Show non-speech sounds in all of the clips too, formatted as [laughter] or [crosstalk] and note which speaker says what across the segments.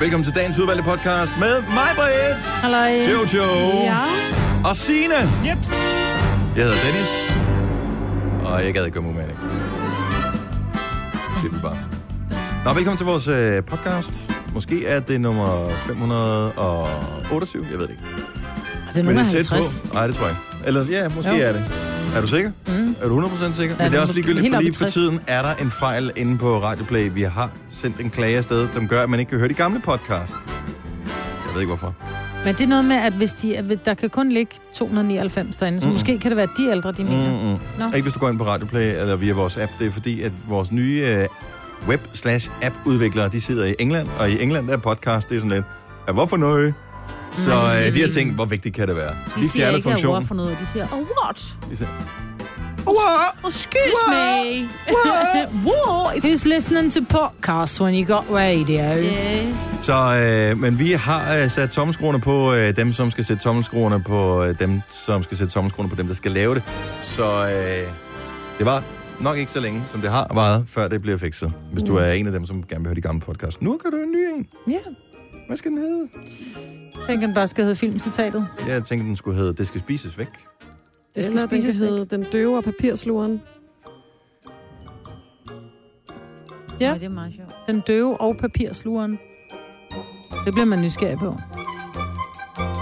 Speaker 1: Velkommen til dagens udvalgte podcast med mig, Britt.
Speaker 2: Halløj.
Speaker 1: Jojo.
Speaker 2: Ja.
Speaker 1: Og Signe.
Speaker 3: Jeps.
Speaker 1: Jeg hedder Dennis. Og jeg gad ikke gøre mig umærlig. Siger vi bare. Nå, velkommen til vores øh, podcast. Måske er det nummer 528, jeg ved det ikke.
Speaker 2: Og det er nummer 50.
Speaker 1: på. Nej, det tror jeg ikke. Eller ja, måske
Speaker 2: Jo.
Speaker 1: er det. Er du sikker? Mm. Er du 100% sikker?
Speaker 2: er
Speaker 1: Men det er også
Speaker 2: måske
Speaker 1: ligegyldigt,
Speaker 2: helt
Speaker 1: fordi
Speaker 2: oppe i
Speaker 1: for
Speaker 2: 60.
Speaker 1: tiden er der en fejl inde på Radioplay. Vi har sendt en klage afsted, som gør, at man ikke kan høre de gamle podcast. Jeg ved ikke, hvorfor.
Speaker 2: Men det er noget med, at hvis de, at der kan kun ligge 299 derinde, så mm. måske kan det være de ældre, de mener.
Speaker 4: Mm-hmm.
Speaker 2: Mm.
Speaker 1: Mm-mm.
Speaker 2: Nå.
Speaker 1: Mm-hmm. Ikke hvis du går ind på Radioplay eller via vores app. Det er fordi, at vores nye øh, web-slash-app-udviklere, de sidder i England, og i England der er podcast, det er sådan lidt, ja, hvorfor noget? Så
Speaker 4: Nej, de siger
Speaker 1: øh, de har
Speaker 4: ikke.
Speaker 1: tænkt, hvor vigtigt kan det være?
Speaker 4: De siger ikke, funktion. at for noget. De siger, oh, what?
Speaker 1: De siger, "What?"
Speaker 4: Oh, excuse
Speaker 1: What?
Speaker 4: me.
Speaker 2: Wow, he's listening to podcasts when you got radio. Yeah.
Speaker 4: Yes.
Speaker 1: Så, øh, men vi har øh, sat tommelskruerne på øh, dem, som skal sætte tommelskruerne på øh, dem, som skal sætte tommelskruerne på dem, der skal lave det. Så øh, det var nok ikke så længe, som det har varet, før det bliver fikset. Hvis
Speaker 4: Mm.
Speaker 1: du er en af dem, som gerne vil høre de gamle podcast. Nu kan du en ny en. Hvad skal den hedde?
Speaker 2: Tænk, den bare skal hedde filmcitatet.
Speaker 1: Jeg tænkte, den skulle hedde Det skal spises væk.
Speaker 2: Det skal
Speaker 5: Eller den kan
Speaker 2: spises væk.
Speaker 5: hedde Den døve og papirsluren.
Speaker 4: Ja.
Speaker 2: Ja.
Speaker 4: Nå, det er meget sjovt.
Speaker 2: Den døve og papirslugeren. Det bliver man nysgerrig på.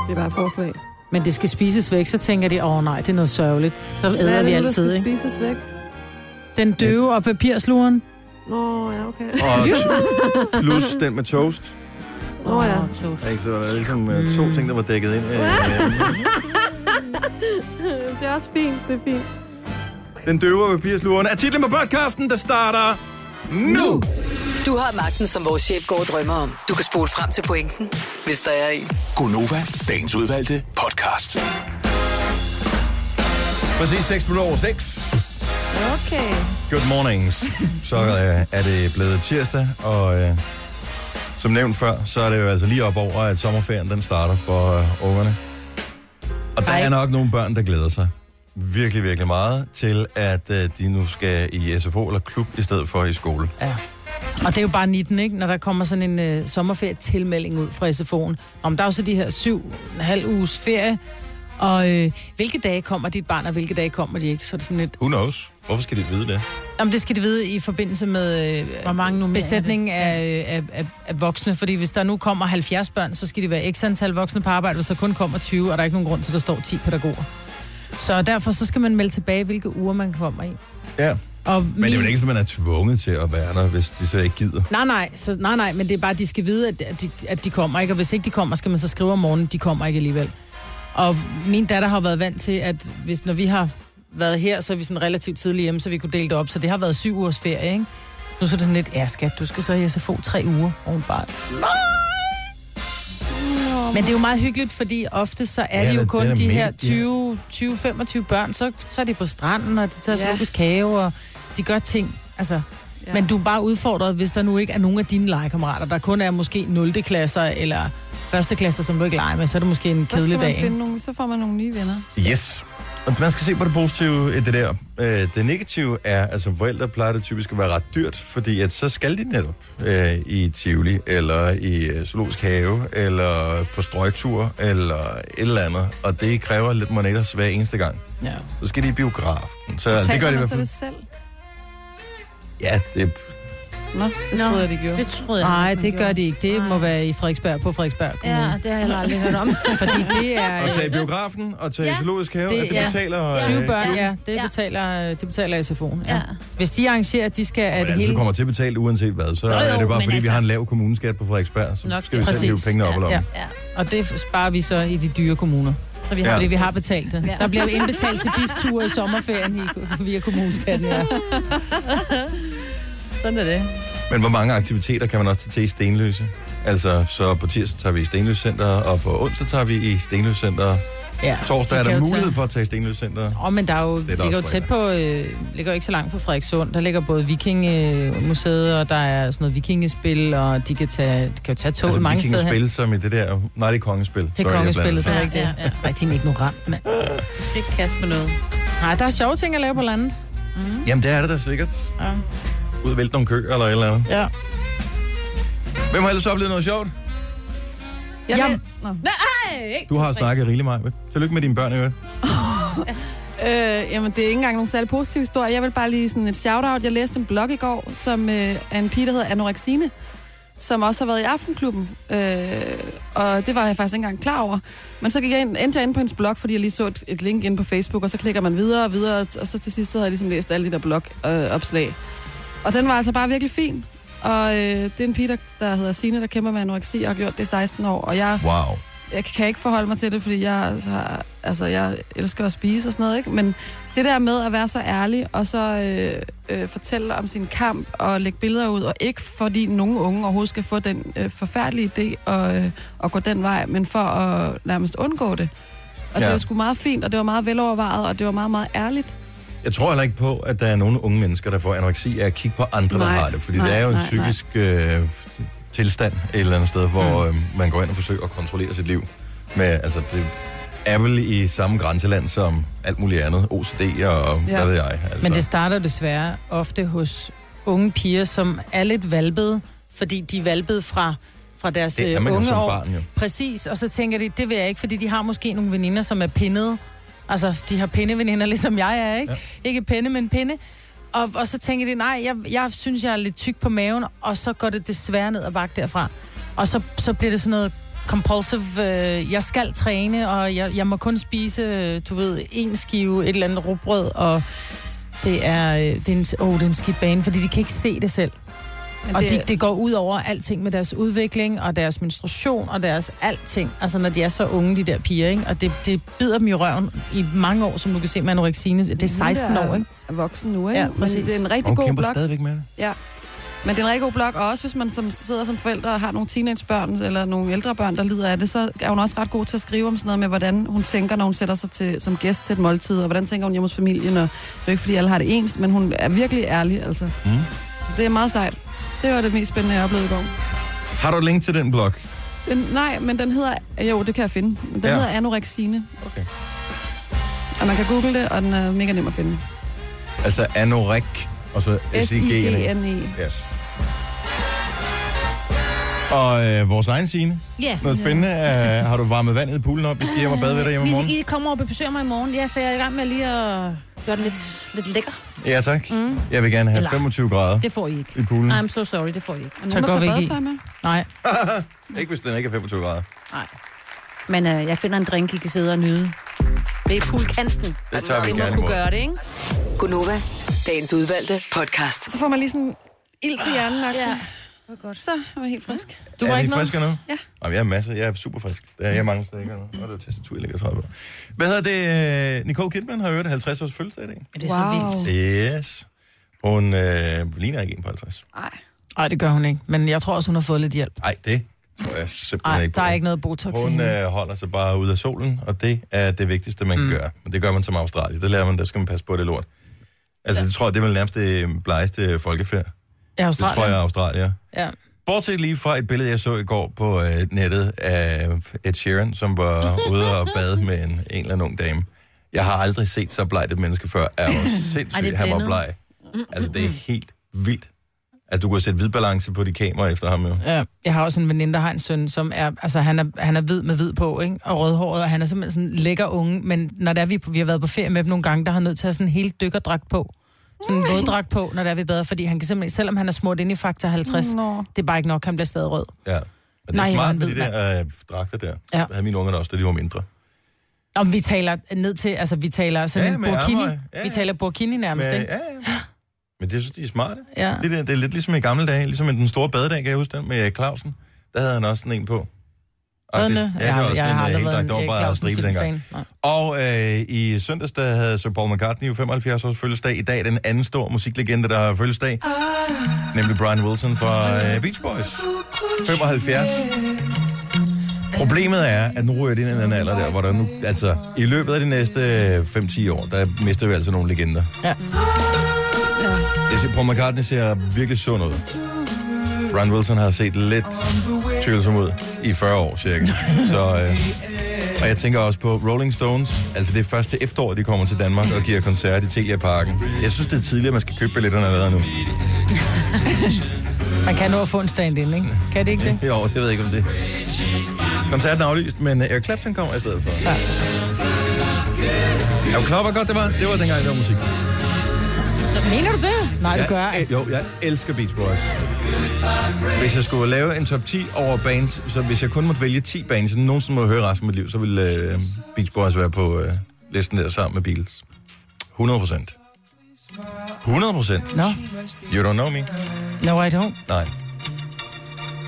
Speaker 5: Det er bare et forslag.
Speaker 2: Men det skal spises væk, så tænker de, åh oh, nej, det er noget sørgeligt. Så æder vi
Speaker 5: nu, der
Speaker 2: altid,
Speaker 5: skal
Speaker 2: ikke?
Speaker 5: spises væk?
Speaker 2: Den døve og papirslugeren.
Speaker 5: Nå, ja, okay. [laughs]
Speaker 1: Og plus den med toast.
Speaker 5: Nå, ja. [laughs]
Speaker 4: Åh, toast.
Speaker 1: Ikke? Så der var ligesom øh, to ting, der var dækket ind. Øh, øh,
Speaker 5: Det er også fint, det er fint.
Speaker 1: den døve papirslugeren er titlen på podcasten, der starter nu.
Speaker 6: Du har magten, som vores chef går og drømmer om. Du kan spole frem til pointen, hvis der er en.
Speaker 7: Gonova, dagens udvalgte podcast.
Speaker 1: Præcis 6 minutter over 6.
Speaker 4: Okay.
Speaker 1: Good mornings. Så øh, er det blevet tirsdag, og øh, som nævnt før, så er det jo altså lige op over, at sommerferien den starter for øh, ungerne. Og der er nok nogle børn, der glæder sig virkelig, virkelig meget til, at øh, de nu skal i SFO eller klub i stedet for i skole.
Speaker 2: Og det er jo bare 19, ikke? Når der kommer sådan en øh, sommerferietilmelding ud fra SFO'en. Om der er jo så de her syv, en halv uges ferie. Og øh, hvilke dage kommer dit barn, og hvilke dage kommer de ikke? Så er det sådan lidt...
Speaker 1: Who knows? Hvorfor skal de vide det?
Speaker 2: Jamen, det skal de vide i forbindelse med øh,
Speaker 4: Hvor mange nummer
Speaker 2: besætningen af, øh, af, af, af voksne. Fordi hvis der nu kommer 70 børn, så skal de være x antal voksne på arbejde. Hvis der kun kommer 20, og der er ikke nogen grund til, at der står 10 pædagoger. Så derfor så skal man melde tilbage, hvilke uger man kommer i.
Speaker 1: Ja,
Speaker 2: Og
Speaker 1: men det er jo ikke, at man er tvunget til at være der, hvis de så ikke gider.
Speaker 2: Nej, nej, så, nej, nej, men det er bare, at de skal vide, at, at, de, at de kommer ikke. Og hvis ikke de kommer, skal man så skrive om morgenen, de kommer ikke alligevel. Og min datter har været vant til, at hvis, når vi har været her, så er vi sådan relativt tidligt hjemme, så vi kunne dele det op. Så det har været syv ugers ferie, ikke? Nu så er det sådan lidt, ja skat, du skal så i SFO tre uger, og hun bare, nej! Men det er jo meget hyggeligt, fordi ofte så er
Speaker 1: Ja,
Speaker 2: ja, det jo
Speaker 1: det-
Speaker 2: kun
Speaker 1: det er
Speaker 2: de
Speaker 1: mega.
Speaker 2: her 20-25 børn, så, så er de på stranden, og de tager
Speaker 5: Ja.
Speaker 2: zoologisk have, og de gør ting. Altså,
Speaker 5: Ja.
Speaker 2: Ja. Men du er bare udfordret, hvis der nu ikke er nogen af dine legekammerater, der kun er måske 0. klasser eller 1. klasser, som du ikke leger med, så er det måske en
Speaker 5: Så skal
Speaker 2: kedelig
Speaker 5: man
Speaker 2: dag.
Speaker 5: finde
Speaker 2: ikke?
Speaker 5: nogle, så får man nogle nye venner.
Speaker 1: Yes. Og man skal se på det positive i det der. Øh, Det negative er, at som forældre plejer det typisk at være ret dyrt, fordi at så skal de netop øh, i Tivoli, eller i øh, Zoologisk Have, eller på strøgtur, eller et eller andet. Og det kræver lidt moneter hver eneste gang.
Speaker 2: Ja.
Speaker 1: Så skal de i biografen. Så det gør de i hvert
Speaker 5: Så
Speaker 1: fald.
Speaker 5: det selv.
Speaker 1: Ja, det,
Speaker 5: Nå, det
Speaker 4: Nå.
Speaker 5: troede jeg, de gjorde.
Speaker 4: Det troede jeg.
Speaker 2: Nej,
Speaker 4: man
Speaker 2: det gør de ikke. Det
Speaker 4: Nej.
Speaker 2: må være i Frederiksberg på Frederiksberg Kommune.
Speaker 4: Ja,
Speaker 1: Mm.
Speaker 2: Ja.
Speaker 4: det har jeg heller aldrig
Speaker 1: [laughs]
Speaker 4: hørt om.
Speaker 2: Fordi det er
Speaker 1: og tage i
Speaker 2: øh,
Speaker 1: biografen, og tage i
Speaker 4: Ja.
Speaker 1: Zoologisk Have,
Speaker 2: Det-
Speaker 1: det, det
Speaker 2: ja.
Speaker 1: betaler... øh,
Speaker 2: 20 børn,
Speaker 4: Ja.
Speaker 2: ja. Det
Speaker 4: Ja.
Speaker 2: betaler, øh, det betaler SFO'en. Ja.
Speaker 4: Ja.
Speaker 2: Hvis de arrangerer, at de skal...
Speaker 1: Men
Speaker 2: At
Speaker 1: altså, du
Speaker 2: hele...
Speaker 1: kommer til at betale uanset hvad, så
Speaker 4: Nå jo,
Speaker 1: er det bare
Speaker 4: men
Speaker 1: fordi, altså... vi
Speaker 4: altså-
Speaker 1: har en lav kommuneskat på Frederiksberg, så
Speaker 4: Nok
Speaker 1: skal vi
Speaker 4: det.
Speaker 1: selv hive
Speaker 2: Præcis.
Speaker 1: pengene op
Speaker 2: Ja,
Speaker 1: og
Speaker 2: ja.
Speaker 4: Ja.
Speaker 2: Og det sparer vi så i de dyre kommuner.
Speaker 4: Så vi
Speaker 1: Ja.
Speaker 4: har
Speaker 2: Fordi
Speaker 4: det.
Speaker 2: vi har betalt det.
Speaker 4: Ja.
Speaker 2: Der bliver indbetalt til bifture i sommerferien i, via kommuneskatten. Ja. [laughs] Sådan er det.
Speaker 1: Men hvor mange aktiviteter kan man også tage til i Stenløse? Altså, så på tirsdag tager vi i Stenløse Center, og på onsdag tager vi i Stenløse Center.
Speaker 2: Ja,
Speaker 1: Torsdag
Speaker 2: de
Speaker 1: er
Speaker 2: kan
Speaker 1: der
Speaker 2: jo
Speaker 1: mulighed
Speaker 2: tage-
Speaker 1: for at tage i Stenløse Center.
Speaker 2: Åh, oh, men der er jo,
Speaker 1: da
Speaker 2: det er ligger
Speaker 1: også
Speaker 2: jo tæt på, øh, ligger jo ikke så langt fra Frederikssund. Der ligger både Vikingemuseet, og der er sådan noget vikingespil, og de kan, tage, de kan jo tage toget
Speaker 1: Altså,
Speaker 2: altså, mange steder hen.
Speaker 1: spil som i det der... Nej, det er kongespil.
Speaker 2: Det er kongespillet, så er
Speaker 4: Ja,
Speaker 2: det ikke det.
Speaker 4: ja, ja.
Speaker 2: Ej, de er en ignorant, mand.
Speaker 4: Det kan kaste med noget.
Speaker 2: Nej, der er sjove ting at lave på landet.
Speaker 1: Mm. Jamen, det er det da sikkert.
Speaker 2: Ja.
Speaker 1: Ud og vælte nogle køer eller et eller andet.
Speaker 2: Ja.
Speaker 1: Hvem har ellers oplevet noget sjovt?
Speaker 5: Jeg,
Speaker 2: Jam.
Speaker 5: Nå.
Speaker 4: Hey,
Speaker 1: Du har snakket rigeligt meget. Tillykke med dine børn, Øre.
Speaker 5: Øh, jamen, det er ikke engang nogen særlig positiv historie. Jeg vil bare lige sådan et shout-out. Jeg læste en blog i går, som øh, er en pige, der hedder Anorexine, som også har været i Aftenklubben. Øh, og det var jeg faktisk ikke engang klar over. Men så gik jeg ind, endte jeg ind på hendes blog, fordi jeg lige så et, et link ind på Facebook, og så klikker man videre og videre, og så til sidst så havde jeg ligesom læst alle de der blogopslag. Øh, opslag. og den var altså bare virkelig fin. Og øh, det er en pige, der, der hedder Sine, der kæmper med anoreksi og har gjort det i 16 år. Og jeg
Speaker 1: Wow.
Speaker 5: jeg kan ikke forholde mig til det, fordi jeg, altså, har- altså, jeg elsker at spise og sådan noget, ikke? Men det der med at være så ærlig, og så øh, øh, fortælle om sin kamp, og lægge billeder ud, og ikke fordi nogen unge overhovedet skal få den øh, forfærdelige idé og, øh, at gå den vej, men for at nærmest undgå det. Og ja.
Speaker 1: Ja.
Speaker 5: det var sgu meget fint, og det var meget velovervejet, og det var meget, meget ærligt.
Speaker 1: Jeg tror heller ikke på, at der er nogen unge mennesker, der får anoreksi af at kigge på andre, nej,
Speaker 5: Nej,
Speaker 1: der har det. Fordi nej,
Speaker 5: nej,
Speaker 1: det er jo en
Speaker 5: nej,
Speaker 1: psykisk øh, f- tilstand et eller andet sted, hvor mm. øh, man går ind og forsøger at kontrollere sit liv. Men altså, det er vel i samme grænseland som alt muligt andet. OCD og ja. hvad ved jeg. Altså.
Speaker 2: Men det starter desværre ofte hos unge piger, som er lidt valpede, fordi de er valpede fra, fra deres
Speaker 1: det er
Speaker 2: øh,
Speaker 1: man jo
Speaker 2: unge
Speaker 1: som
Speaker 2: år.
Speaker 1: barn jo.
Speaker 2: Præcis, og så tænker de, det vil jeg ikke, fordi de har måske nogle veninder, som er pinnede. Altså, de har pindeveninder, [laughs] ligesom jeg er, ikke? Ja. Ikke pinde, men pinde. Og, og så tænker de, nej, jeg, jeg synes, jeg er lidt tyk på maven, og så går det desværre ned og bakke derfra. Og så, så bliver det sådan noget compulsive, øh, jeg skal træne, og jeg, jeg må kun spise, øh, du ved, en skive, et eller andet rugbrød, og det er, øh, det er, en, oh, det er en skidt bane, fordi de kan ikke se det selv.
Speaker 5: Men
Speaker 2: Og det, det går ud over alting med deres udvikling, og deres menstruation, og deres alting. Altså, når de er så unge, de der piger, ikke? Og det, det bider dem i røven i mange år, som du kan se med anorexine. Det er 16 år, ikke?
Speaker 5: Er øh, voksen nu, ikke?
Speaker 2: Ja,
Speaker 5: men
Speaker 2: præcis.
Speaker 5: det er en
Speaker 1: Og hun
Speaker 5: rigtig god
Speaker 1: kæmper
Speaker 5: blog.
Speaker 1: stadigvæk med det.
Speaker 5: Men det er en rigtig god blog, og også hvis man som sidder som forældre og har nogle teenagebørn eller nogle ældre børn, der lider af det, så er hun også ret god til at skrive om sådan noget med, hvordan hun tænker, når hun sætter sig til, som gæst til et måltid, og hvordan tænker hun hjemme hos familien, og det er jo ikke, fordi alle har det ens, men hun er virkelig ærlig, altså.
Speaker 1: Mm.
Speaker 5: Det er meget sejt. Det var det mest spændende, jeg oplevede i går.
Speaker 1: Har du et link til den blog?
Speaker 5: Den, nej, men den hedder... Jo, det kan jeg finde. Den
Speaker 1: Ja.
Speaker 5: ja. hedder Anorexine.
Speaker 1: Okay.
Speaker 5: Og man kan google det, og den er mega nem at finde.
Speaker 1: Altså anorek, og så s i g n E.
Speaker 5: S-I-G-N-E.
Speaker 1: Yes. Og øh, vores egen scene.
Speaker 4: Ja.
Speaker 1: Noget [laughs] spændende. Øh, har du varmet vandet i poolen op? Vi skal hjem og bade ved dig hjemme i morgen.
Speaker 4: I kommer op og besøger mig i morgen. Ja, så jeg er i gang med lige at gøre den lidt, lidt lækker.
Speaker 1: Ja, tak. Mm. Jeg vil gerne have
Speaker 4: Eller-
Speaker 1: 25 grader
Speaker 2: Det får I ikke.
Speaker 1: i poolen.
Speaker 4: I'm so sorry, det får I ikke.
Speaker 5: Er der nogen,
Speaker 2: Så
Speaker 5: der
Speaker 2: går
Speaker 5: tager
Speaker 2: vi ikke i.
Speaker 5: badetøj med?
Speaker 2: Nej.
Speaker 1: [laughs] Ikke hvis den ikke er 25 grader.
Speaker 4: Nej. Men øh, jeg finder en drink, I kan sidde og nyde. Det er poolkanten.
Speaker 1: Det tager vi
Speaker 4: Det må
Speaker 1: gerne
Speaker 4: kunne
Speaker 1: imod.
Speaker 4: gøre det, ikke?
Speaker 6: Gunova, dagens udvalgte podcast.
Speaker 5: Så får man lige sådan ild til hjernen. og-
Speaker 4: Ah, Ja. Det var godt.
Speaker 5: Så er man helt frisk.
Speaker 2: Du var
Speaker 1: er
Speaker 2: ikke
Speaker 1: I
Speaker 2: noget?
Speaker 1: friske nu?
Speaker 5: Ja.
Speaker 1: Jamen, jeg er masser. Jeg er super frisk. Det er jeg mange steder ikke nu. Og det er tastatur, jeg ligger 30 på. Hvad hedder det? øh, Nicole Kidman har øvrigt 50 års fødselsdag i dag.
Speaker 4: Ja, Det er så vildt.
Speaker 1: Yes. Hun øh, ligner ikke en på 50.
Speaker 5: Ej.
Speaker 2: Nej, det gør hun ikke. Men jeg tror også, hun har fået lidt hjælp.
Speaker 1: Nej, det tror jeg simpelthen
Speaker 2: Nej,
Speaker 1: ikke på.
Speaker 2: der er ikke noget botox i
Speaker 1: Hun
Speaker 2: hende.
Speaker 1: øh, holder sig bare ude af solen, og det er det vigtigste, man mm. gør. Men det gør man som Australier. Det lærer man, der skal man passe på det lort. Altså, det tror jeg, det er vel nærmest det blegeste folkefærd.
Speaker 2: Ja,
Speaker 1: Det tror jeg er Australier.
Speaker 2: Ja.
Speaker 1: Bortset lige fra et billede, jeg så i går på øh, nettet af Ed Sheeran, som var ude og bade med en, en eller anden ung dame. Jeg har aldrig set så bleget et menneske før. Er jo
Speaker 4: Ej, det
Speaker 1: sindssygt,
Speaker 4: er
Speaker 1: han var
Speaker 4: blandet.
Speaker 1: bleg. Altså, det er helt vildt. At du kunne sætte hvid balance på de kameraer efter ham, jo.
Speaker 2: Ja, Øh, jeg har også en veninde, der har en søn, som er, altså han er, han er hvid med hvid på, ikke? Og rødhåret, og han er simpelthen sådan lækker unge, men når der vi, er på- vi har været på ferie med dem nogle gange, der har han nødt til at have sådan en helt dykkerdragt på. Sådan en våddragt på, når der er vi bedre, fordi han kan simpelthen, selvom han er smurt ind i faktor 50,
Speaker 5: Nå.
Speaker 2: det er bare ikke nok, han bliver stadig rød.
Speaker 1: Ja. Men det
Speaker 2: Nej,
Speaker 1: er
Speaker 2: hvor
Speaker 1: smart
Speaker 2: han
Speaker 1: med de
Speaker 2: ved,
Speaker 1: der øh, dragter der.
Speaker 2: Ja.
Speaker 1: Ja. havde mine unger da også, da de var mindre.
Speaker 2: Om vi taler ned til, altså vi taler sådan
Speaker 1: Ja,
Speaker 2: ja, en
Speaker 1: med
Speaker 2: burkini,
Speaker 1: armhøj.
Speaker 2: ja,
Speaker 1: Ja,
Speaker 2: ja.
Speaker 1: ja.
Speaker 2: vi taler burkini nærmest,
Speaker 1: Men,
Speaker 2: ikke?
Speaker 1: ja, ja. Men det synes de er smarte.
Speaker 2: Ja.
Speaker 1: Det, der, det er lidt ligesom i gamle dage, ligesom i den store badedag, kan jeg huske den, med øh, Clausen. Der havde han også sådan en på. Og det-
Speaker 2: Badene?
Speaker 1: Ja, det var også
Speaker 2: jeg har
Speaker 1: en øh,
Speaker 2: aldrig
Speaker 1: helt
Speaker 2: været
Speaker 1: dragt,
Speaker 2: en
Speaker 1: der var
Speaker 2: Erik
Speaker 1: bare
Speaker 2: Clausen
Speaker 1: stribe dengang.
Speaker 2: filmfan.
Speaker 1: Og
Speaker 2: Nej.
Speaker 1: øh, i søndags, der havde Sir Paul McCartney jo 75 års fødselsdag. I dag er den anden stor musiklegende, der har fødselsdag. Nemlig Brian Wilson fra øh, Beach Boys. 75. Problemet er, at nu ryger det ind i en anden alder der, hvor der nu, altså, i løbet af de næste øh, 5-10 år, der mister vi altså nogle legender.
Speaker 2: Ja.
Speaker 1: Jeg siger, Paul McCartney ser virkelig sund ud. Brian Wilson har set lidt tvivlsom ud i 40 år cirka. Så, øh, og jeg tænker også på Rolling Stones. Altså det er først til efteråret, de kommer til Danmark og giver koncert i Telia Parken. Jeg synes, det er tidligere, man skal købe billetterne allerede nu.
Speaker 2: Man kan nå at få en stand-in, ikke? Kan det ikke det?
Speaker 1: Jo, det ved jeg ikke om det. Koncerten er aflyst, men Eric Clapton kommer i stedet for. Ja. Er du klar, hvor godt det var? Det var dengang, det var musik.
Speaker 2: Mener du det? Nej, det gør jeg.
Speaker 1: jeg. Jo, jeg elsker Beach Boys. Hvis jeg skulle lave en top 10 over bands, så hvis jeg kun måtte vælge 10 bands, som jeg nogensinde må høre resten af mit liv, så ville øh, Beach Boys være på øh, listen der sammen med Beatles. 100 procent. 100 procent.
Speaker 2: Nå,
Speaker 1: You don't know me.
Speaker 2: no, I don't.
Speaker 1: Nej.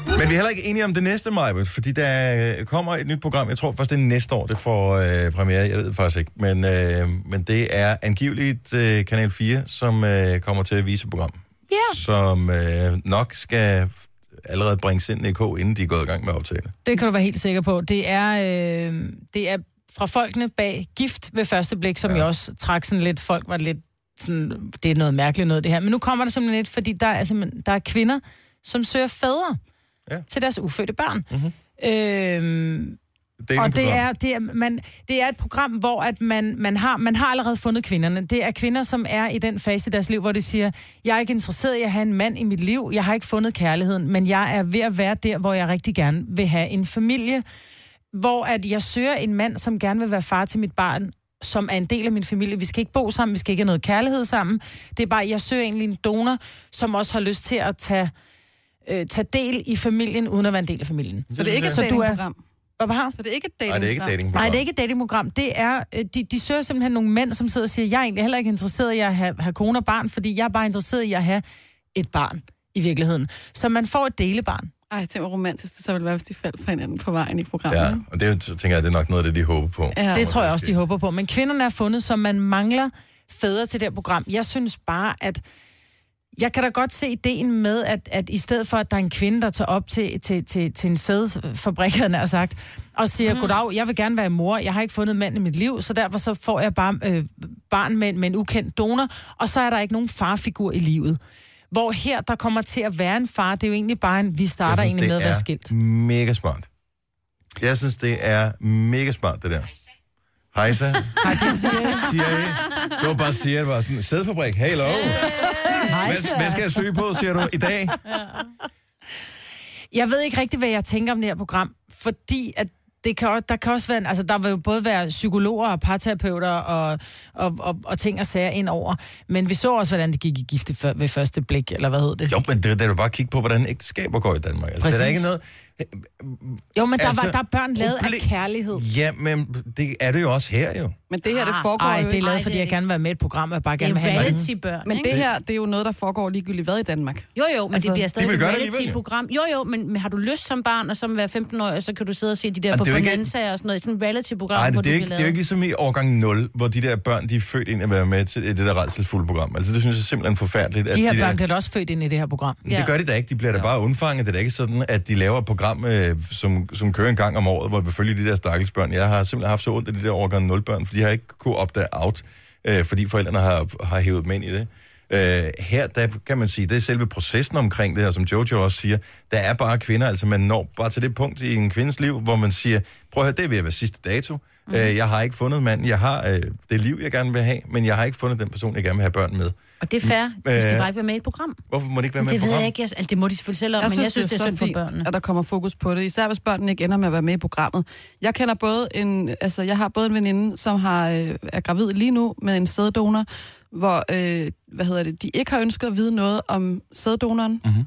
Speaker 1: Men vi er heller ikke enige om det næste, Majbet, fordi der øh, kommer et nyt program. Jeg tror først, det er næste år, det får øh, premiere. Jeg ved faktisk ikke. Men, øh, men det er angiveligt øh, Kanal 4, som øh, kommer til at vise et program. Ja. Som øh, nok skal f- allerede bringes ind i K, inden de er gået i gang med optagene.
Speaker 2: Det kan du være helt sikker på. Det er, øh, det er fra folkene bag Gift ved første blik, som ja. jo også trak sådan lidt, folk var lidt sådan, det er noget mærkeligt noget det her. Men nu kommer der simpelthen lidt, fordi der er, simpelthen, der er kvinder, som søger fædre
Speaker 1: Ja. Mhm.
Speaker 2: ja. til deres ufødte børn. Mm-hmm. Øh,
Speaker 1: Det er
Speaker 2: og det er, det, er, man, det er et program, hvor at man, man, har, man har allerede fundet kvinderne. Det er kvinder, som er i den fase i deres liv, hvor de siger, jeg er ikke interesseret i at have en mand i mit liv, jeg har ikke fundet kærligheden, men jeg er ved at være der, hvor jeg rigtig gerne vil have en familie, hvor at jeg søger en mand, som gerne vil være far til mit barn, som er en del af min familie. Vi skal ikke bo sammen, vi skal ikke have noget kærlighed sammen. Det er bare, jeg søger egentlig en donor, som også har lyst til at tage, øh, tage del i familien, uden at være en del af familien.
Speaker 5: Så det er ikke et
Speaker 2: Så du er-
Speaker 5: datingprogram.
Speaker 2: Hvad har
Speaker 5: Så det er ikke et
Speaker 1: Nej, det er ikke et
Speaker 5: datingprogram.
Speaker 1: datingprogram.
Speaker 2: Nej, det er ikke et datingprogram. Det er, øh, de, de søger simpelthen nogle mænd, som sidder og siger, jeg er egentlig heller ikke interesseret i at have, have kone og barn, fordi jeg er bare interesseret i at have et barn i virkeligheden. Så man får et delebarn.
Speaker 5: Ej, tænk hvor romantisk det så ville være, hvis de faldt for hinanden på vejen i programmet.
Speaker 1: Ja, og det er, jo- så tænker jeg, det er nok noget af det, de håber på.
Speaker 5: Ja.
Speaker 2: Det tror jeg også, de håber på. Men kvinderne er fundet, så man mangler fædre til det her program. Jeg synes bare, at jeg kan da godt se ideen med, at, at i stedet for, at der er en kvinde, der tager op til, til, til, til en sædfabrik, havde jeg nær sagt, og siger, mm. goddag, jeg vil gerne være mor, jeg har ikke fundet mand i mit liv, så derfor så får jeg bare øh, barn med, en- med en ukendt donor, og så er der ikke nogen farfigur i livet. Hvor her, der kommer til at være en far, det er jo egentlig bare en, vi starter
Speaker 1: Jeg synes,
Speaker 2: egentlig med at være
Speaker 1: det
Speaker 2: skilt.
Speaker 1: er mega smart. Jeg synes, det er mega smart, det der. Hejsa. Hej, det siger jeg. Det var bare siger, det var sådan, sædfabrik, hello. Hvad, hvad skal jeg søge på, siger du, i dag?
Speaker 2: Jeg ved ikke rigtig, hvad jeg tænker om det her program, fordi at det kan, også- der kan også være, en- altså der vil jo både være psykologer og parterapeuter og, og, og, og ting og sager ind over. Men vi så også, hvordan det gik i gifte før, ved første blik, eller hvad hed det?
Speaker 1: Jo, men det, det er jo bare at kigge på, hvordan ægteskaber går i Danmark. Altså, det er der
Speaker 2: Præcis.
Speaker 1: ikke noget...
Speaker 2: jo men
Speaker 1: altså,
Speaker 2: der, altså, var, der er børn lavet af
Speaker 1: proble-
Speaker 2: kærlighed.
Speaker 1: Ja, men det er det jo også her, jo.
Speaker 5: Men det her, det
Speaker 4: Ah,
Speaker 5: foregår
Speaker 2: Nej,
Speaker 5: jo
Speaker 2: det er
Speaker 5: ikke.
Speaker 2: lavet,
Speaker 4: Ej,
Speaker 2: fordi
Speaker 4: det er
Speaker 2: jeg
Speaker 4: det.
Speaker 2: gerne vil være med i et program, og jeg bare
Speaker 4: Det er
Speaker 2: gerne vil have en mand.
Speaker 4: reality-børn,
Speaker 5: Men det
Speaker 4: ikke?
Speaker 5: her, det er jo noget, der foregår ligegyldigt hvad i Danmark.
Speaker 4: Jo, jo, men altså, det bliver stadig
Speaker 1: vil
Speaker 4: et
Speaker 1: gøre det alligevel, jo.
Speaker 4: reality-program. Jo, jo, men, men har du lyst som barn, og som være 15 år, så kan du sidde og se de der
Speaker 1: Og
Speaker 4: på
Speaker 1: det er jo ikke-
Speaker 4: bonanzaer og sådan noget. Sådan et reality-program,
Speaker 1: Nej,
Speaker 4: hvor
Speaker 1: det,
Speaker 4: du
Speaker 1: det, er
Speaker 4: bliver
Speaker 1: ikke, det er jo
Speaker 4: lavet.
Speaker 1: ikke ligesom i årgang 0, hvor de der børn, de er født ind at være med til det der redselsfulde program. Altså, det synes jeg simpelthen er forfærdeligt. at
Speaker 2: De her
Speaker 1: der-
Speaker 2: børn bliver da også født ind i det her program.
Speaker 1: Ja. Det gør de da ikke. De bliver da bare undfanget. Det er da ikke sådan, at de laver et program, øh, som, som kører en gang om året, hvor vi følger de der stakkelsbørn. Jeg har simpelthen haft så ondt af de der årgang 0 børn, fordi jeg har ikke kunne opdage out, øh, fordi forældrene har, har hævet dem ind i det. Øh, her der kan man sige, det er selve processen omkring det her, som Jojo også siger. Der er bare kvinder, altså man når bare til det punkt i en kvindes liv, hvor man siger, prøv at høre, det er ved at være sidste dato.
Speaker 4: Mhm.
Speaker 1: Mm. Øh, jeg har ikke fundet manden. Jeg har øh, det liv, jeg gerne vil have, men jeg har ikke fundet den person, jeg gerne vil have børn med.
Speaker 4: Og det er fair. Du
Speaker 1: Øh,
Speaker 4: skal bare ikke være med i et program.
Speaker 1: Hvorfor må det ikke være med i
Speaker 4: det ved
Speaker 1: programmet?
Speaker 4: jeg ikke. Jeg- Altså, det må de selvfølgelig selv om, men jeg synes, det er, synd for børnene.
Speaker 5: at der kommer fokus på det. Især hvis børnene ikke ender med at være med i programmet. Jeg kender både en, altså jeg har både en veninde, som har, øh, er gravid lige nu med en sæddonor, hvor, øh, hvad hedder det, de ikke har ønsket at vide noget om sæddonoren.
Speaker 1: Mhm.
Speaker 5: Mm-hmm.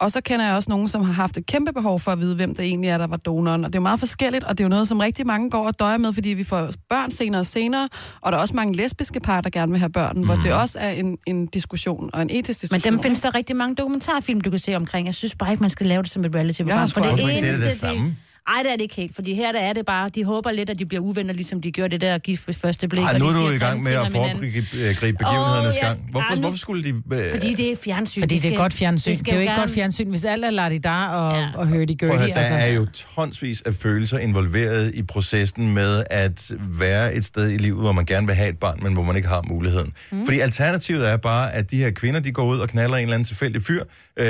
Speaker 5: Og så kender jeg også nogen, som har haft et kæmpe behov for at vide, hvem der egentlig er, der var donoren. Og det er jo meget forskelligt, og det er jo noget, som rigtig mange går og døjer med, fordi vi får børn senere og senere. Og der er også mange lesbiske par, der gerne vil have børn, mm. hvor det også er en, en diskussion og en etisk diskussion.
Speaker 4: Men dem
Speaker 5: ikke?
Speaker 4: findes der rigtig mange dokumentarfilm, du kan se omkring. Jeg synes bare ikke, man skal lave det som et
Speaker 5: Jeg
Speaker 4: reality-program.
Speaker 5: har
Speaker 4: For
Speaker 5: sgu
Speaker 4: det
Speaker 5: aldrig-
Speaker 1: Hvorfor ikke? Det er da det
Speaker 4: eneste,
Speaker 1: samme.
Speaker 4: Ej, det er det ikke helt, fordi her der er det bare, de håber lidt, at de bliver uvenner, ligesom de gjorde det der gift ved første blik.
Speaker 1: Ej,
Speaker 4: og
Speaker 1: nu
Speaker 4: de
Speaker 1: er du
Speaker 4: siger
Speaker 1: i gang
Speaker 4: grimme
Speaker 1: med
Speaker 4: ting
Speaker 1: at
Speaker 4: om hinanden.
Speaker 1: foregribe øh, gribe begivenhedernes
Speaker 4: Åh,
Speaker 1: oh,
Speaker 4: ja.
Speaker 1: ja. gang. Hvorfor,
Speaker 4: Ej, nu-
Speaker 1: hvorfor skulle de... Øh,
Speaker 4: Fordi det er fjernsyn.
Speaker 2: Fordi
Speaker 4: de
Speaker 2: det er
Speaker 4: skal-
Speaker 2: godt fjernsyn. Det,
Speaker 4: skal
Speaker 2: det er jo ikke
Speaker 4: gerne-
Speaker 2: godt fjernsyn, hvis alt er ladidar og, ja.
Speaker 4: Ja.
Speaker 2: og hørte
Speaker 1: prøv at
Speaker 2: gørte.
Speaker 1: høre, der er
Speaker 2: Altså.
Speaker 1: jo tonsvis af følelser involveret i processen med at være et sted i livet, hvor man gerne vil have et barn, men hvor man ikke har muligheden. Mm. Fordi alternativet er bare, at de her kvinder, de går ud og knaller en eller anden tilfældig fyr, øh,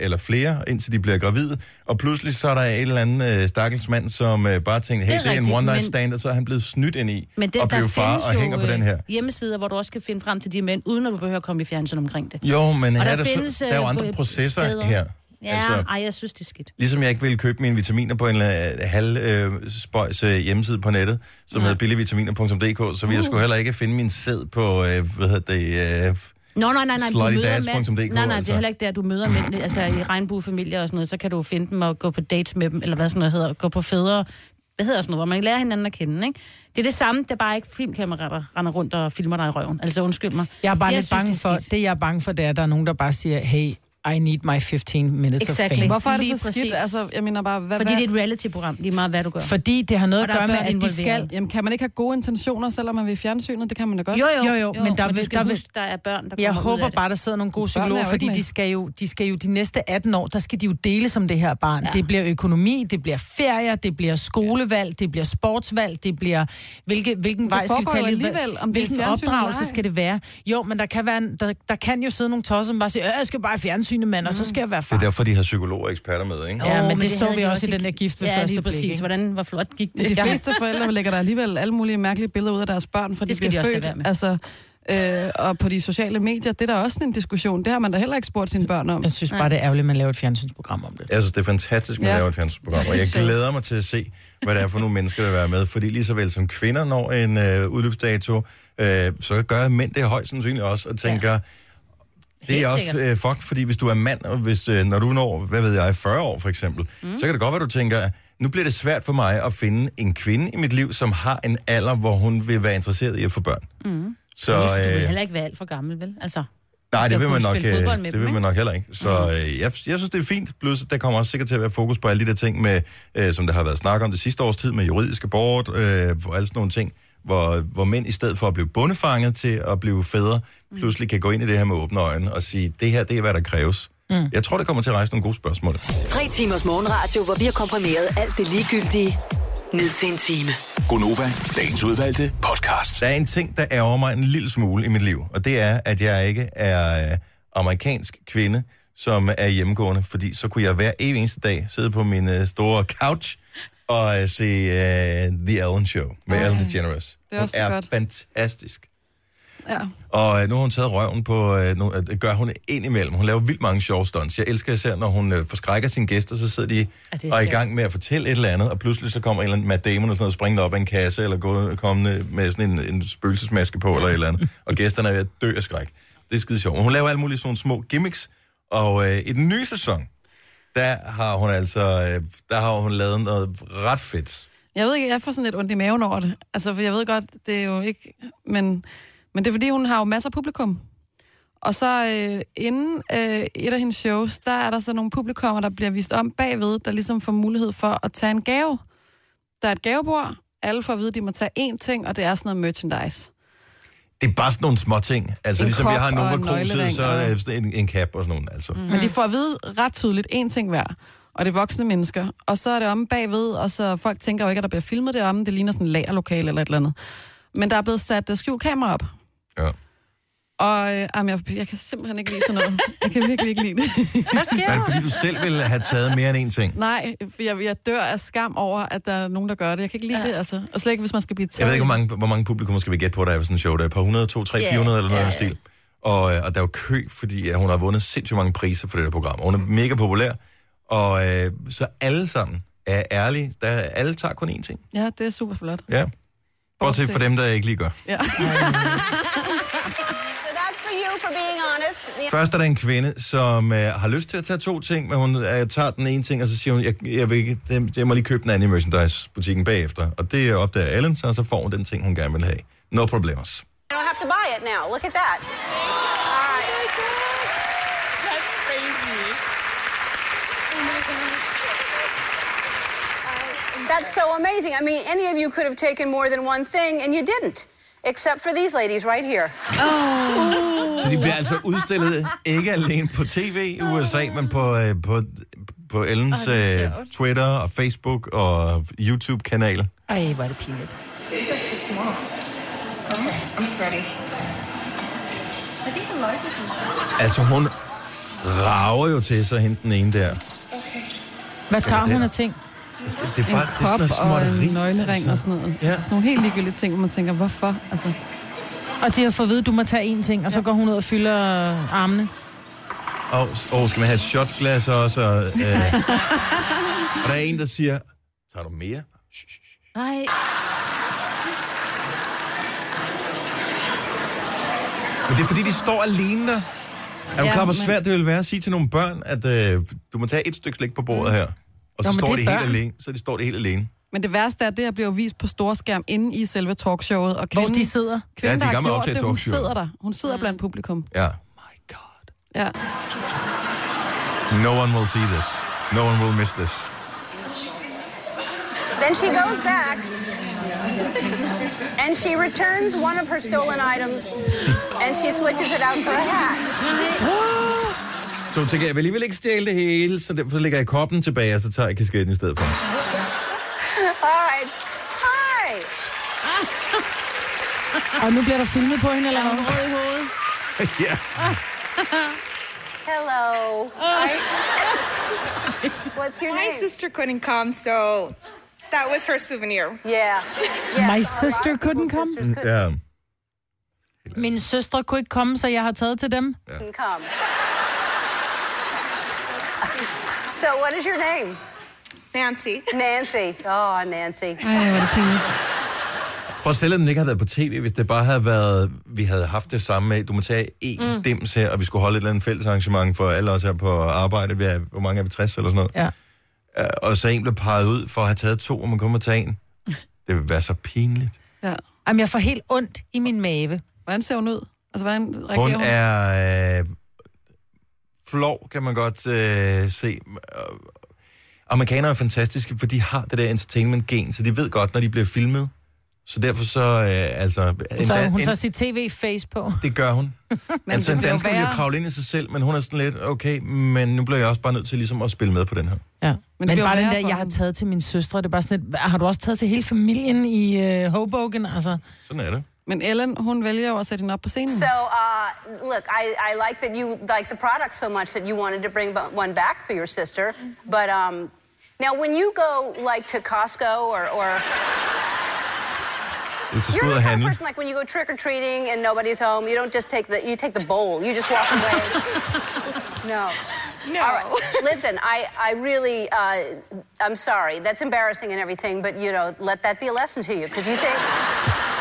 Speaker 1: eller flere, indtil de bliver gravide, og pludselig så er der en eller anden øh, stakkelsmand, som øh, bare tænkte, hey,
Speaker 4: Det
Speaker 1: det
Speaker 4: er
Speaker 1: er, det er en
Speaker 4: rigtigt,
Speaker 1: one night
Speaker 4: men-
Speaker 1: stand, og så er han blevet snydt ind i,
Speaker 4: Men det,
Speaker 1: og
Speaker 4: der
Speaker 1: blev far
Speaker 4: findes
Speaker 1: og
Speaker 4: jo,
Speaker 1: hænger på
Speaker 4: øh,
Speaker 1: den her.
Speaker 4: hjemmesider, hvor du også kan finde frem til de mænd, uden at du behøver at komme i fjernsyn omkring det.
Speaker 1: Jo, men her
Speaker 4: der
Speaker 1: er der, så,
Speaker 4: findes,
Speaker 1: der er jo
Speaker 4: øh,
Speaker 1: andre
Speaker 4: øh,
Speaker 1: processer
Speaker 4: steder.
Speaker 1: her.
Speaker 4: Ja,
Speaker 1: Altså-
Speaker 4: altså... ej, jeg synes, det er skidt.
Speaker 1: Ligesom jeg ikke ville købe mine vitaminer på en øh, halv øh, spøjs øh, hjemmeside på nettet, som hedder billigvitaminer.dk, så ville jeg skulle heller ikke finde min sæd på, øh, hvad hedder det, øh,
Speaker 4: Nå, nej, nej, nej. du
Speaker 1: Slutty
Speaker 4: møder
Speaker 1: dads
Speaker 4: mænd.
Speaker 1: punktum D K,
Speaker 4: Nej, nej, det
Speaker 1: altså.
Speaker 4: er heller ikke der, du møder mænd. Altså i regnbuefamilier og sådan noget, så kan du finde dem og gå på dates med dem, eller hvad sådan noget hedder, gå på fædre. Hvad hedder sådan noget, hvor man lærer hinanden at kende, ikke? Det er det samme, det er bare ikke filmkammerater render rundt og filmer dig i røven. Altså undskyld mig.
Speaker 2: Jeg er bare jeg
Speaker 4: Jeg
Speaker 2: lidt
Speaker 4: synes,
Speaker 2: bange
Speaker 4: det er
Speaker 2: for,
Speaker 4: skidt.
Speaker 2: det jeg er bange for, det er, at der er nogen, der bare siger, hey, I need my 15 minutes
Speaker 4: Exactly.
Speaker 2: of fame.
Speaker 5: Hvorfor er det
Speaker 4: Lige
Speaker 5: så skidt?
Speaker 4: præcis.
Speaker 5: Altså, jeg mener bare, hvad,
Speaker 4: Fordi
Speaker 5: hvad?
Speaker 4: det er et reality-program, lige meget hvad du gør.
Speaker 2: Fordi det har noget
Speaker 4: Og
Speaker 2: at
Speaker 4: der
Speaker 2: gøre
Speaker 4: er
Speaker 2: med,
Speaker 4: børn
Speaker 2: at de
Speaker 4: involveret.
Speaker 2: skal...
Speaker 5: Jamen, kan man ikke have gode intentioner, selvom man vil i fjernsynet? Det kan man da godt.
Speaker 4: Jo, jo,
Speaker 2: Jo, jo, men der
Speaker 4: men
Speaker 2: vil-
Speaker 4: du skal
Speaker 2: der
Speaker 4: der
Speaker 2: vil-
Speaker 4: huske, der er børn, der
Speaker 2: Jeg
Speaker 4: kommer ud
Speaker 2: håber
Speaker 4: af det.
Speaker 2: bare, der sidder nogle gode
Speaker 5: Børn er
Speaker 2: psykologer,
Speaker 5: jo
Speaker 2: fordi
Speaker 5: ikke med.
Speaker 2: de skal, jo, de skal jo de næste 18 år, der skal de jo deles om det her barn. Ja. Det bliver økonomi, det bliver ferier, det bliver skolevalg, det bliver sportsvalg, det bliver hvilke, hvilken vej skal vi
Speaker 5: foregår
Speaker 2: tage
Speaker 5: jo
Speaker 2: livet-
Speaker 5: alligevel, om det er
Speaker 2: hvilken
Speaker 5: fjernsyn eller
Speaker 2: opdragelse
Speaker 5: ej.
Speaker 2: skal det være. Jo, men der kan, være en, der, der kan jo sidde nogle tosser, som bare siger, "Øh, jeg skal bare i fjernsynet, mand,
Speaker 5: Mm.
Speaker 2: og så skal jeg være
Speaker 1: det er
Speaker 2: far.
Speaker 1: derfor, de har psykologer og eksperter med, ikke?
Speaker 2: Ja, men det så
Speaker 4: havde
Speaker 2: vi
Speaker 4: de
Speaker 2: også i den der gift ved
Speaker 4: ja,
Speaker 2: første
Speaker 4: lige
Speaker 2: blik,
Speaker 4: præcis.
Speaker 2: ikke?
Speaker 4: Hvordan, hvor flot gik
Speaker 5: Men
Speaker 4: det?
Speaker 5: de fleste forældre lægger der alligevel alle mulige mærkelige billeder ud af deres børn, fra
Speaker 4: Det
Speaker 5: de
Speaker 4: skal
Speaker 5: bliver
Speaker 4: de også
Speaker 5: født.
Speaker 4: lade være med.
Speaker 5: Altså, øh, og på de sociale medier, det er der også sådan en diskussion. Det har man da heller ikke spurgt sine børn om.
Speaker 2: Jeg synes bare, det er ærgerligt, at man laver et fjernsynsprogram om det.
Speaker 1: Jeg synes, det er fantastisk, at man
Speaker 5: Ja.
Speaker 1: laver et fjernsynsprogram,
Speaker 4: [laughs]
Speaker 1: og jeg glæder mig til at se, hvad det er for nogle mennesker, der vil være med. Fordi lige så vel som kvinder når en øh, udløbsdato, øh, så gør mænd det højst sandsynligt også, og tænker, ja. det
Speaker 4: Helt
Speaker 1: er også
Speaker 4: sikkert.
Speaker 1: øh, fuck, fordi hvis du er mand, og hvis, øh, når du når, hvad ved jeg, 40 år for eksempel, mm. så kan det godt være, du tænker, nu bliver det svært for mig at finde en kvinde i mit liv, som har en alder, hvor hun vil være interesseret i at få børn. Mm. Så,
Speaker 4: Så, du vil
Speaker 1: øh,
Speaker 4: heller ikke være alt for gammel, vel? Altså,
Speaker 1: Nej, det
Speaker 4: skal
Speaker 1: vil man
Speaker 4: kunne
Speaker 1: nok,
Speaker 4: spille
Speaker 1: øh,
Speaker 4: fodbold med
Speaker 1: det
Speaker 4: dem,
Speaker 1: vil man
Speaker 4: ikke?
Speaker 1: nok heller ikke. Så øh, jeg, jeg synes, det er fint. Plus, der kommer også sikkert til at være fokus på alle de der ting, med, øh, som der har været snak om det sidste års tid, med juridiske abort øh, og alle sådan nogle ting, hvor, hvor mænd i stedet for at blive bundefanget til at blive fædre,
Speaker 4: Mm.
Speaker 1: pludselig kan gå ind i det her med åbne øjne og sige, det her, det er, hvad der kræves. Mm. Jeg tror, det kommer til at rejse nogle gode spørgsmål.
Speaker 6: Tre timers morgenradio, hvor vi har komprimeret alt det ligegyldige ned til en time.
Speaker 7: Gonova, dagens udvalgte podcast.
Speaker 1: Der er en ting, der ærger mig en lille smule i mit liv, og det er, at jeg ikke er øh, amerikansk kvinde, som er hjemmegående, fordi så kunne jeg hver evig eneste dag sidde på min øh, store couch og øh, se øh, The Ellen Show med Ellen DeGeneres.
Speaker 5: det er også
Speaker 1: hun er
Speaker 5: godt.
Speaker 1: fantastisk.
Speaker 5: Ja.
Speaker 1: Og øh, nu har hun taget røven på, øh, nu, øh, det gør hun indimellem. Hun laver vildt mange sjove stunts. Jeg elsker især, når hun øh, forskrækker sine gæster, så sidder de
Speaker 4: Ja, det er
Speaker 1: og er i
Speaker 4: sjovt.
Speaker 1: gang med at fortælle et eller andet, og pludselig så kommer en eller anden Matt Damon eller sådan noget springende op af en kasse, eller gå, kommende med sådan en, en spøgelsesmaske på, eller et eller andet. Og gæsterne er ved at dø af skræk. Det er skide sjovt. Men Hun laver alle mulige sådan nogle små gimmicks, og øh, i den nye sæson, der har hun altså, øh, der har hun lavet noget ret fedt.
Speaker 5: Jeg ved ikke, jeg får sådan lidt ondt i maven over det. Altså, for jeg ved godt, det er jo ikke... Men, men det er, fordi hun har jo masser af publikum. Og så øh, inden øh, et af hendes shows, der er der så nogle publikummer, der bliver vist om bagved, der ligesom får mulighed for at tage en gave. Der er et gavebord. Alle får at vide, at de må tage én ting, og det er sådan noget merchandise.
Speaker 1: Det er bare sådan nogle små ting. Altså
Speaker 5: En
Speaker 1: ligesom jeg
Speaker 5: kop
Speaker 1: har en
Speaker 5: og en
Speaker 1: Nova Cruiset,
Speaker 5: nøglering,
Speaker 1: så er
Speaker 5: og-
Speaker 1: det sådan en, en cap og sådan nogle. Altså.
Speaker 5: Mm. Men de får at vide ret tydeligt én ting hver, og det er voksne mennesker. Og så er det om bagved, og så folk tænker jo ikke, at der bliver filmet det om. Det ligner sådan en lagerlokale eller et eller andet. Men der er blevet sat øh, skjult kamera op.
Speaker 1: Ja.
Speaker 5: Og øh, jamen, jeg, jeg kan simpelthen ikke lide sådan
Speaker 2: [laughs]
Speaker 5: noget. Jeg kan virkelig ikke lide det.
Speaker 4: hvad sker
Speaker 1: Er
Speaker 4: der?
Speaker 1: det fordi, du selv ville have taget mere end én ting?
Speaker 5: Nej, for jeg, jeg dør af skam over, at der er nogen, der gør det. Jeg kan ikke lide ja. det, altså. Og slet ikke, hvis man skal blive taget.
Speaker 1: Jeg ved ikke, hvor mange, hvor mange publikum skal vi gætte på, der er ved sådan en show. Der er et par hundrede, to, tre,
Speaker 4: Ja,
Speaker 1: 400 eller noget
Speaker 4: ja,
Speaker 1: yeah. stil. Og, øh, og der er jo kø, fordi øh, hun har vundet sindssygt mange priser for det der program. Og Hun er mega populær. Og øh, så alle sammen er ærlige. Der, alle tager kun én ting.
Speaker 5: Ja, det er super flot.
Speaker 1: Ja. Bortset for
Speaker 5: Bortset.
Speaker 1: dem, der ikke lige gør.
Speaker 5: Ja.
Speaker 3: That's for you for being honest.
Speaker 1: Først er der en kvinde, som øh, har lyst til at tage to ting, men hun øh, tager den ene ting, og så siger hun, jeg, jeg, vil ikke, det, jeg må lige købe den anden i merchandise-butikken bagefter. Og det opdager Allen, så, og så får hun den ting, hun gerne vil have. No problemers.
Speaker 3: I don't have to buy it now. Look at that.
Speaker 8: That's crazy. Oh my gosh.
Speaker 3: That's so amazing. I mean, any of you could have taken more than one thing, and you didn't, except for these ladies right here.
Speaker 1: Så de bliver altså udstillet ikke alene på tv i USA, men på, øh, på, på Ellens øh, Twitter og Facebook og YouTube-kanal.
Speaker 2: Ej, hvor er det pinligt.
Speaker 9: These are too small. Okay, I'm ready. I think the light is
Speaker 1: Altså hun rager jo til sig hende den ene der.
Speaker 2: Hvad tager
Speaker 1: det er
Speaker 2: hun
Speaker 1: der.
Speaker 2: af ting?
Speaker 1: Det, det er
Speaker 5: En
Speaker 1: bare det er sådan
Speaker 5: kop
Speaker 1: noget
Speaker 5: og
Speaker 1: småtteri.
Speaker 5: en nøglering
Speaker 1: altså.
Speaker 5: og sådan noget.
Speaker 1: Ja.
Speaker 5: Ja. Altså, sådan nogle helt ligegyldige ting, hvor man tænker, hvorfor? Altså,
Speaker 2: Og de har fået at vide, at du må tage én ting, og så går hun ud og fylder armene.
Speaker 1: Og, og skal man have et shotglas også? Og, øh,
Speaker 2: [laughs]
Speaker 1: og der er en, der siger, tager du mere?
Speaker 4: Nej.
Speaker 1: Men det er fordi, de står alene der. Er du
Speaker 5: Ja,
Speaker 1: klar, hvor
Speaker 5: men-
Speaker 1: svært det vil være at sige til nogle børn, at øh, du må tage et stykke slik på bordet her? Og så
Speaker 2: Nå, men
Speaker 1: står
Speaker 2: det
Speaker 1: de
Speaker 2: er
Speaker 1: helt
Speaker 2: børn.
Speaker 1: alene. Så de står de helt alene.
Speaker 5: Men det værste er, at det her bliver jo vist på storskærm inde i selve talkshowet. Og
Speaker 2: Hvor
Speaker 5: kvinden,
Speaker 2: de sidder.
Speaker 1: Ja, de
Speaker 5: kvinden, der
Speaker 1: er i
Speaker 5: har
Speaker 1: gang med at
Speaker 5: gjort
Speaker 1: optage
Speaker 5: det, hun
Speaker 1: talkshowet.
Speaker 5: sidder der. Hun sidder blandt publikum.
Speaker 1: Ja.
Speaker 5: Ja.
Speaker 1: No one will see this. No one will miss this.
Speaker 3: Then she goes back and she returns one of her stolen items and she switches it out for a hat.
Speaker 1: Så hun tænker, jeg vil alligevel ikke stjæle det hele, så derfor lægger jeg koppen tilbage, og så tager jeg kasketten i stedet for.
Speaker 3: All right. Hi.
Speaker 2: Og nu bliver der filmet på hende, eller hvad?
Speaker 1: [laughs] ja.
Speaker 3: Hello.
Speaker 9: [laughs]
Speaker 3: I- What's your
Speaker 9: My
Speaker 3: name?
Speaker 9: sister couldn't come, so that was her souvenir.
Speaker 3: Yeah. Yes, a
Speaker 2: My
Speaker 3: lot
Speaker 2: sister
Speaker 3: of people's
Speaker 2: couldn't come?
Speaker 3: sisters couldn't
Speaker 1: ja.
Speaker 2: Mine søstre kunne ikke komme, så jeg har taget til dem.
Speaker 3: come. So what is your name?
Speaker 9: Nancy.
Speaker 3: Nancy. Oh, Nancy.
Speaker 5: Ej, hvor er det pinligt.
Speaker 1: Prøv at selvom den ikke havde været på tv, hvis det bare havde været, vi havde haft det samme med, du må tage én mm. dims her, og vi skulle holde et eller andet fælles arrangement for alle os her på arbejde, vi er, hvor mange er vi, 60 eller sådan noget, Øh,
Speaker 2: Ja.
Speaker 1: og så en blev peget ud for at have taget to, og man kommer og tage
Speaker 2: [laughs]
Speaker 1: en. Det vil være så pinligt.
Speaker 5: Ja.
Speaker 2: Jamen, jeg får helt ondt i min mave.
Speaker 5: Hvordan ser hun ud? Altså, hvordan reagerer
Speaker 1: Hun
Speaker 5: hun?
Speaker 1: er øh, flov, kan man godt øh, se. Øh, Amerikanere er fantastiske, for de har det der entertainment-gen, så de ved godt, når de bliver filmet. Så derfor så, øh, altså...
Speaker 2: Så
Speaker 1: endda-
Speaker 2: hun
Speaker 1: end-
Speaker 2: så sit tv-face på.
Speaker 1: [laughs] Det gør hun. men altså,
Speaker 5: det
Speaker 1: en
Speaker 5: bliver
Speaker 1: dansker vil jo
Speaker 5: værre.
Speaker 1: kravle ind i sig selv, men hun er sådan lidt, okay, men nu bliver jeg også bare nødt til ligesom at spille med på den her.
Speaker 2: Ja. Men, men
Speaker 5: bliver
Speaker 2: bare den
Speaker 5: værre
Speaker 2: der,
Speaker 5: for
Speaker 2: jeg har
Speaker 5: hende.
Speaker 2: taget til min søstre, det er bare sådan et, har du også taget til hele familien i øh, Hoboken? Altså,
Speaker 1: Sådan er det.
Speaker 5: Men Ellen, hun vælger jo at sætte hende op på scenen.
Speaker 3: So, uh, look, I, I like that you like the product so much that you wanted to bring bu- one back for your sister. But um, now, when you go like to Costco or, or
Speaker 1: Hvis du skal
Speaker 3: you're
Speaker 1: ud
Speaker 3: the
Speaker 1: og
Speaker 3: kind of
Speaker 1: handle,
Speaker 3: person like when you go trick or treating and nobody's home, you don't just take the you take the bowl, you just walk [laughs] away. no.
Speaker 9: No.
Speaker 3: All right. Listen, I, I really, uh, I'm sorry. That's embarrassing and everything, but you know, let that be a lesson to you because you think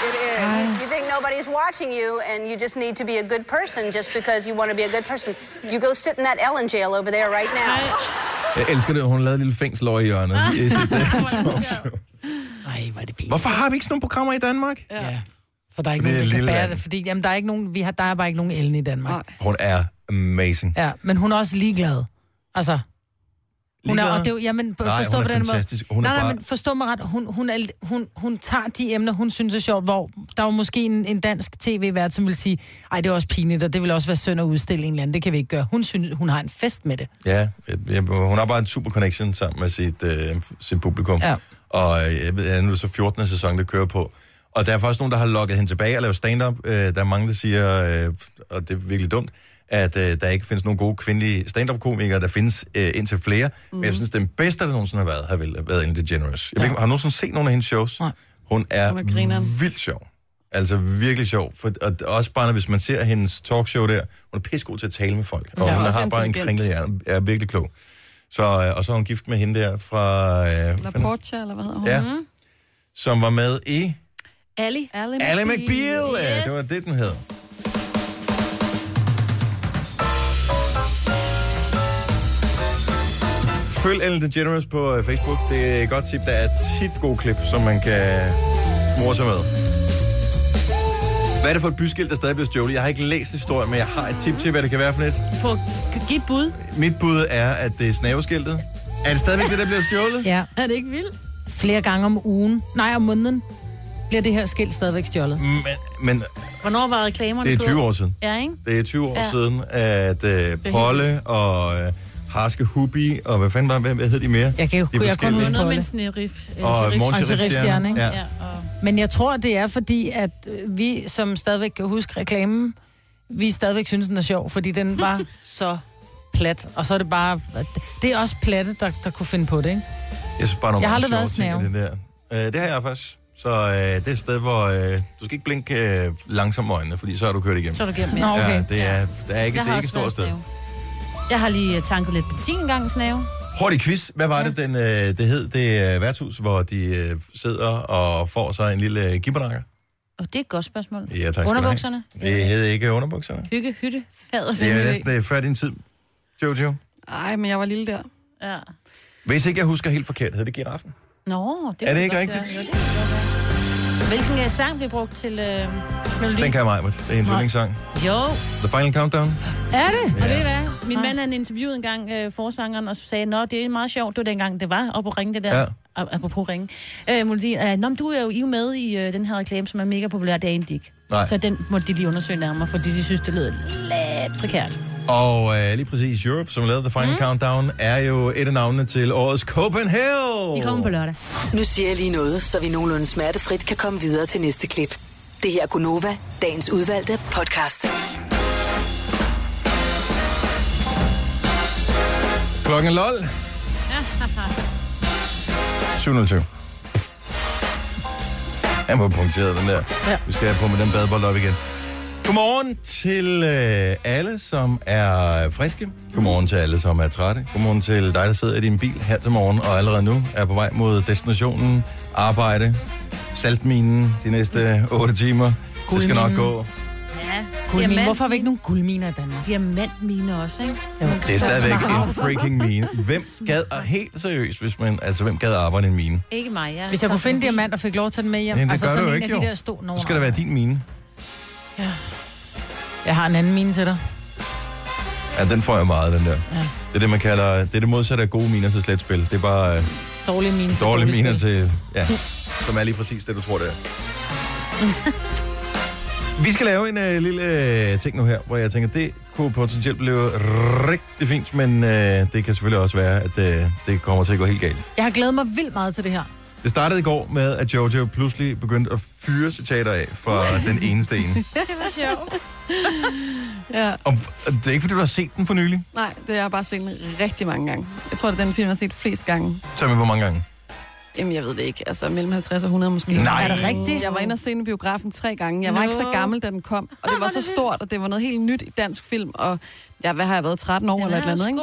Speaker 3: it is. You, you think nobody's watching you, and you just need to be a good person just because you want to be a good person. You go sit in that Ellen jail over there right now.
Speaker 1: jeg elsker det, at hun lavede et lille fængslår i hjørnet.
Speaker 2: [laughs]
Speaker 1: i sit, øh, [laughs] talkshow.
Speaker 2: nej, hvor er det pinligt.
Speaker 1: Hvorfor har vi ikke sådan nogle programmer i Danmark?
Speaker 2: Ja. For der er ikke
Speaker 1: Det er
Speaker 2: nogen, der kan
Speaker 1: lille
Speaker 2: bære
Speaker 1: land.
Speaker 2: det. Fordi, jamen, der er ikke nogen, vi har, der er bare ikke nogen Ellen i Danmark.
Speaker 5: Nej.
Speaker 1: Hun er amazing.
Speaker 2: Ja, men hun er også ligeglad. Altså, hun er,
Speaker 1: Ligeglad?
Speaker 2: og det, er jo- jamen,
Speaker 1: Nej,
Speaker 2: forstå
Speaker 1: hun er
Speaker 2: på den
Speaker 1: fantastisk.
Speaker 2: måde.
Speaker 1: Hun er
Speaker 2: nej, nej,
Speaker 1: bare-
Speaker 2: men forstå mig ret. Hun, hun, er, hun, hun tager de emner, hun synes er sjovt, hvor der var måske en, en dansk tv-vært, som vil sige, ej, det er også pinligt, og det vil også være synd at udstille en eller anden. Det kan vi ikke gøre. Hun synes, hun har en fest med det.
Speaker 1: Ja, jeg- jeg- hun har bare en super connection sammen med sit, øh, sit publikum.
Speaker 2: Ja.
Speaker 1: Og øh, jeg ved, ja, nu er det så 14. sæson, det kører på. Og der er faktisk nogen, der har logget hende tilbage og lavet stand-up. Øh, der er mange, der siger, øh, og det er virkelig dumt, at øh, der ikke findes nogen gode kvindelige stand-up-komikere. Der findes øh, indtil flere. Mm. Men jeg synes, den bedste, der nogensinde har været, har vel været Ellen DeGeneres. Jeg ja. ved, ikke, har du nogensinde set nogle af hendes shows?
Speaker 2: Nej.
Speaker 1: Hun er,
Speaker 5: Hun er grineren.
Speaker 1: vildt sjov. Altså virkelig sjov. For, og også bare, hvis man ser hendes talkshow der, hun er pissegod til at tale med folk. Og
Speaker 5: Ja,
Speaker 1: ja, hun
Speaker 5: også
Speaker 1: har bare en
Speaker 5: intelligent.
Speaker 1: kringlet hjerne. Er virkelig klog. Så, øh, og så er hun gift med hende der fra... Øh,
Speaker 5: Eller
Speaker 1: fanden-
Speaker 5: Portia, eller hvad hedder hun?
Speaker 1: ja, som var med i
Speaker 4: Ali.
Speaker 5: Ally
Speaker 1: Ally
Speaker 5: McBeal.
Speaker 1: McBeal. Yes. Det var det, den hed. Følg Ellen DeGeneres på øh, Facebook. Det er et godt tip. Der er tit gode klip, som man kan more sig med. Hvad er det for et byskilt, der stadig bliver stjålet? Jeg har ikke læst historien, men jeg har et tip til, hvad det kan være for lidt.
Speaker 4: På, giv et bud.
Speaker 1: Mit bud er, at det er snaveskiltet. Er det stadigvæk det, der bliver stjålet?
Speaker 2: Ja.
Speaker 4: Er det ikke vildt?
Speaker 2: Flere gange om ugen, nej, om måneden, bliver det her skilt stadigvæk stjålet.
Speaker 1: Men, men
Speaker 4: Hvornår var reklamerne
Speaker 1: Mm. det er
Speaker 4: på?
Speaker 1: 20 år siden.
Speaker 4: Ja, ikke?
Speaker 1: Det er 20 år ja.
Speaker 4: Ja.
Speaker 1: siden, at øh, Polle og øh, Harske Hubi, og hvad fanden var, hvad, hvad hed de mere?
Speaker 2: Jeg kan jo-
Speaker 1: De
Speaker 2: jeg kunne
Speaker 1: forskellige.
Speaker 4: Noget
Speaker 2: huske-
Speaker 4: med
Speaker 2: Polle.
Speaker 4: en snerif. øh,
Speaker 1: Og
Speaker 4: sheriff.
Speaker 1: Morgen
Speaker 2: Og
Speaker 1: til
Speaker 2: Sheriffstjerne,
Speaker 1: Riftstjerne.
Speaker 2: ikke?
Speaker 1: Ja.
Speaker 4: Ja, og...
Speaker 2: Men jeg tror, det er fordi, at øh, vi, som stadigvæk kan huske reklamen, vi stadigvæk synes, den er sjov, fordi
Speaker 4: [laughs]
Speaker 2: den var så plat. Og så er det bare... at Det er også platte, der, der kunne finde på det, ikke?
Speaker 1: Jeg synes bare, nogle
Speaker 2: Jeg har aldrig
Speaker 1: gange
Speaker 2: været
Speaker 1: sjove ting i Det, der. Øh, det har jeg faktisk. Så øh, det er et sted, hvor øh, du skal ikke blinke øh, langsomt med øjnene, fordi så har du kørt igennem.
Speaker 4: Så er du gennem,
Speaker 2: Nå,
Speaker 4: ja.
Speaker 2: okay.
Speaker 1: Ja, det er, der er ikke,
Speaker 4: Jeg
Speaker 1: det er
Speaker 4: har
Speaker 1: ikke et
Speaker 4: også
Speaker 1: stort
Speaker 4: været
Speaker 1: sted.
Speaker 4: snæv. Jeg har lige øh, tanket lidt benzin engang, Snave.
Speaker 1: Hurtig quiz. Hvad var ja. det, den, øh, det hed? Det øh, værtshus, hvor de øh, sidder og får sig en lille øh, gibbernakker.
Speaker 4: Og det er et godt spørgsmål.
Speaker 1: Ja, tak skal du have.
Speaker 4: Underbukserne?
Speaker 1: Det hed ikke underbukserne.
Speaker 4: Hygge, hytte, fader.
Speaker 1: Det er næsten øh, før din tid, Jojo.
Speaker 5: Ej, men jeg var lille der.
Speaker 4: Ja.
Speaker 1: Hvis ikke jeg husker helt forkert, hed det giraffen.
Speaker 4: Nå, det
Speaker 1: Er
Speaker 4: kunne
Speaker 1: det ikke
Speaker 4: godt være.
Speaker 1: rigtigt?
Speaker 4: Jo, det kunne godt være. Hvilken øh, sang blev brugt til øh, melodi?
Speaker 1: Den kan jeg mig, det er en yndlingssang.
Speaker 4: Jo,
Speaker 1: The Final Countdown.
Speaker 2: Er det?
Speaker 4: og ved I hvad? Min mand han interviewede engang øh, forsangeren og sagde, Nå, det er meget sjovt, det var dengang, det var op på ringe det der.
Speaker 1: Ja.
Speaker 4: Ja. Apropos ringe. Øh, melodien, øh, Nå, men du er jo I er jo med i øh, den her reklame, som er mega populær, det er egentlig ikke.
Speaker 1: Nej.
Speaker 4: Så den må de lige undersøge nærmere, fordi de synes, det lyder lidt prekært.
Speaker 1: Og øh, lige præcis Europe, som lavede The Final mm. Countdown, er jo et af navnene til årets Copenhagen.
Speaker 4: Vi kommer på lørdag.
Speaker 6: Nu siger jeg lige noget, så vi nogenlunde smertefrit kan komme videre til næste klip. Det her er Gunova, dagens udvalgte podcast.
Speaker 1: Klokken er lol.
Speaker 2: [laughs]
Speaker 1: 7.20. Jeg må have punkteret den der. Ja. Vi skal have på med den badebold op igen. Godmorgen til øh, alle, som er friske. Godmorgen til alle, som er trætte. Godmorgen til dig, der sidder i din bil her til morgen og allerede nu er på vej mod destinationen, arbejde, saltminen de næste 8 timer. Det skal nok
Speaker 2: Guldminen.
Speaker 1: gå.
Speaker 4: Ja.
Speaker 2: Guldmine. Hvorfor har vi ikke nogen guldminer i Danmark?
Speaker 4: diamantmine også, ikke?
Speaker 1: Det er stadigvæk en freaking mine. Hvem gad, og helt seriøst, hvis man, altså hvem gad arbejde i en mine?
Speaker 4: Ikke mig, ja.
Speaker 2: Hvis jeg kunne finde en diamant og fik lov til den med hjem.
Speaker 1: Jamen, det
Speaker 2: altså
Speaker 1: gør
Speaker 2: sådan
Speaker 1: du jo
Speaker 2: en
Speaker 1: ikke,
Speaker 2: af de
Speaker 1: jo.
Speaker 2: der stå
Speaker 1: Nu skal det være din mine.
Speaker 2: Jeg har en anden mine til dig.
Speaker 1: Ja, den får jeg meget, den der. Ja. Det er det, man kalder, det er det modsatte af gode miner til slet spil. Det er bare øh,
Speaker 2: Dårlige mine til
Speaker 1: dårlige miner
Speaker 2: spil.
Speaker 1: til, ja, som er lige præcis det, du tror, det er. [laughs] Vi skal lave en øh, lille øh, ting nu her, hvor jeg tænker, det kunne potentielt blive rigtig fint, men øh, det kan selvfølgelig også være, at øh, det kommer til at gå helt galt.
Speaker 2: Jeg har glædet mig vildt meget til det her.
Speaker 1: Det startede i går med, at Jojo pludselig begyndte at fyre citater af fra den eneste ene.
Speaker 4: Det var sjovt.
Speaker 5: [laughs]
Speaker 4: [laughs]
Speaker 5: Ja.
Speaker 1: Og det er ikke, fordi du har set den for nylig.
Speaker 5: Nej, det har jeg bare set rigtig mange gange. Jeg tror, det er den film, jeg har set flest gange.
Speaker 1: Så med hvor mange gange?
Speaker 5: Jamen, jeg ved det ikke. Altså, mellem 50 og 100 måske.
Speaker 1: Nej.
Speaker 5: Er det rigtigt? Jeg var inde og se den i biografen tre gange. Jeg var
Speaker 4: Nå.
Speaker 5: ikke så gammel, da den kom. Og det var så stort, og det var noget helt nyt i dansk film. Og ja, hvad har jeg været? 13 år eller et eller andet, ikke?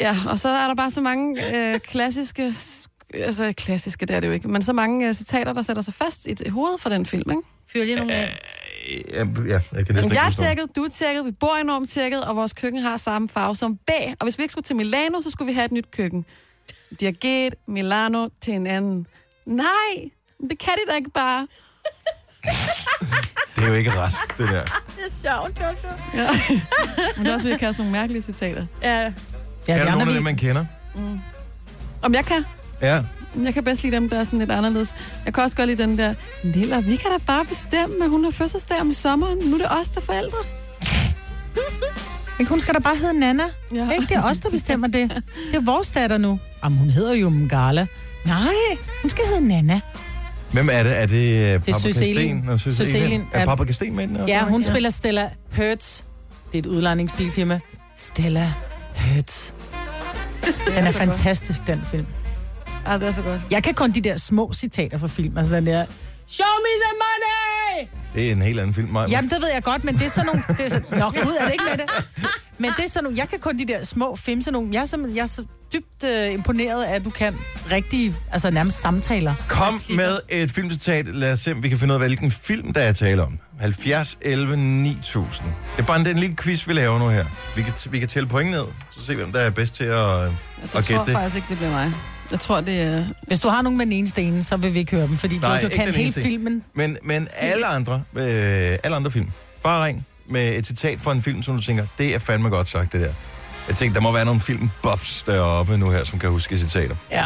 Speaker 5: Ja, og så er der bare så mange øh, klassiske... Altså, klassiske, det er det jo ikke. Men så mange øh, citater, der sætter sig fast i hovedet fra den film, ikke?
Speaker 4: Fyr lige nogle af.
Speaker 1: Øh, Ja, jeg kan næsten ikke
Speaker 5: Men jeg er
Speaker 1: huske noget.
Speaker 5: tjekket, du er tjekket, vi bor enormt tjekket, og vores køkken har samme farve som bag. Og hvis vi ikke skulle til Milano, så skulle vi have et nyt køkken. De har givet Milano til en anden. Nej, det kan de da ikke bare.
Speaker 1: Det er jo ikke rask, det der.
Speaker 4: [laughs] Det er sjovt, Jojo.
Speaker 5: Ja. [laughs] Men det er også, vi kan have sådan nogle mærkelige citater. Mm.
Speaker 4: Ja.
Speaker 2: Ja,
Speaker 1: Er
Speaker 2: de
Speaker 1: der nogen
Speaker 2: andre,
Speaker 1: af
Speaker 2: vi...
Speaker 1: dem, man kender?
Speaker 5: Om jeg kan?
Speaker 1: Ja.
Speaker 5: Jeg kan bedst lide dem, der er sådan lidt anderledes. Jeg kan også godt lide den der, Nilla, vi kan da bare bestemme, at hun har fødselsdag om sommeren. Nu er det os, der er
Speaker 4: [laughs]
Speaker 5: forældre.
Speaker 2: Men hun skal da bare hedde Nana.
Speaker 5: Ja.
Speaker 2: Ikke? Det er os, der bestemmer det. Det er vores datter nu. Jamen, hun hedder jo Mgala. Nej, hun skal hedde Nana.
Speaker 1: Hvem er det? Er det uh,
Speaker 2: Det er
Speaker 1: Papa
Speaker 2: Søs Elin.
Speaker 1: Kasten? og Søs
Speaker 2: Søs
Speaker 1: Elin?
Speaker 2: Elin
Speaker 1: Er
Speaker 2: er-
Speaker 1: Papa Kasten med i den? også?
Speaker 2: Ja, hun spiller Stella Hertz. Det er et udlejningsbilfirma. Stella Hertz. Den er fantastisk, den film.
Speaker 5: Ah, det er så godt.
Speaker 2: Jeg kan kun de der små citater fra film. Altså den der... Show me the money!
Speaker 1: Det er en helt anden film, Maja.
Speaker 2: Jamen, det ved jeg godt, men det er sådan nogle... Det er sådan, Nå, gud, er det ikke med det? Men det er sådan nogle... Jeg kan kun de der små femser nogle... Jeg er, simpelthen, jeg er så dybt øh, imponeret af, at du kan rigtige, altså nærmest samtaler.
Speaker 1: Kom med et filmcitat. Lad os se, om vi kan finde ud af, hvilken film, der er tale om. 70, 11, 9000. Det er bare en, den lille quiz, vi laver nu her. Vi kan, vi kan tælle point ned, så se, hvem der er bedst til at,
Speaker 5: Jeg
Speaker 1: at
Speaker 5: tror
Speaker 1: gætte det.
Speaker 5: faktisk ikke, det bliver mig. Jeg tror, det er...
Speaker 2: Hvis du har nogen med den ene sten, så vil vi ikke høre dem, fordi
Speaker 1: Nej,
Speaker 2: Jojo
Speaker 1: ikke
Speaker 2: kan
Speaker 1: den
Speaker 2: hele
Speaker 1: eneste.
Speaker 2: filmen.
Speaker 1: Men, men alle, andre, øh, alle andre film. Bare ring med et citat fra en film, som du tænker, det er fandme godt sagt, det der. Jeg tænkte, der må være nogle filmbuffs deroppe nu her, som kan huske citater.
Speaker 2: Ja.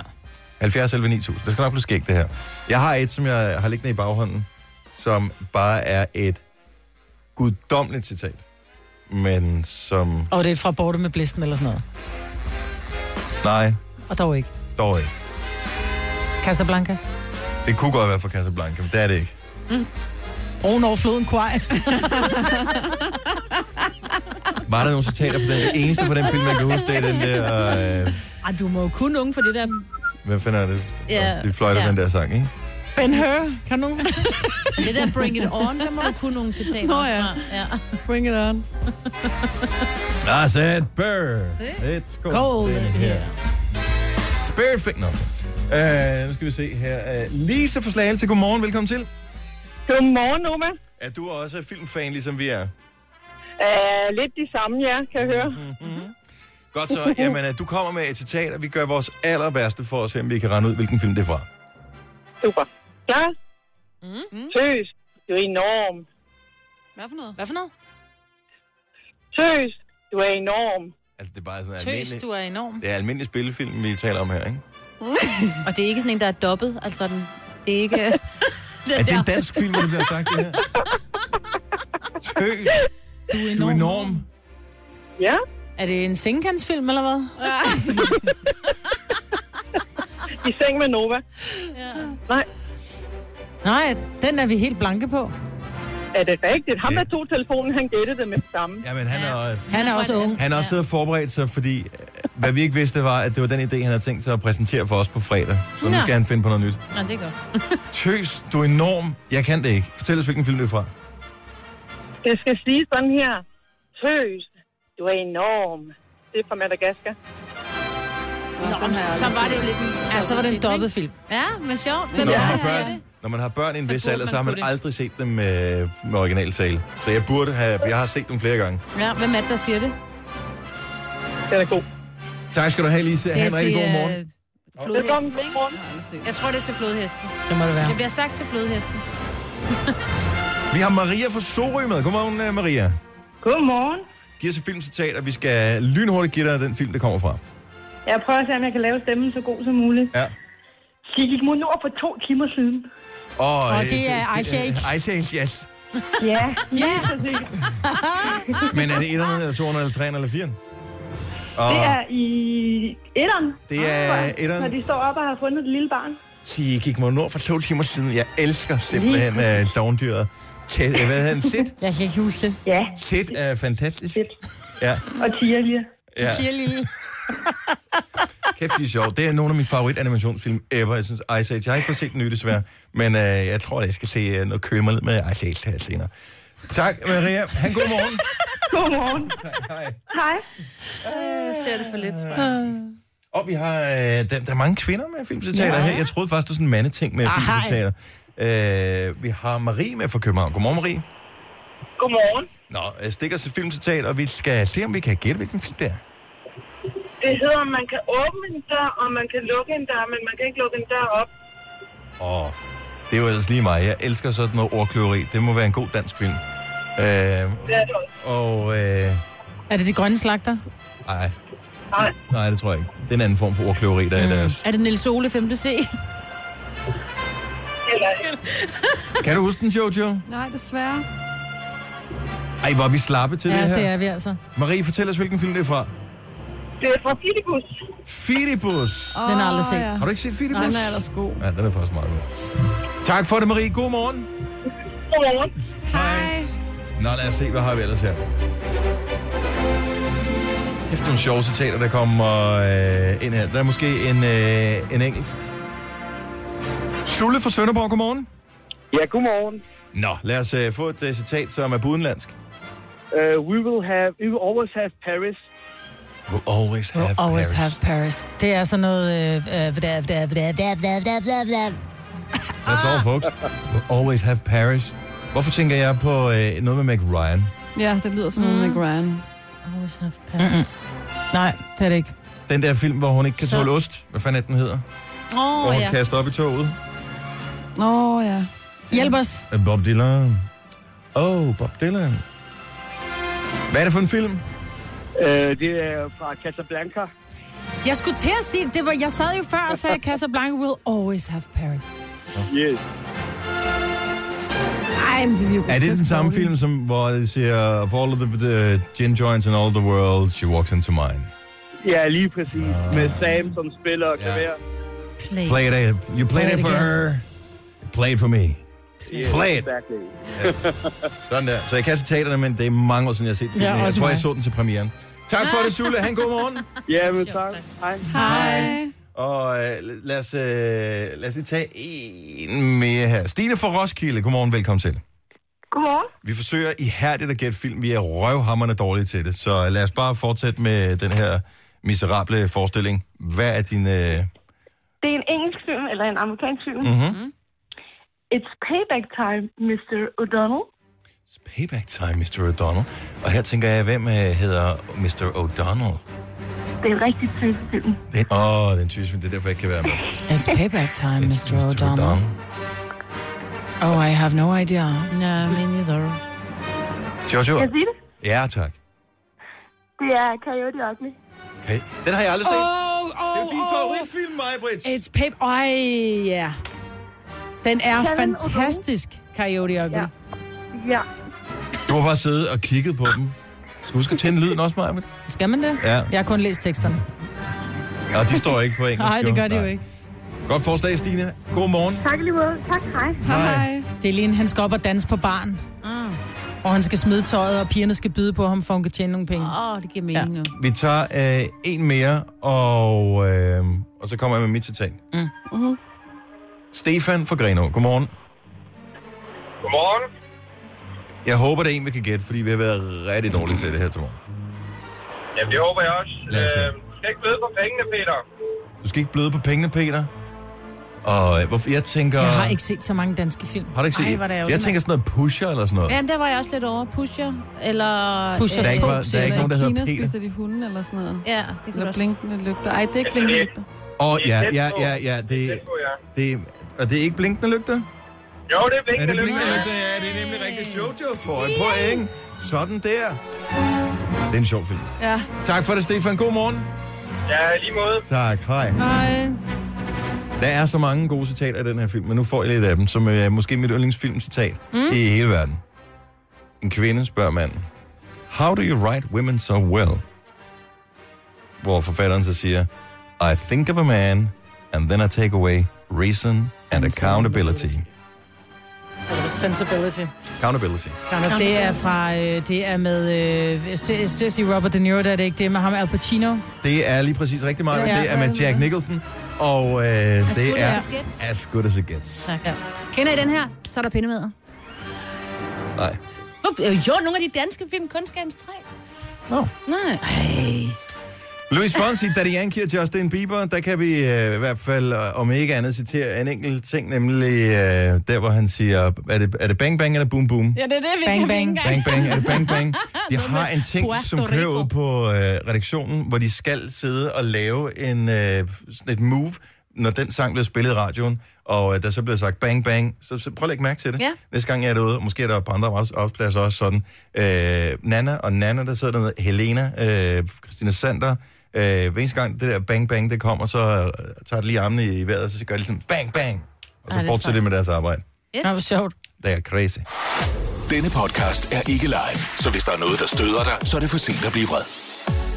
Speaker 1: 70 11 9000. Det skal nok blive skægt, det her. Jeg har et, som jeg har liggende i baghånden, som bare er et guddommeligt citat. Men som...
Speaker 2: Og det er fra Borte med Blisten eller sådan noget.
Speaker 1: Nej,
Speaker 2: Og dog ikke.
Speaker 1: dog ikke.
Speaker 2: Casablanca.
Speaker 1: Det kunne godt være fra Casablanca, men det er det ikke.
Speaker 2: Broen over floden Kwaj.
Speaker 4: [laughs]
Speaker 1: Var der nogle citater på den? Det eneste fra den film, jeg kan huske, det er den der... Øh,
Speaker 4: Ej, du må jo kun unge for det der...
Speaker 1: hvad fanden er det?
Speaker 4: Ja,
Speaker 1: De fløjter
Speaker 4: ja.
Speaker 1: den der sang, ikke?
Speaker 2: Ben Hur, kan nogen...
Speaker 4: [laughs] Det der Bring It On, der må du kunne nogle citater
Speaker 5: Nå ja.
Speaker 4: fra. Ja.
Speaker 5: Bring it on.
Speaker 1: I said burr. It's cold,
Speaker 2: cold
Speaker 1: in
Speaker 2: in
Speaker 1: here. Spirit fi- Nå. Uh, nu skal vi se her. Uh, Lise fra Slagelse, godmorgen, velkommen til.
Speaker 10: Godmorgen, Noma.
Speaker 1: Er du også filmfan, ligesom vi er?
Speaker 10: Uh, lidt de samme, ja, kan jeg høre.
Speaker 2: Mm-hmm.
Speaker 1: Godt så. Jamen, øh, du kommer med et citat, og vi gør vores allerbedste for at se, om vi kan rende ud, hvilken film det er fra.
Speaker 10: Super. Klar? Mm. Tøs. Du er enorm.
Speaker 5: Hvad for noget?
Speaker 2: Mm-hmm. Hvad for noget?
Speaker 10: Tøs. Du er enorm.
Speaker 1: Altså, det er bare sådan
Speaker 2: Tøs,
Speaker 1: almindelig,
Speaker 2: du er enorm.
Speaker 1: det er almindelig spillefilm, vi taler om her, ikke?
Speaker 4: [laughs] Og det er ikke sådan en, der er dobbelt. Altså, den, det er ikke...
Speaker 1: [laughs] Er det en dansk film, hvor det bliver sagt, det her? Tøs,
Speaker 2: Du er enorm.
Speaker 1: du er enorm.
Speaker 10: Ja,
Speaker 2: Er det en sengekantsfilm, eller hvad?
Speaker 10: [laughs] i seng med Nova. Nej,
Speaker 2: Nej, den er vi helt blanke på.
Speaker 10: er det rigtigt? Ham,
Speaker 1: Ja.
Speaker 10: der tog telefonen, han gættede det med det samme.
Speaker 1: Jamen, han er, øh,
Speaker 2: Han er også ung.
Speaker 1: han er også siddet og forberedt sig, fordi øh, hvad vi ikke vidste, var, at det var den idé, han havde tænkt sig at præsentere for os på fredag. Så nu
Speaker 4: Nå.
Speaker 1: skal han finde på noget
Speaker 4: [laughs]
Speaker 1: nyt.
Speaker 4: Nej, det er godt.
Speaker 1: Tøs, du er enorm. Jeg kan det ikke. Fortæl os, hvilken film det er fra.
Speaker 10: Det skal sige sådan her. Tøs. Du er enorm. Det er fra Madagaskar.
Speaker 4: Nå, så var det jo lidt en
Speaker 2: Ja, så var det en dobbelt film.
Speaker 4: [laughs] Ja, men sjovt. Hvem
Speaker 1: Når,
Speaker 4: ja.
Speaker 1: man har
Speaker 4: siger det?
Speaker 1: børn, når man har børn i en vis
Speaker 4: burde
Speaker 1: alder,
Speaker 4: man
Speaker 1: så har man
Speaker 4: kunne det.
Speaker 1: aldrig set dem øh, med originaltale. Så jeg burde have, jeg har set dem flere gange.
Speaker 4: Ja, hvem er det, der siger det?
Speaker 10: Den er god.
Speaker 1: Tak skal du have, Lise.
Speaker 4: Det
Speaker 1: Ha' en rigtig god
Speaker 4: øh,
Speaker 1: morgen.
Speaker 10: Velkommen.
Speaker 4: Flodhesten, ikke?
Speaker 10: Godmorgen.
Speaker 4: Jeg tror, det er til flodhesten.
Speaker 2: Det må det være.
Speaker 4: Det bliver sagt til flodhesten.
Speaker 1: Vi har Maria fra Sorø med. Godmorgen, øh, Maria.
Speaker 10: Godmorgen.
Speaker 1: Giv os et filmcitat, og vi skal lynhurtigt give dig den film, det kommer fra.
Speaker 10: Jeg prøver at se, om jeg kan lave stemmen så god som muligt.
Speaker 1: Ja.
Speaker 10: De gik mod nord for to timer
Speaker 4: [laughs]
Speaker 10: siden.
Speaker 1: Og,
Speaker 2: Og
Speaker 1: øh,
Speaker 2: det er Ice Age.
Speaker 1: øh, Ice Age, yes.
Speaker 10: Ja,
Speaker 2: Ja,
Speaker 1: Men er det 1, eller 2, eller 3, eller 4? Og
Speaker 10: det er i etteren.
Speaker 1: Det er
Speaker 10: tror jeg,
Speaker 1: etteren.
Speaker 10: Når de står op og har fundet det lille barn.
Speaker 1: de gik mod nord for to timer siden. Jeg elsker simpelthen øh, sovndyret. Tæt, øh, hvad hedder den? Sit?
Speaker 2: jeg kan ikke huske det.
Speaker 10: Ja,
Speaker 1: Sit er fantastisk.
Speaker 10: Sid.
Speaker 1: Ja,
Speaker 10: og Tia lige.
Speaker 1: ja.
Speaker 2: Siger lige.
Speaker 1: Kæft, de er sjove. Det er nogle af mine favoritanimationsfilm ever. Jeg synes, Ice Age. Jeg har ikke fået set den nye, desværre. Men øh, jeg tror, jeg skal se øh, noget køle mig ned med Ice Age her senere. Tak, Maria. Han god morgen.
Speaker 10: [laughs] Godmorgen.
Speaker 1: Hej.
Speaker 10: Hej.
Speaker 4: Jeg Øh, ser det for lidt, tror jeg.
Speaker 1: Og vi har... Øh, der, der er mange kvinder med filmcitater ja. her. Jeg troede faktisk, det var sådan en mandeting med filmcitater. Øh, vi har Marie med fra København. Godmorgen, Marie.
Speaker 10: Godmorgen.
Speaker 1: Nå, øh, stik os et filmcitat, og vi skal se, om vi kan gætte, hvilken film det er.
Speaker 10: Det hedder, at man kan åbne en dør, og man kan lukke en dør, men man kan ikke lukke en dør op.
Speaker 1: Åh, det er jo ellers lige mig. Jeg elsker sådan noget ordkløveri. Det må være en god dansk film. Øh,
Speaker 10: Det er det også.
Speaker 1: og... Øh,
Speaker 2: Er det de grønne slagter?
Speaker 1: nej.
Speaker 10: Nej.
Speaker 1: Nej, det tror jeg ikke. Det er en anden form for ordkløveri,
Speaker 2: Mm.
Speaker 1: der er deres.
Speaker 4: Er det Nils Ole 5. C?
Speaker 10: Eller,
Speaker 1: Kan du huske den, Jojo?
Speaker 5: Nej, desværre.
Speaker 1: Ej, hvor er vi slappe til
Speaker 2: Ja,
Speaker 1: det her.
Speaker 2: det er vi altså.
Speaker 1: Marie, fortæl os, hvilken film det er fra.
Speaker 10: det er fra Fidibus.
Speaker 1: Fidibus.
Speaker 5: Oh,
Speaker 2: Den har jeg aldrig set.
Speaker 1: Har du ikke set Fidibus?
Speaker 5: Nej, den er ellers god.
Speaker 1: Ja, den er faktisk meget god. Tak for det, Marie. God morgen.
Speaker 10: Godmorgen.
Speaker 5: Hej.
Speaker 1: Nå, lad os se, hvad har vi ellers her? Kæft, nogle sjove citater, der kommer øh, ind her. Der er måske en, øh, en engelsk. Sulle fra Sønderborg, godmorgen.
Speaker 11: Ja, godmorgen.
Speaker 1: Nå, lad os øh, få et øh, citat, som er budenlandsk.
Speaker 11: Uh, we will have, we will always have Paris.
Speaker 1: We'll always have
Speaker 2: We'll always
Speaker 1: Paris.
Speaker 2: have Paris. Det er sådan noget... Øh, øh, vda, vda, vda, vda, vda, vda, vda, vda.
Speaker 1: That's all, folks. We'll always have Paris. Hvorfor tænker jeg på øh, noget med Mac Ryan?
Speaker 5: Ja, det lyder som noget med Gran.
Speaker 4: Mm. Always have Paris.
Speaker 2: Nej, det er det ikke.
Speaker 1: Den der film, hvor hun ikke kan
Speaker 4: Så-
Speaker 1: tåle ost. Hvad fanden er den hedder?
Speaker 4: Åh,
Speaker 1: hvor
Speaker 4: oh,
Speaker 1: hun
Speaker 4: ja.
Speaker 1: kaster op i toget.
Speaker 5: Nå, ja.
Speaker 2: Hjælp os.
Speaker 1: Af Bob Dylan. Oh, Bob Dylan. Hvad er det for en film?
Speaker 11: Uh, det er fra Casablanca.
Speaker 2: Jeg skulle til at sige, det var, jeg sad jo før og
Speaker 1: [laughs]
Speaker 2: sagde, Casablanca will always have Paris.
Speaker 11: Yes.
Speaker 5: Ej, men det er jo
Speaker 1: Er det den
Speaker 5: grotesk
Speaker 1: samme
Speaker 5: dårligt.
Speaker 1: film, som, hvor det siger, of all of the, the gin joints in all the world, she walks into mine?
Speaker 11: Ja, lige præcis. Med Sam som spiller og klaver.
Speaker 4: Play.
Speaker 1: Play it, eh? you played
Speaker 2: Play
Speaker 1: it
Speaker 2: it
Speaker 1: for
Speaker 2: again.
Speaker 1: her, you played for me.
Speaker 11: Yes,
Speaker 1: Play it.
Speaker 11: Exactly.
Speaker 1: Yes. Sådan der. Så jeg kan citaterne, men det er mange år siden, jeg har set filmen.
Speaker 2: Ja,
Speaker 1: jeg
Speaker 2: også
Speaker 1: tror, jeg
Speaker 2: mig. Ah.
Speaker 1: så den til premieren. Tak for det, Sule. Han god morgen.
Speaker 11: Ja, men tak. Hej.
Speaker 5: Hej.
Speaker 1: Og øh, lad, os, øh, lad os lige tage en mere her. Stine fra Roskilde, godmorgen, velkommen til.
Speaker 12: Godmorgen.
Speaker 1: Vi forsøger ihærdigt at gætte film. Vi er røvhammerne dårlige til det. Så øh, lad os bare fortsætte med den her miserable forestilling. Hvad er din... Øh...
Speaker 12: Det er en engelsk film, eller en amerikansk film.
Speaker 1: Mhm.
Speaker 12: It's payback time, Mr. O'Donnell.
Speaker 1: Payback time, Mr. O'Donnell. Og her tænker jeg, hvem øh, hedder Mr. O'Donnell?
Speaker 12: Det er en rigtig tysk film.
Speaker 1: Det- Åh, oh, den tysk film, det er derfor, jeg ikke kan være med.
Speaker 2: It's payback time, Mr. O'Donnell.
Speaker 1: O'Donnell.
Speaker 2: Oh, I have no idea. No, me neither.
Speaker 1: Jojo?
Speaker 12: Kan jeg sige det?
Speaker 1: Ja, tak.
Speaker 12: Det er Coyote Ugly.
Speaker 1: Okay. Den har jeg aldrig set.
Speaker 2: Åh, åh,
Speaker 1: det er din favoritfilm, mig, Brits.
Speaker 2: It's payback... Ej, ja. Den er fantastisk, Coyote Ugly. Ja.
Speaker 12: ja.
Speaker 1: Du har bare siddet og kigget på dem. Skal du huske at tænde lyden også, Maja?
Speaker 2: Skal man det?
Speaker 1: Ja.
Speaker 2: Jeg har kun læst teksterne.
Speaker 1: Ja, de står ikke på engelsk.
Speaker 2: Nej, det gør de jo ikke.
Speaker 1: Godt forslag, Stine. God morgen.
Speaker 12: Tak i lige måde. Tak, hej.
Speaker 2: Hej. Det er lige en, han skal op og danse på barn. Mm.
Speaker 4: Ah.
Speaker 2: Og han skal smide tøjet, og pigerne skal byde på ham, for hun kan tjene nogle penge.
Speaker 4: Åh, oh, det giver mening ja. nu.
Speaker 1: Vi tager øh, en mere, og, øh, og så kommer jeg med mit citat.
Speaker 2: Mm.
Speaker 4: Uh-huh.
Speaker 1: Stefan fra Grenå. Godmorgen.
Speaker 11: Godmorgen.
Speaker 1: Jeg håber, det er en, vi kan gætte, fordi vi har været rigtig dårlige til det her til morgen.
Speaker 11: Jamen, det håber jeg også. Øh, du skal ikke bløde på pengene, Peter.
Speaker 1: Du skal ikke bløde på pengene, Peter. Og øh, hvorfor, jeg tænker...
Speaker 2: Jeg har ikke set så mange danske film.
Speaker 1: Har du ikke set?
Speaker 2: Ej, hvor er det
Speaker 1: jeg
Speaker 2: ærgerligt,
Speaker 1: tænker sådan noget pusher eller sådan noget.
Speaker 4: Jamen, der var jeg også lidt over. Pusher, eller... øh,
Speaker 1: Pusher Der er ikke- to, der er siger ikke jeg. nogen, der hedder
Speaker 5: Kina
Speaker 1: Peter.
Speaker 5: spiser de hunde eller sådan noget.
Speaker 4: Ja, det kan
Speaker 5: Eller blinkende lygter. Ej, det er ikke blinkende lygter.
Speaker 1: Og
Speaker 5: Det er
Speaker 1: ja,
Speaker 5: tæt
Speaker 1: ja,
Speaker 5: på.
Speaker 1: ja, ja, det, det, det og det er ikke blinkende lygter?
Speaker 11: Jo, det er
Speaker 1: Er
Speaker 11: blinkende
Speaker 1: det blinkende
Speaker 11: lygter.
Speaker 1: lygter? Ja, det er nemlig rigtigt. Jojo får et point. Sådan der. Det er en sjov film.
Speaker 5: Ja.
Speaker 1: Tak for det, Stefan. God morgen.
Speaker 11: Ja, lige måde.
Speaker 1: Tak. Hej.
Speaker 5: Hej.
Speaker 1: Der er så mange gode citater i den her film, men nu får jeg lidt af dem, som er måske mit yndlingsfilmcitat mm.
Speaker 13: Mm.
Speaker 1: i hele verden. En kvinde spørger manden, How do you write women so well? Hvor forfatteren så siger, I think of a man, and then I take away reason and accountability.
Speaker 2: Sensibility.
Speaker 1: Accountability.
Speaker 2: Carlo, det er fra, øh, det er med, øh, jeg skulle jeg skulle sige Robert De Niro, der er det ikke, det er med ham Al Pacino.
Speaker 1: Det er lige præcis rigtig meget.
Speaker 2: Ja.
Speaker 1: Ja, det er med Jack Nicholson, og øh,
Speaker 4: good
Speaker 1: det
Speaker 4: as
Speaker 1: er
Speaker 4: it gets.
Speaker 1: As Good As It Gets.
Speaker 4: Tak. Ja. Kender I den her? Så er der pindemæder.
Speaker 1: Nej.
Speaker 4: Hup, øh, Jo, nogle af de danske film, Kundskabens træ.
Speaker 1: Nå.
Speaker 4: Nej. Ej.
Speaker 1: Louis Fonsi, Daddy Yankee og Justin Bieber, der kan vi øh, i hvert fald, øh, om ikke andet, citere en enkelt ting, nemlig øh, der, hvor han siger, er det, er det bang bang eller boom boom?
Speaker 4: Ja, det er det, vi
Speaker 2: Bang,
Speaker 4: kan
Speaker 2: bang.
Speaker 1: Bang bang, er det
Speaker 7: [laughs]
Speaker 1: bang bang?
Speaker 4: [laughs]
Speaker 1: De har en ting,
Speaker 4: Puerto
Speaker 1: som kører ud på øh, redaktionen, hvor de skal sidde og lave en, øh, sådan et move, når den sang bliver spillet i radioen, og øh, der så bliver sagt bang bang, så, så prøv at lægge mærke til det.
Speaker 4: Ja.
Speaker 1: Næste gang jeg er derude, og måske er der på andre arbejds- arbejdspladser også sådan. Øh, Nana og Nana, der sidder dernede, Helena, øh, Christina Sander, øh, hver eneste gang det der bang bang, det kommer, så øh, tager de lige armene i vejret, og så gør de sådan bang bang, og så
Speaker 7: Ej, det er
Speaker 1: fortsætter de med deres arbejde.
Speaker 4: Yes.
Speaker 2: Det var sjovt.
Speaker 1: Det er crazy.
Speaker 7: Denne podcast er ikke live, så hvis der er noget, der støder dig, så er det for sent at blive vred.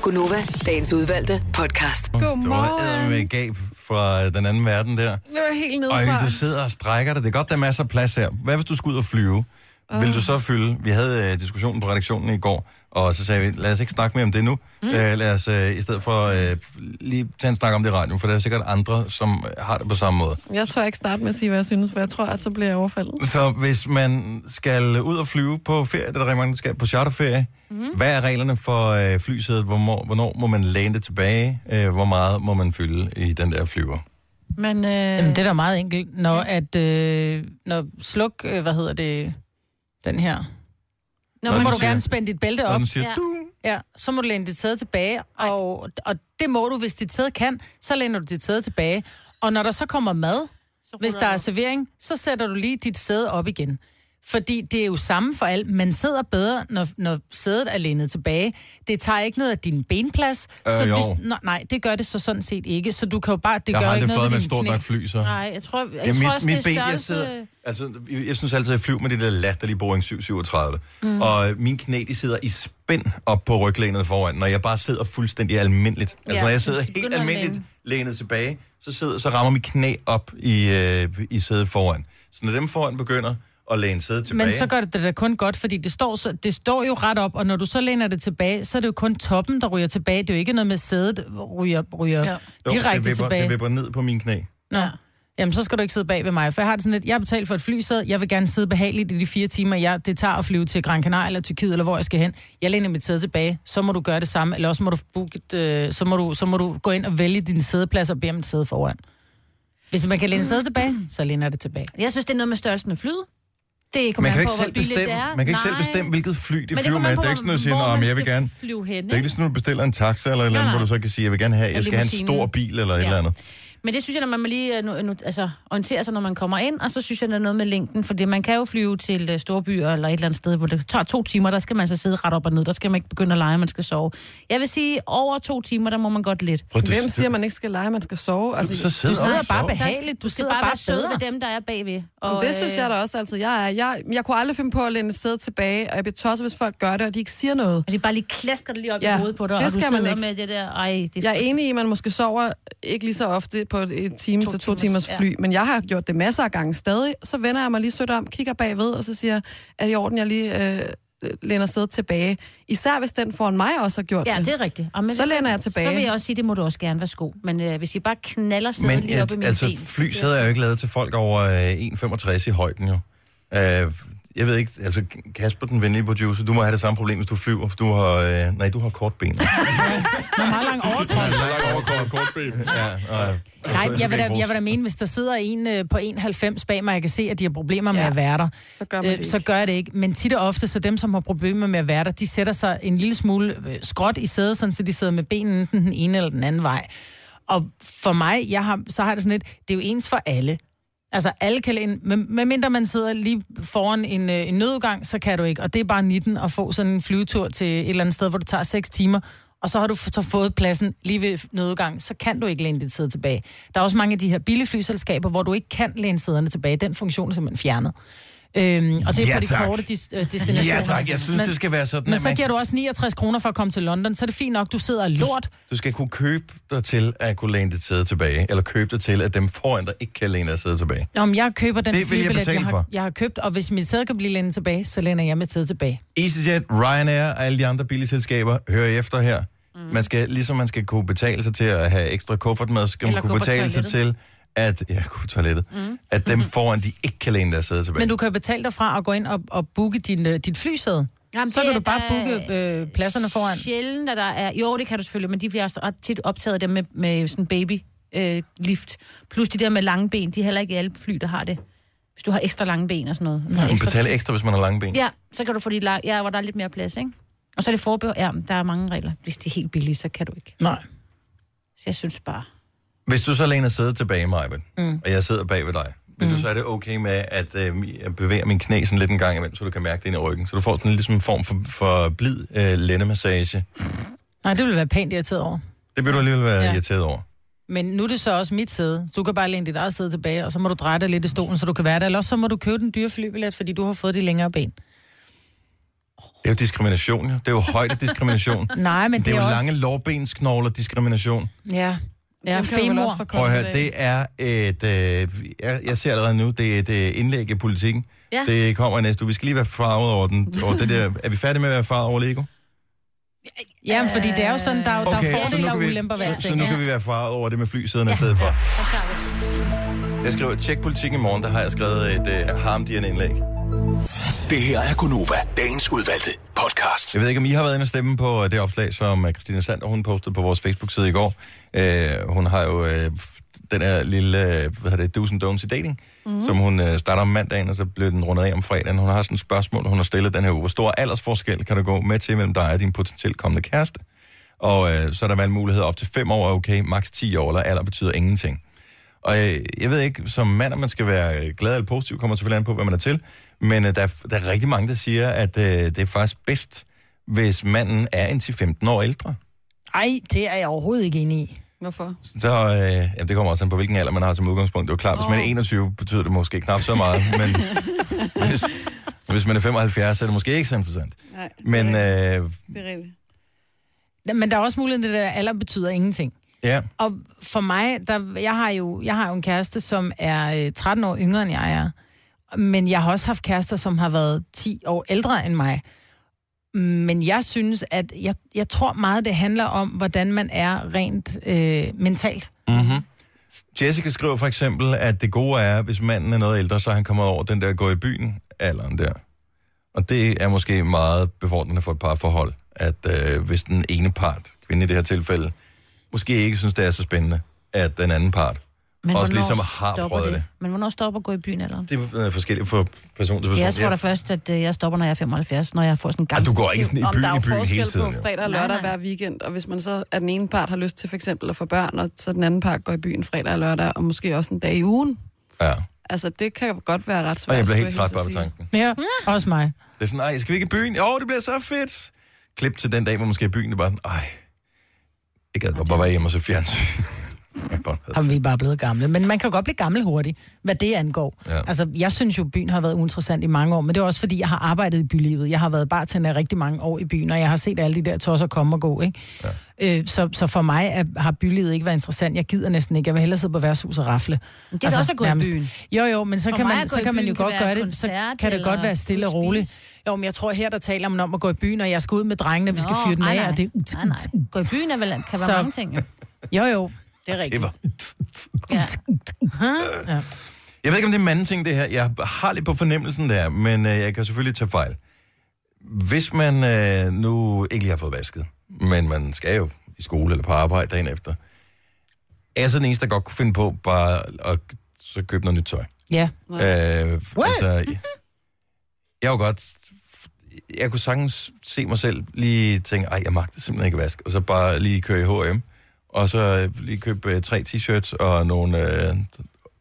Speaker 6: Gunova, dagens udvalgte podcast.
Speaker 1: Du har med gab fra øh, den anden verden der.
Speaker 5: Det var helt
Speaker 1: Øj, du sidder og strækker dig. Det er godt, der er masser af plads her. Hvad hvis du skulle ud og flyve? Uh. Vil du så fylde? Vi havde øh, diskussionen på redaktionen i går, og så sagde vi, lad os ikke snakke mere om det nu. Mm. Øh, lad os øh, i stedet for øh, lige tage en snak om det i radioen, for der er sikkert andre, som øh, har det på samme måde.
Speaker 5: Jeg tror jeg ikke starte med at sige, hvad jeg synes, for jeg tror, at så bliver jeg overfaldet.
Speaker 1: Så hvis man skal ud og flyve på ferie, det er der rigtig mange, der skal på charterferie, mm.
Speaker 4: Mhm.
Speaker 1: hvad er reglerne for øh, flysædet? Hvor må, hvornår må man læne det tilbage? Øh, hvor meget må man fylde i den der flyver?
Speaker 4: Men, øh...
Speaker 2: Jamen, det er da meget enkelt. Når, at, øh, når sluk, øh, hvad hedder det, den her. Nå,
Speaker 1: Når
Speaker 2: må
Speaker 1: den
Speaker 2: du
Speaker 1: siger-
Speaker 2: gerne spænde dit bælte
Speaker 1: når
Speaker 2: op.
Speaker 1: den siger, Ja.
Speaker 2: ja. ja, så må du læne dit sæde tilbage, og, og det må du, hvis dit sæde kan, så læner du dit sæde tilbage. Og når der så kommer mad, så hvis der er servering, så sætter du lige dit sæde op igen. Fordi det er jo samme for alt. Man sidder bedre, når, når sædet er lænet tilbage. Det tager ikke noget af din benplads.
Speaker 1: Øh,
Speaker 2: så
Speaker 1: jo.
Speaker 2: hvis, nej, nej, det gør det så sådan set ikke. Så du kan jo bare... Det
Speaker 1: jeg
Speaker 2: gør
Speaker 1: har
Speaker 2: ikke
Speaker 1: aldrig
Speaker 2: noget
Speaker 1: fået
Speaker 2: ved
Speaker 1: med et
Speaker 2: dine
Speaker 1: stort
Speaker 2: knæ.
Speaker 1: nok fly, så...
Speaker 4: Nej, jeg tror, jeg
Speaker 1: Ja,
Speaker 4: tror
Speaker 1: mit,
Speaker 4: også,
Speaker 1: mit
Speaker 4: det er
Speaker 1: ben,
Speaker 4: størrelse...
Speaker 1: jeg sidder... Altså, jeg, jeg synes altid, at jeg flyver med det der latterlige Boeing 737. Mm.
Speaker 4: Mm.
Speaker 1: Og min knæ, de sidder i spænd op på ryglænet foran, når jeg bare sidder fuldstændig almindeligt. Altså,
Speaker 4: Ja,
Speaker 1: når jeg
Speaker 4: så
Speaker 1: sidder
Speaker 4: hvis du
Speaker 1: helt
Speaker 4: begynder at
Speaker 1: almindeligt lænet tilbage, så, sidder, så rammer mit knæ op i, øh, i sædet foran. Så når dem foran begynder og læne sædet tilbage.
Speaker 2: Men så gør det det da kun godt, fordi det står, så, det står jo ret op, og når du så læner det tilbage, så er det jo kun toppen, der ryger tilbage. Det er jo ikke noget med sædet ryger, ryger ja.
Speaker 1: Jo,
Speaker 2: direkte
Speaker 1: det vipper,
Speaker 2: tilbage.
Speaker 1: Det vipper ned på mine knæ.
Speaker 2: Nå. Jamen, så skal du ikke sidde bag ved mig, for jeg har det sådan lidt, jeg har betalt for et flysæde, jeg vil gerne sidde behageligt i de fire timer, jeg, det tager at flyve til Gran Canaria eller Tyrkiet, eller hvor jeg skal hen. Jeg læner mit sæde tilbage, så må du gøre det samme, eller også må du, booke et, øh, så må du, så må du gå ind og vælge din sædeplads og bede om et sæde foran. Hvis man kan læne sædet tilbage, så læner det tilbage.
Speaker 4: Jeg synes, det er noget med størrelsen af flyet. Det kommer
Speaker 1: Man
Speaker 4: an
Speaker 1: kan, ikke
Speaker 4: på, hvor
Speaker 1: selv
Speaker 4: billigt
Speaker 1: bestemme,
Speaker 4: det er.
Speaker 1: man kan ikke selv
Speaker 4: Nej.
Speaker 1: bestemme, hvilket fly de
Speaker 4: det
Speaker 1: flyver
Speaker 4: kommer
Speaker 1: med.
Speaker 4: an
Speaker 1: Det
Speaker 4: på,
Speaker 1: er ikke sådan noget at sige,
Speaker 4: hvor
Speaker 1: "Nå,
Speaker 4: man
Speaker 1: men jeg vil
Speaker 4: skal
Speaker 1: gerne...
Speaker 4: flyve hen,
Speaker 1: det er ikke
Speaker 4: ikke?
Speaker 1: sådan, at du bestiller en taxa eller et eller andet,
Speaker 4: Nej,
Speaker 1: hvor du
Speaker 4: nej.
Speaker 1: så kan sige, jeg vil gerne have,
Speaker 4: En
Speaker 1: jeg skal have en
Speaker 4: limousine.
Speaker 1: stor bil eller et
Speaker 4: Ja.
Speaker 1: eller andet.
Speaker 4: Men det synes jeg, når man lige øh, nu, nu, altså, orienterer sig, når man kommer ind, og så synes jeg, der er noget med længden, for man kan jo flyve til øh, store byer eller et eller andet sted, hvor det tager to timer, der skal man så sidde ret op og ned, der skal man ikke begynde at lege, man skal sove. Jeg vil sige, over to timer, der må man godt lidt.
Speaker 1: Prøv, det-
Speaker 5: Hvem siger, man ikke skal lege, man skal sove?
Speaker 1: så sidder Du sidder og bare sov.
Speaker 2: behageligt, du
Speaker 4: Du skal
Speaker 2: sidder
Speaker 4: bare,
Speaker 2: bare
Speaker 4: være sød
Speaker 2: bedre.
Speaker 4: ved dem, der er bagved.
Speaker 5: Og det synes
Speaker 4: øh,
Speaker 5: jeg da også altid. Jeg, er, jeg, jeg kunne aldrig finde på at læne et sæde tilbage, og jeg bliver tosset, hvis folk gør det, og de ikke siger noget.
Speaker 4: Og de bare lige klasker det lige op
Speaker 5: Ja,
Speaker 4: i hovedet på dig,
Speaker 5: det
Speaker 4: og du
Speaker 5: skal man
Speaker 4: sidder
Speaker 5: ikke.
Speaker 4: med det der, ej, det
Speaker 5: Jeg er enig i, at man måske sover ikke lige så ofte på et time
Speaker 4: To
Speaker 5: til to
Speaker 4: timers,
Speaker 5: timers
Speaker 4: ja.
Speaker 5: fly, men jeg har gjort det masser af gange stadig. Så vender jeg mig lige sødt om, kigger bagved, og så siger jeg, er det i orden, jeg lige øh, læner sædet tilbage? Især hvis den foran mig også har gjort
Speaker 4: Ja,
Speaker 5: det.
Speaker 4: det er rigtigt. Og men-
Speaker 5: så læner jeg tilbage.
Speaker 4: Så vil jeg også sige, det må du også gerne, værsgo. Men øh, hvis I bare knaller sædet
Speaker 1: Men
Speaker 4: lige op i
Speaker 1: et,
Speaker 4: mine
Speaker 1: altså,
Speaker 4: ben.
Speaker 1: flysæder er jo ikke lavet til folk over øh, 1,65 i højden jo. Øh, jeg ved ikke, altså Kasper, den venlige producer, du må have det samme problem, hvis du flyver, for du har, øh, nej, du har kort
Speaker 4: [laughs]
Speaker 1: ben.
Speaker 2: Man har lang overkrop.
Speaker 1: kort, kort ben. Ja, og,
Speaker 4: Altså,
Speaker 2: Nej, jeg vil, da, jeg vil da mene, hvis der sidder en øh, på 91 bag mig, og jeg kan se, at de har problemer med
Speaker 5: Ja.
Speaker 2: at være der,
Speaker 5: Så gør man det
Speaker 2: Øh, så
Speaker 5: ikke.
Speaker 2: gør jeg det ikke. Men tit og ofte, så dem, som har problemer med at være der, de sætter sig en lille smule øh, skråt i sædet, sådan, så de sidder med benene enten den ene eller den anden vej. Og for mig, jeg har, så har jeg det sådan lidt, det er jo ens for alle. Altså alle kan ind, med- medmindre man sidder lige foran en, øh, en nødgang, så kan du ikke. Og det er bare 19 at få sådan en flyvetur til et eller andet sted, hvor du tager 6 timer, og så har du f- så fået pladsen lige ved nødgang, så kan du ikke læne dit sæde tilbage. Der er også mange af de her billige flyselskaber, hvor du ikke kan læne sæderne tilbage. Den funktion er simpelthen fjernet. Øhm, og det er
Speaker 1: Ja,
Speaker 2: på de
Speaker 1: tak.
Speaker 2: korte dis- øh, destinationer.
Speaker 1: Ja, tak. Jeg synes, det skal være sådan,
Speaker 2: Men
Speaker 1: at
Speaker 2: så
Speaker 1: man-
Speaker 2: giver du også 69 kroner for at komme til London, så er det fint nok, du sidder og lort.
Speaker 1: Du skal kunne købe dig til at kunne læne dit sæde tilbage, eller købe dig til, at dem foran dig ikke kan læne deres sæde tilbage.
Speaker 2: Nå, men jeg køber
Speaker 1: Det
Speaker 2: den
Speaker 1: vil jeg
Speaker 2: flybillet,
Speaker 1: betale
Speaker 2: jeg, har,
Speaker 1: for.
Speaker 2: jeg har købt, og hvis mit sæde kan blive lænet tilbage, så læner jeg mit sæde tilbage.
Speaker 1: EasyJet, Ryanair og alle de andre billige selskaber, hører I efter her. Mm. Man skal, ligesom man skal kunne betale sig til at have ekstra kuffert med, så skal
Speaker 2: Eller
Speaker 1: man kunne
Speaker 2: gå på
Speaker 1: betale sig til,
Speaker 2: toilettet.
Speaker 1: at, ja, gå på toilettet, mm. at dem foran, de ikke kan læne deres sæde tilbage.
Speaker 2: [laughs] Men du kan jo betale dig fra at gå ind og, og booke din, øh, dit flysæde.
Speaker 4: Jamen,
Speaker 2: så
Speaker 4: det
Speaker 2: kan du
Speaker 4: er
Speaker 2: bare
Speaker 4: da
Speaker 2: booke øh, pladserne foran.
Speaker 4: Sjældent, at der er... Jo, det kan du selvfølgelig, men de bliver også ret tit optaget dem med, med sådan baby øh, lift. Plus de der med lange ben, de er heller ikke alle fly, der har det. Hvis du har ekstra lange ben og sådan noget.
Speaker 1: Nej, man
Speaker 4: Ekstra-
Speaker 1: betaler ekstra, hvis man har lange ben.
Speaker 4: Ja, så kan du få dit lang... Ja, hvor der er lidt mere plads, ikke? Og så er det forbehold. Ja, der er mange regler. Hvis det er helt billigt, så kan du ikke.
Speaker 2: Nej.
Speaker 4: Så jeg synes bare...
Speaker 1: Hvis du så læner sædet tilbage, Majben, mm.
Speaker 4: Mm.
Speaker 1: og jeg sidder bag ved dig, vil mm. du så er det okay med, at øh, jeg bevæger min knæ sådan lidt en gang imellem, så du kan mærke det ind i ryggen, så du får sådan ligesom en form for, for blid øh, lændemassage.
Speaker 2: Nej, det ville være pænt irriteret over.
Speaker 1: Det vil du alligevel være ja.
Speaker 2: Ja.
Speaker 1: irriteret over.
Speaker 2: Men nu er det så også mit sæde. Så Du kan bare læne dit eget sæde tilbage, og så må du dreje dig lidt i stolen, så du kan være der. Eller også så må du købe den dyre flybillet, fordi du har fået de længere ben.
Speaker 1: Det er jo diskrimination, jo. Det er jo højdediskrimination.
Speaker 2: Nej, men
Speaker 1: det er
Speaker 2: det
Speaker 1: jo
Speaker 2: er også-
Speaker 1: lange lårbensknogler diskrimination.
Speaker 2: Ja. Ja,
Speaker 5: Dem kan du vel også
Speaker 2: femur.
Speaker 5: få
Speaker 1: Prøv at høre, det er et... Øh, jeg, jeg ser allerede nu, det er et øh, indlæg i politikken. Ja.
Speaker 4: Ja.
Speaker 1: Det kommer i næste uge. Vi skal lige være farvet over den. Og det der, er vi færdige med at være farvet over Lego?
Speaker 2: Ja, fordi det er jo sådan, der, er jo- der er
Speaker 1: så nu,
Speaker 2: fordele og
Speaker 1: kan vi,
Speaker 2: ulemper ved
Speaker 1: så, så
Speaker 2: alting.
Speaker 1: nu
Speaker 2: Ja.
Speaker 1: kan vi være farvet over det med flysæderne ja. i stedet for. Jeg skriver, tjek politikken i morgen, der har jeg skrevet et øh, harmdirrende indlæg.
Speaker 7: Det her er Gunova, dagens udvalgte podcast.
Speaker 1: Jeg ved ikke, om I har været inde og stemme på øh, det opslag, som øh, Christina Sander, hun postede på vores Facebook-side i går. Øh, hun har jo øh, f- den her lille, øh, hvad hedder det, do's and don'ts i dating, mm-hmm. som hun øh, starter om mandagen, og så bliver den rundet af om fredagen. Hun har sådan et spørgsmål, hun har stillet den her uge. Hvor stor aldersforskel kan du gå med til mellem dig og din potentielt kommende kæreste? Og øh, så er der valgmuligheder op til 5 år, er okay, maks 10 år, eller alder betyder ingenting. Og øh, jeg ved ikke, som mand, om man skal være øh, glad eller positiv, kommer selvfølgelig an på, hvad man er til. Men øh, der, er, der er rigtig mange, der siger, at øh, det er faktisk bedst, hvis manden er indtil 15 år ældre.
Speaker 2: Ej, det er jeg overhovedet ikke enig i.
Speaker 1: [laughs]
Speaker 5: Hvorfor?
Speaker 1: Så øh, jamen, det kommer også an på, hvilken alder man har som udgangspunkt. Det er jo klart, hvis man er 21, betyder det måske knap så meget.
Speaker 5: [laughs]
Speaker 1: men hvis, hvis man er 75, så er det måske ikke så interessant.
Speaker 5: Nej,
Speaker 1: Men øh,
Speaker 5: det er rigtigt.
Speaker 2: Men der er også muligheden, at det der alder betyder ingenting.
Speaker 1: ja,
Speaker 2: Og for mig, der, jeg, har jo, jeg har jo en kæreste, som er øh, 13 år yngre end jeg er. Men jeg har også haft kærester, som har været 10 år ældre end mig. Men jeg synes, at jeg, jeg tror meget, det handler om, hvordan man er rent øh, mentalt.
Speaker 1: Mm-hmm. Jessica skriver for eksempel, at det gode er, hvis manden er noget ældre, så er han kommer over den der gå i byen alderen der. Og det er måske meget befordrende for et par forhold, at øh, hvis den ene part, kvinden i det her tilfælde, måske ikke synes, det er så spændende, at den anden part Men også
Speaker 4: hvornår
Speaker 1: ligesom har
Speaker 4: stopper
Speaker 1: prøvet det.
Speaker 4: Men hvornår stopper at gå i byen eller?
Speaker 1: Det er øh, forskelligt fra person til person.
Speaker 4: Jeg tror da
Speaker 1: Ja.
Speaker 4: først, at øh, jeg stopper, når jeg er 75, når jeg får sådan en
Speaker 1: Ah,
Speaker 4: gammel...
Speaker 1: du går ikke sådan i
Speaker 4: Om
Speaker 1: byen
Speaker 4: der er
Speaker 1: i
Speaker 4: jo
Speaker 1: byen
Speaker 4: forskel
Speaker 1: hele tiden.
Speaker 4: på
Speaker 1: jo.
Speaker 5: fredag og lørdag hver weekend, og hvis man så er den ene part har lyst til for eksempel at få børn, og så den anden part går i byen fredag og lørdag, og måske også en dag i ugen.
Speaker 1: Ja.
Speaker 5: Altså, det kan jo godt være ret svært.
Speaker 1: Og jeg bliver
Speaker 5: skulle
Speaker 1: helt træt
Speaker 5: hilse
Speaker 1: bare
Speaker 5: at
Speaker 1: ved
Speaker 5: sige.
Speaker 1: tanken.
Speaker 2: Ja, også mig.
Speaker 1: Det er sådan, nej, skal vi ikke i byen? Åh, det bliver så fedt. Klip til den dag, hvor man skal i byen, det er bare sådan, ej, jeg gad godt bare være hjemme og se fjernsyn. [laughs] Jeg bare havde
Speaker 2: Har vi er bare blevet gamle. Men man kan godt blive gammel hurtigt, hvad det angår.
Speaker 1: Ja.
Speaker 2: Ja. Altså, jeg synes jo, byen har været uinteressant i mange år, men det er også, fordi jeg har arbejdet i bylivet. Jeg har været bartender i rigtig mange år i byen, og jeg har set alle de der tosser komme og gå, ikke? Ja. Øh, så, så for mig er, har bylivet ikke været interessant. Jeg gider næsten ikke. Jeg vil hellere sidde på værtshus og rafle. Altså,
Speaker 4: det er også at gå i byen.
Speaker 2: Jo, jo, men så
Speaker 4: For
Speaker 2: kan
Speaker 4: mig
Speaker 2: man,
Speaker 4: at gå
Speaker 2: så
Speaker 4: i
Speaker 2: kan man
Speaker 4: byen
Speaker 2: jo
Speaker 4: kan
Speaker 2: godt
Speaker 4: være
Speaker 2: gøre det. så
Speaker 4: koncert
Speaker 2: kan det godt
Speaker 4: eller
Speaker 2: være stille og
Speaker 4: spise.
Speaker 2: roligt. Jo, men jeg tror her, der taler man om at gå i byen, og jeg skal ud med drengene, vi skal
Speaker 4: Nå,
Speaker 2: fyre den
Speaker 4: ej,
Speaker 2: af,
Speaker 4: nej.
Speaker 2: og det...
Speaker 4: Nej, nej. Gå i byen er vel, kan være
Speaker 2: Så-
Speaker 4: mange ting, jo.
Speaker 2: Jo, jo, det er rigtigt.
Speaker 4: Ja.
Speaker 2: Ja.
Speaker 1: Øh, Jeg ved ikke, om det er en anden ting, det her. Jeg har lidt på fornemmelsen der, men øh, jeg kan selvfølgelig tage fejl. Hvis man øh, nu ikke lige har fået vasket, men man skal jo i skole eller på arbejde dagen efter, er jeg så den eneste, der godt kunne finde på bare at så købe noget nyt tøj.
Speaker 2: Ja.
Speaker 1: Øh, altså, jeg, jeg var godt... Jeg kunne sagtens se mig selv lige tænke, ej, jeg magter simpelthen ikke at vaske, og så bare lige køre i H&M, og så lige købe øh, tre t-shirts og nogle øh,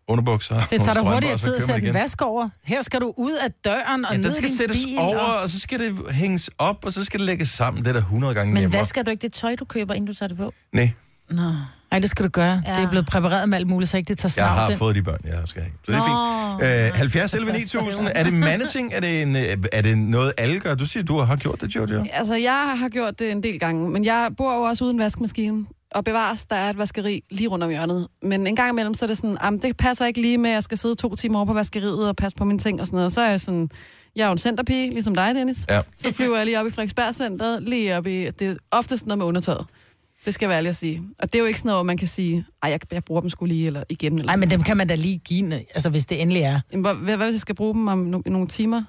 Speaker 1: underbukser.
Speaker 2: Det
Speaker 1: nogle
Speaker 2: tager dig
Speaker 1: strømper,
Speaker 2: hurtigere
Speaker 1: og så
Speaker 2: tid at
Speaker 1: kører man
Speaker 2: sætte en
Speaker 1: igen.
Speaker 2: vask over. Her skal du ud af døren og
Speaker 1: Ja,
Speaker 2: ja, ned
Speaker 1: den
Speaker 2: i
Speaker 1: skal
Speaker 2: din
Speaker 1: sættes
Speaker 2: bil.
Speaker 1: over,
Speaker 2: Og...
Speaker 1: og så skal det hænges op, og så skal det lægges sammen. Det er da 100 gange
Speaker 4: Men
Speaker 1: nemmere.
Speaker 4: vasker du ikke det tøj, du køber, inden du tager det på?
Speaker 1: Nej,
Speaker 4: Nå.
Speaker 2: Ej, det skal du gøre. Ja. Det er blevet præpareret med alt muligt, så ikke det tager
Speaker 1: jeg
Speaker 2: snavs
Speaker 1: har
Speaker 2: ind.
Speaker 1: fået de børn, jeg skal have. Så det er
Speaker 2: Nå.
Speaker 1: fint. Øh, 70 11
Speaker 2: Så er det
Speaker 1: 9000,
Speaker 2: under.
Speaker 1: er det managing? Er det, en, øh, er det noget, alle gør? Du siger, du har gjort det, Jojo.
Speaker 5: Altså, jeg har gjort det en del gange, men jeg bor jo også uden vaskemaskine. Og bevares, der er et vaskeri lige rundt om hjørnet. Men en gang imellem, så er det sådan, jamen, det passer ikke lige med, at jeg skal sidde to timer over på vaskeriet og passe på mine ting og sådan noget. Så er jeg sådan, jeg er jo en centerpige, ligesom dig, Dennis.
Speaker 1: Ja.
Speaker 5: Så flyver jeg lige op i Frederiksberg-centret, lige op i, det er oftest noget med undertøjet. Det skal jeg være ærlig at sige. Og det er jo ikke sådan noget, hvor man kan sige, ej, jeg, jeg bruger dem skulle lige, eller igen. Eller
Speaker 2: Nej, men dem kan man da lige give, altså hvis det endelig er.
Speaker 5: Jamen, Hvad, hvad, hvad hvis jeg skal bruge dem om no- nogle timer?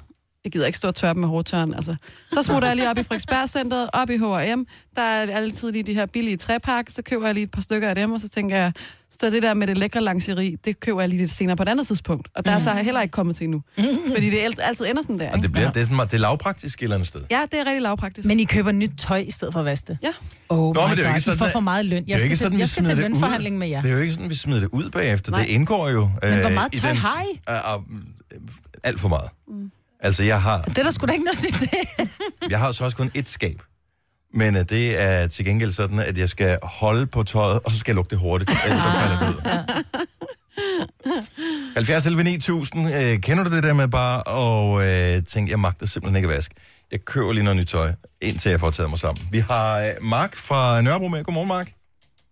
Speaker 5: Jeg gider ikke stå og tørre dem med hårdtørren, altså. Så smutter jeg lige op i Frederiksbergscenteret, op i H&M. Der er altid lige de her billige træpak, så køber jeg lige et par stykker af dem, og så tænker jeg, så det der med det lækre lingerie, det køber jeg lige lidt senere på et andet tidspunkt. Og der er så heller ikke kommet til endnu. Fordi det alt- altid ender sådan der,
Speaker 1: Mm. Og
Speaker 5: ikke?
Speaker 1: det, bliver, det, er sådan, meget- det er lavpraktisk et eller andet sted.
Speaker 5: Ja, det er rigtig lavpraktisk.
Speaker 2: Men I køber nyt tøj i stedet for at vaske det?
Speaker 5: Ja.
Speaker 2: Oh
Speaker 1: Nå,
Speaker 2: Nå,
Speaker 1: men
Speaker 2: my
Speaker 1: det er jo ikke
Speaker 2: God, I
Speaker 1: sådan,
Speaker 2: får
Speaker 1: at-
Speaker 2: for meget løn.
Speaker 1: det er
Speaker 2: Jeg
Speaker 1: jo
Speaker 2: skal,
Speaker 1: ikke
Speaker 2: til,
Speaker 1: sådan, vi
Speaker 2: jeg skal
Speaker 1: smider
Speaker 2: til
Speaker 1: det ud.
Speaker 2: lønforhandling med jer.
Speaker 1: Det er jo ikke sådan, vi smider det ud bagefter. Nej.
Speaker 2: Nej.
Speaker 1: Det indgår jo.
Speaker 2: Men hvor
Speaker 1: øh,
Speaker 2: meget
Speaker 1: i
Speaker 2: tøj
Speaker 1: den-
Speaker 2: har I?
Speaker 1: Øh, øh, alt for meget. Mm. Altså, jeg har,
Speaker 2: Det er der sgu da ikke noget at sige til.
Speaker 1: jeg har så også kun et skab. Men øh, det er til gengæld sådan, at jeg skal holde på tøjet, og så skal jeg lukke det hurtigt. Ellers så falder det ud. 70 11 9000. Øh, kender du det der med bare at øh, tænke, jeg magter simpelthen ikke at vaske? Jeg køber lige noget nyt tøj, indtil jeg får taget mig sammen. Vi har øh, Mark fra Nørrebro med. Godmorgen, Mark.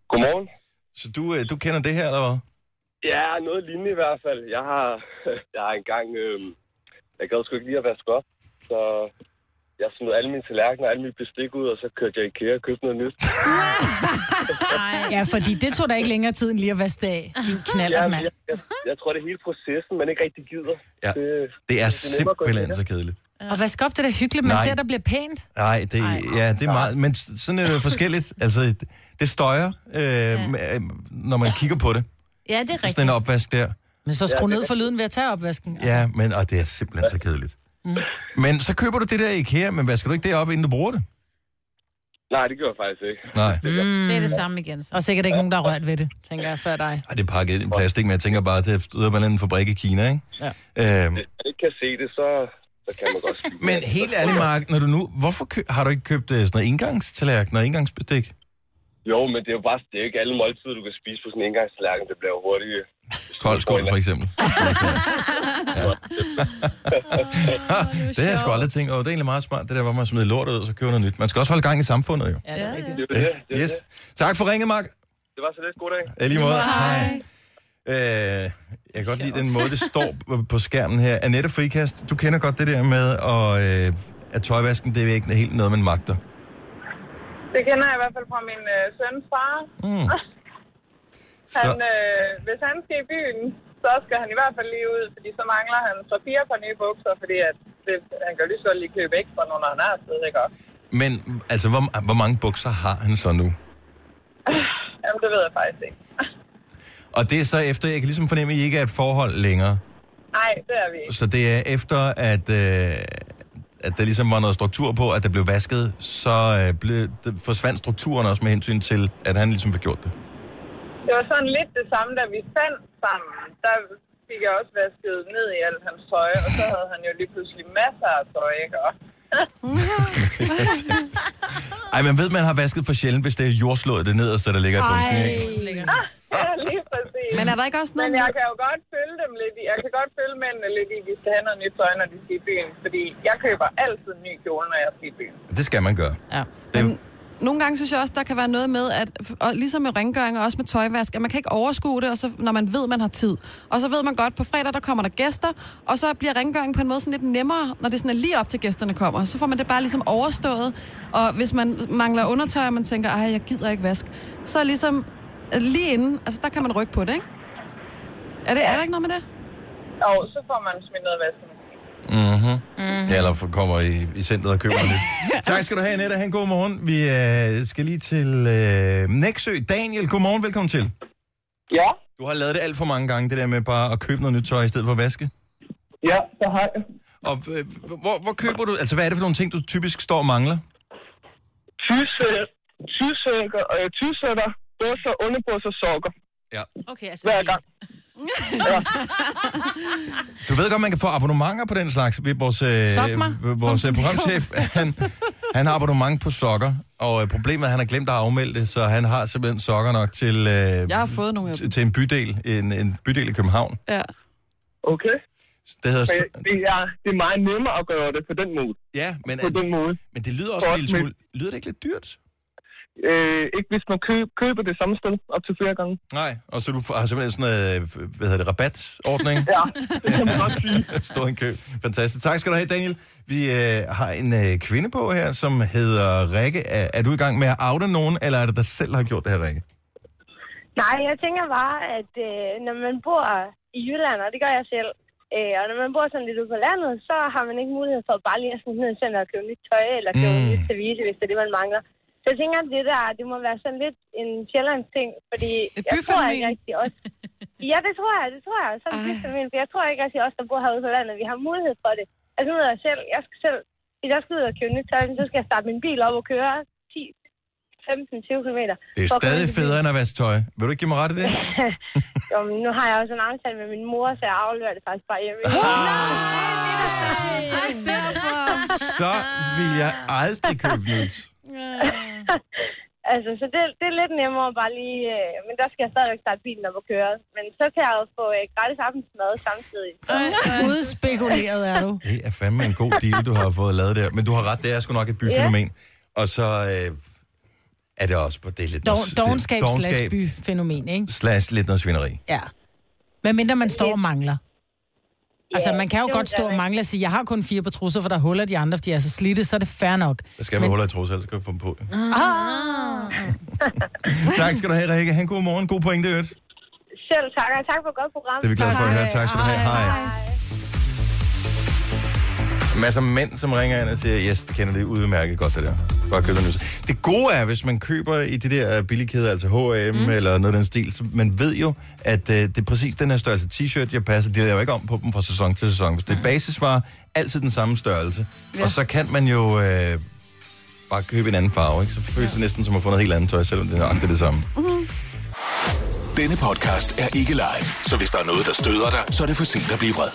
Speaker 13: Godmorgen.
Speaker 1: Så du, øh, du kender det her, eller hvad?
Speaker 13: Ja, noget lignende i hvert fald. Jeg har, [laughs] jeg har engang... Øh, jeg gad sgu ikke lige at vaske op, så jeg smed alle mine tallerkener og alle mine bestik ud, og så kørte jeg i IKEA og købte noget nyt.
Speaker 2: Ja, fordi det tog da ikke længere tid end lige at vaske det af. Din knaller,
Speaker 13: Jamen,
Speaker 2: mand.
Speaker 13: jeg, jeg, jeg, tror, det er hele processen, man ikke rigtig gider.
Speaker 1: Ja, det er
Speaker 13: nemmere at gå i
Speaker 1: simpelthen så kedeligt.
Speaker 2: Og vask op det der hyggeligt, man
Speaker 1: Nej.
Speaker 2: ser, der bliver pænt.
Speaker 1: Nej, det, ja, det er meget, men s- sådan er det jo [laughs] forskelligt. Altså, det- det støjer, øh, ja. når man kigger på det.
Speaker 4: Ja, det er
Speaker 1: Sådan en
Speaker 4: rigtigt.
Speaker 1: opvask der.
Speaker 2: Men så skru ned for lyden ved at tage opvasken.
Speaker 1: Ja, men og det er simpelthen så kedeligt.
Speaker 2: Mm.
Speaker 1: Men så køber du det der i IKEA, men vasker du ikke det op, inden du bruger det?
Speaker 13: Nej, det gjorde jeg faktisk ikke.
Speaker 1: Nej.
Speaker 4: Mm. Det er det samme igen. Så.
Speaker 2: Og sikkert ikke nogen, der har rørt ved det, tænker jeg, før dig.
Speaker 1: Ej, det er pakket ind i plastik, men jeg tænker bare, at det er ud af en eller anden fabrik i Kina, ikke?
Speaker 2: Ja.
Speaker 1: Øhm,
Speaker 13: Hvis man ikke kan se det, så, så kan man godt sige.
Speaker 1: men helt ærligt, Mark, når du nu, hvorfor kø- har du ikke købt øh, sådan noget engangstallerken og engangsbestik?
Speaker 13: Jo, men det er jo bare, det er jo ikke alle måltider, du kan spise på sådan en engangstallerken. Det bliver jo hurtigt.
Speaker 1: Kold skål, for eksempel. Ja. det har jeg sgu aldrig tænkt over. Det er egentlig meget smart, det der, hvor man smider lortet ud, og så køber noget nyt. Man skal også holde gang i samfundet, jo.
Speaker 2: Ja, det er rigtigt.
Speaker 13: Det, er jo det, det, er jo
Speaker 1: Yes. Tak for ringet, Mark.
Speaker 13: det. det var så lidt. God dag.
Speaker 1: Ja, lige måde. Hej. Øh, jeg kan godt lide den
Speaker 5: [laughs]
Speaker 1: måde, det står på- på skærmen her. Annette Frikast, du kender godt det der med, at, øh, at tøjvasken, det er ikke helt noget, man magter.
Speaker 10: Det kender jeg i hvert fald fra min øh, søns far.
Speaker 1: Mm.
Speaker 10: [laughs] Han,
Speaker 1: Så-
Speaker 10: øh, hvis han skal i byen, så skal han i hvert fald lige ud, fordi så mangler han så fire par nye bukser, fordi at det, han kan jo lige så godt lige købe ekstra, når han er afsted, ikke? Og,
Speaker 1: Men altså, hvor, hvor mange bukser har han så nu?
Speaker 10: [sighs] Jamen, det ved jeg faktisk ikke.
Speaker 1: Og det er så efter, jeg kan ligesom fornemme, at I ikke er et forhold længere.
Speaker 10: Nej, det er vi ikke.
Speaker 1: Så det er efter, at, øh, at der ligesom var noget struktur på, at det blev vasket, så øh, blev, det forsvandt strukturen også med hensyn til, at han ligesom fik gjort det.
Speaker 10: Det var sådan lidt det samme, da vi fandt sammen. Der fik jeg også vasket ned i alt hans tøj, og så havde han jo lige pludselig masser af tøj, ikke? Og,
Speaker 1: [laughs] Ej, man ved, man har vasket for sjældent, hvis det er jordslået det nederste, der ligger i bunken. ikke?
Speaker 10: Ah, ja, lige præcis.
Speaker 5: Men er der ikke også noget
Speaker 10: Men jeg
Speaker 5: med-
Speaker 10: kan jo godt følge dem lidt i, jeg kan godt følge mændene lidt i, at de skal have noget nyt tøj, når de skal i byen. Fordi jeg køber altid en ny kjole, når jeg skal i byen.
Speaker 1: Det skal man gøre.
Speaker 2: Ja.
Speaker 1: Det,
Speaker 5: Nogle gange synes jeg også, der kan være noget med, at, og ligesom med rengøring og også med tøjvask, at man kan ikke overskue det, og så, når man ved, man har tid. Og så ved man godt, på fredag, der kommer der gæster, og så bliver rengøringen på en måde sådan lidt nemmere, når det sådan er lige op til gæsterne kommer. Så får man det bare ligesom overstået. Og hvis man mangler undertøj, og man tænker, ej, jeg gider ikke vask, så er ligesom øh, lige inden, altså der kan man rykke på det, ikke? Er, det, er der ikke noget med det?
Speaker 10: Og så får man smidt noget vask.
Speaker 1: Mm-hmm. Mm-hmm. Ja, eller for- kommer i, i centret og køber lidt. [laughs] tak skal du have, Annette. Ha' en god morgen. Vi øh, skal lige til øh, Næksø. Daniel, godmorgen. Velkommen til.
Speaker 14: Ja.
Speaker 1: Du har lavet det alt for mange gange, det der med bare at købe noget nyt tøj i stedet for at vaske.
Speaker 14: Ja, det har jeg.
Speaker 1: Og øh, hvor, hvor køber du... Altså, hvad er det for nogle ting, du typisk står og mangler?
Speaker 14: Tyvsækker, øh, tyvsætter, bukser, underbukser, sokker.
Speaker 1: Ja.
Speaker 4: Okay, altså...
Speaker 14: Hver gang. ja.
Speaker 1: Du ved godt, man kan få abonnementer på den slags. Vi- Vores,
Speaker 14: Sok mig.
Speaker 1: øh, vores øh, programchef, [laughs] han, han har abonnement på sokker, og øh, problemet er, at han har glemt at afmelde det, så han har simpelthen sokker nok til, øh,
Speaker 5: Jeg har fået nogle af
Speaker 1: til,
Speaker 5: dem.
Speaker 1: til en bydel, en, en bydel i København.
Speaker 5: Ja.
Speaker 14: Okay.
Speaker 1: Det hedder...
Speaker 14: Men det, er, det er meget nemmere at gøre det på den måde.
Speaker 1: Ja, men,
Speaker 14: på den måde.
Speaker 1: men det lyder også en lille smule... Lyder det ikke lidt dyrt?
Speaker 14: Øh, ikke hvis man køb, køber det samme sted op til flere gange.
Speaker 1: Nej, og så du får- har simpelthen sådan noget, øh, hvad hedder det, rabatordning?
Speaker 14: Ja,
Speaker 1: det kan man godt sige. [laughs] Stor en kø. Fantastisk. Tak skal du have, Daniel. Vi øh, har en øh, kvinde på her, som hedder Rikke. Er, er du i gang med at oute nogen, eller er det dig selv, der har gjort det her, Rikke?
Speaker 12: Nej, jeg tænker bare, at øh, når man bor i Jylland, og det gør jeg selv, øh, og når man bor sådan lidt ude på landet, så har man ikke mulighed for bare lige at smide ned i center og købe nyt tøj, eller købe
Speaker 15: Mm.
Speaker 12: mm. nyt service, hvis det er det, man mangler. Så jeg tænker, at det der, det må være sådan lidt en sjællands ting, fordi
Speaker 1: Øh,
Speaker 12: jeg tror
Speaker 15: byfænomen.
Speaker 12: ikke rigtig også... Ja, det tror jeg, det tror jeg.
Speaker 1: Ah.
Speaker 12: Som byfamilie, for jeg tror ikke rigtig også, der bor herude på landet, vi har mulighed for det. Altså nu ved jeg selv, jeg skal selv, hvis jeg skal ud og købe nyt tøj, så skal jeg starte min bil op og køre 10, 15-20 km.
Speaker 1: Det er stadig federe end at vaske tøj. Vil du ikke give mig ret i det?
Speaker 12: Jo, men nu har jeg også en aftale med min mor, så jeg afleverer det faktisk bare hjemme.
Speaker 2: Ah.
Speaker 1: Så vil jeg aldrig købe nyt.
Speaker 12: [laughs] altså, så det, det er lidt nemmere bare lige... Øh, men der skal jeg stadigvæk starte bilen op og køre. Men så kan jeg jo få øh, gratis aftensmad samtidig.
Speaker 2: [laughs] Udspekuleret er du.
Speaker 1: Det er fandme en god deal, du har fået lavet der. Men du har ret, det er sgu nok et byfænomen. Og så øh, er det også på det er lidt... noget-
Speaker 2: Dov-
Speaker 1: det-
Speaker 2: Dogenskab slash
Speaker 1: dovenskab
Speaker 2: byfænomen, ikke?
Speaker 1: slash lidt noget svineri.
Speaker 2: Ja. Hvad mindre man står og mangler. Altså, man kan jo
Speaker 12: det er
Speaker 2: godt stå og mangle og sige, jeg har kun fire på trusser, for der er huller de andre, de er så slidte, så er det fair nok.
Speaker 1: Der skal være huller i trusser, ellers kan jeg få dem på.
Speaker 2: Ah.
Speaker 1: tak skal du have, Rikke. Han god morgen. God pointe, Ødt. Det
Speaker 12: Selv tak, og tak for et godt program.
Speaker 1: er vi glade for at høre. Tak skal du have. Hej. Masser af mænd, som ringer ind og siger, yes, det kender det udmærket godt, det der. Bare køb noget nyt. Det gode er, hvis man køber i de der billige kæder, altså H&M mm. eller noget af den stil, så man ved jo, at øh, det er præcis den her størrelse t-shirt, jeg passer. De laver jo ikke om på dem fra sæson til sæson. Hvis det er basisvarer, altid den samme størrelse. Ja.
Speaker 16: Ja.
Speaker 1: Og så kan man jo øh, bare købe en anden farve, ikke? Så føles det næsten som at få noget helt andet tøj, selvom det er nøjagtigt det samme.
Speaker 7: Denne podcast er ikke live, så hvis der er noget, der støder dig, så er det for sent at blive vred.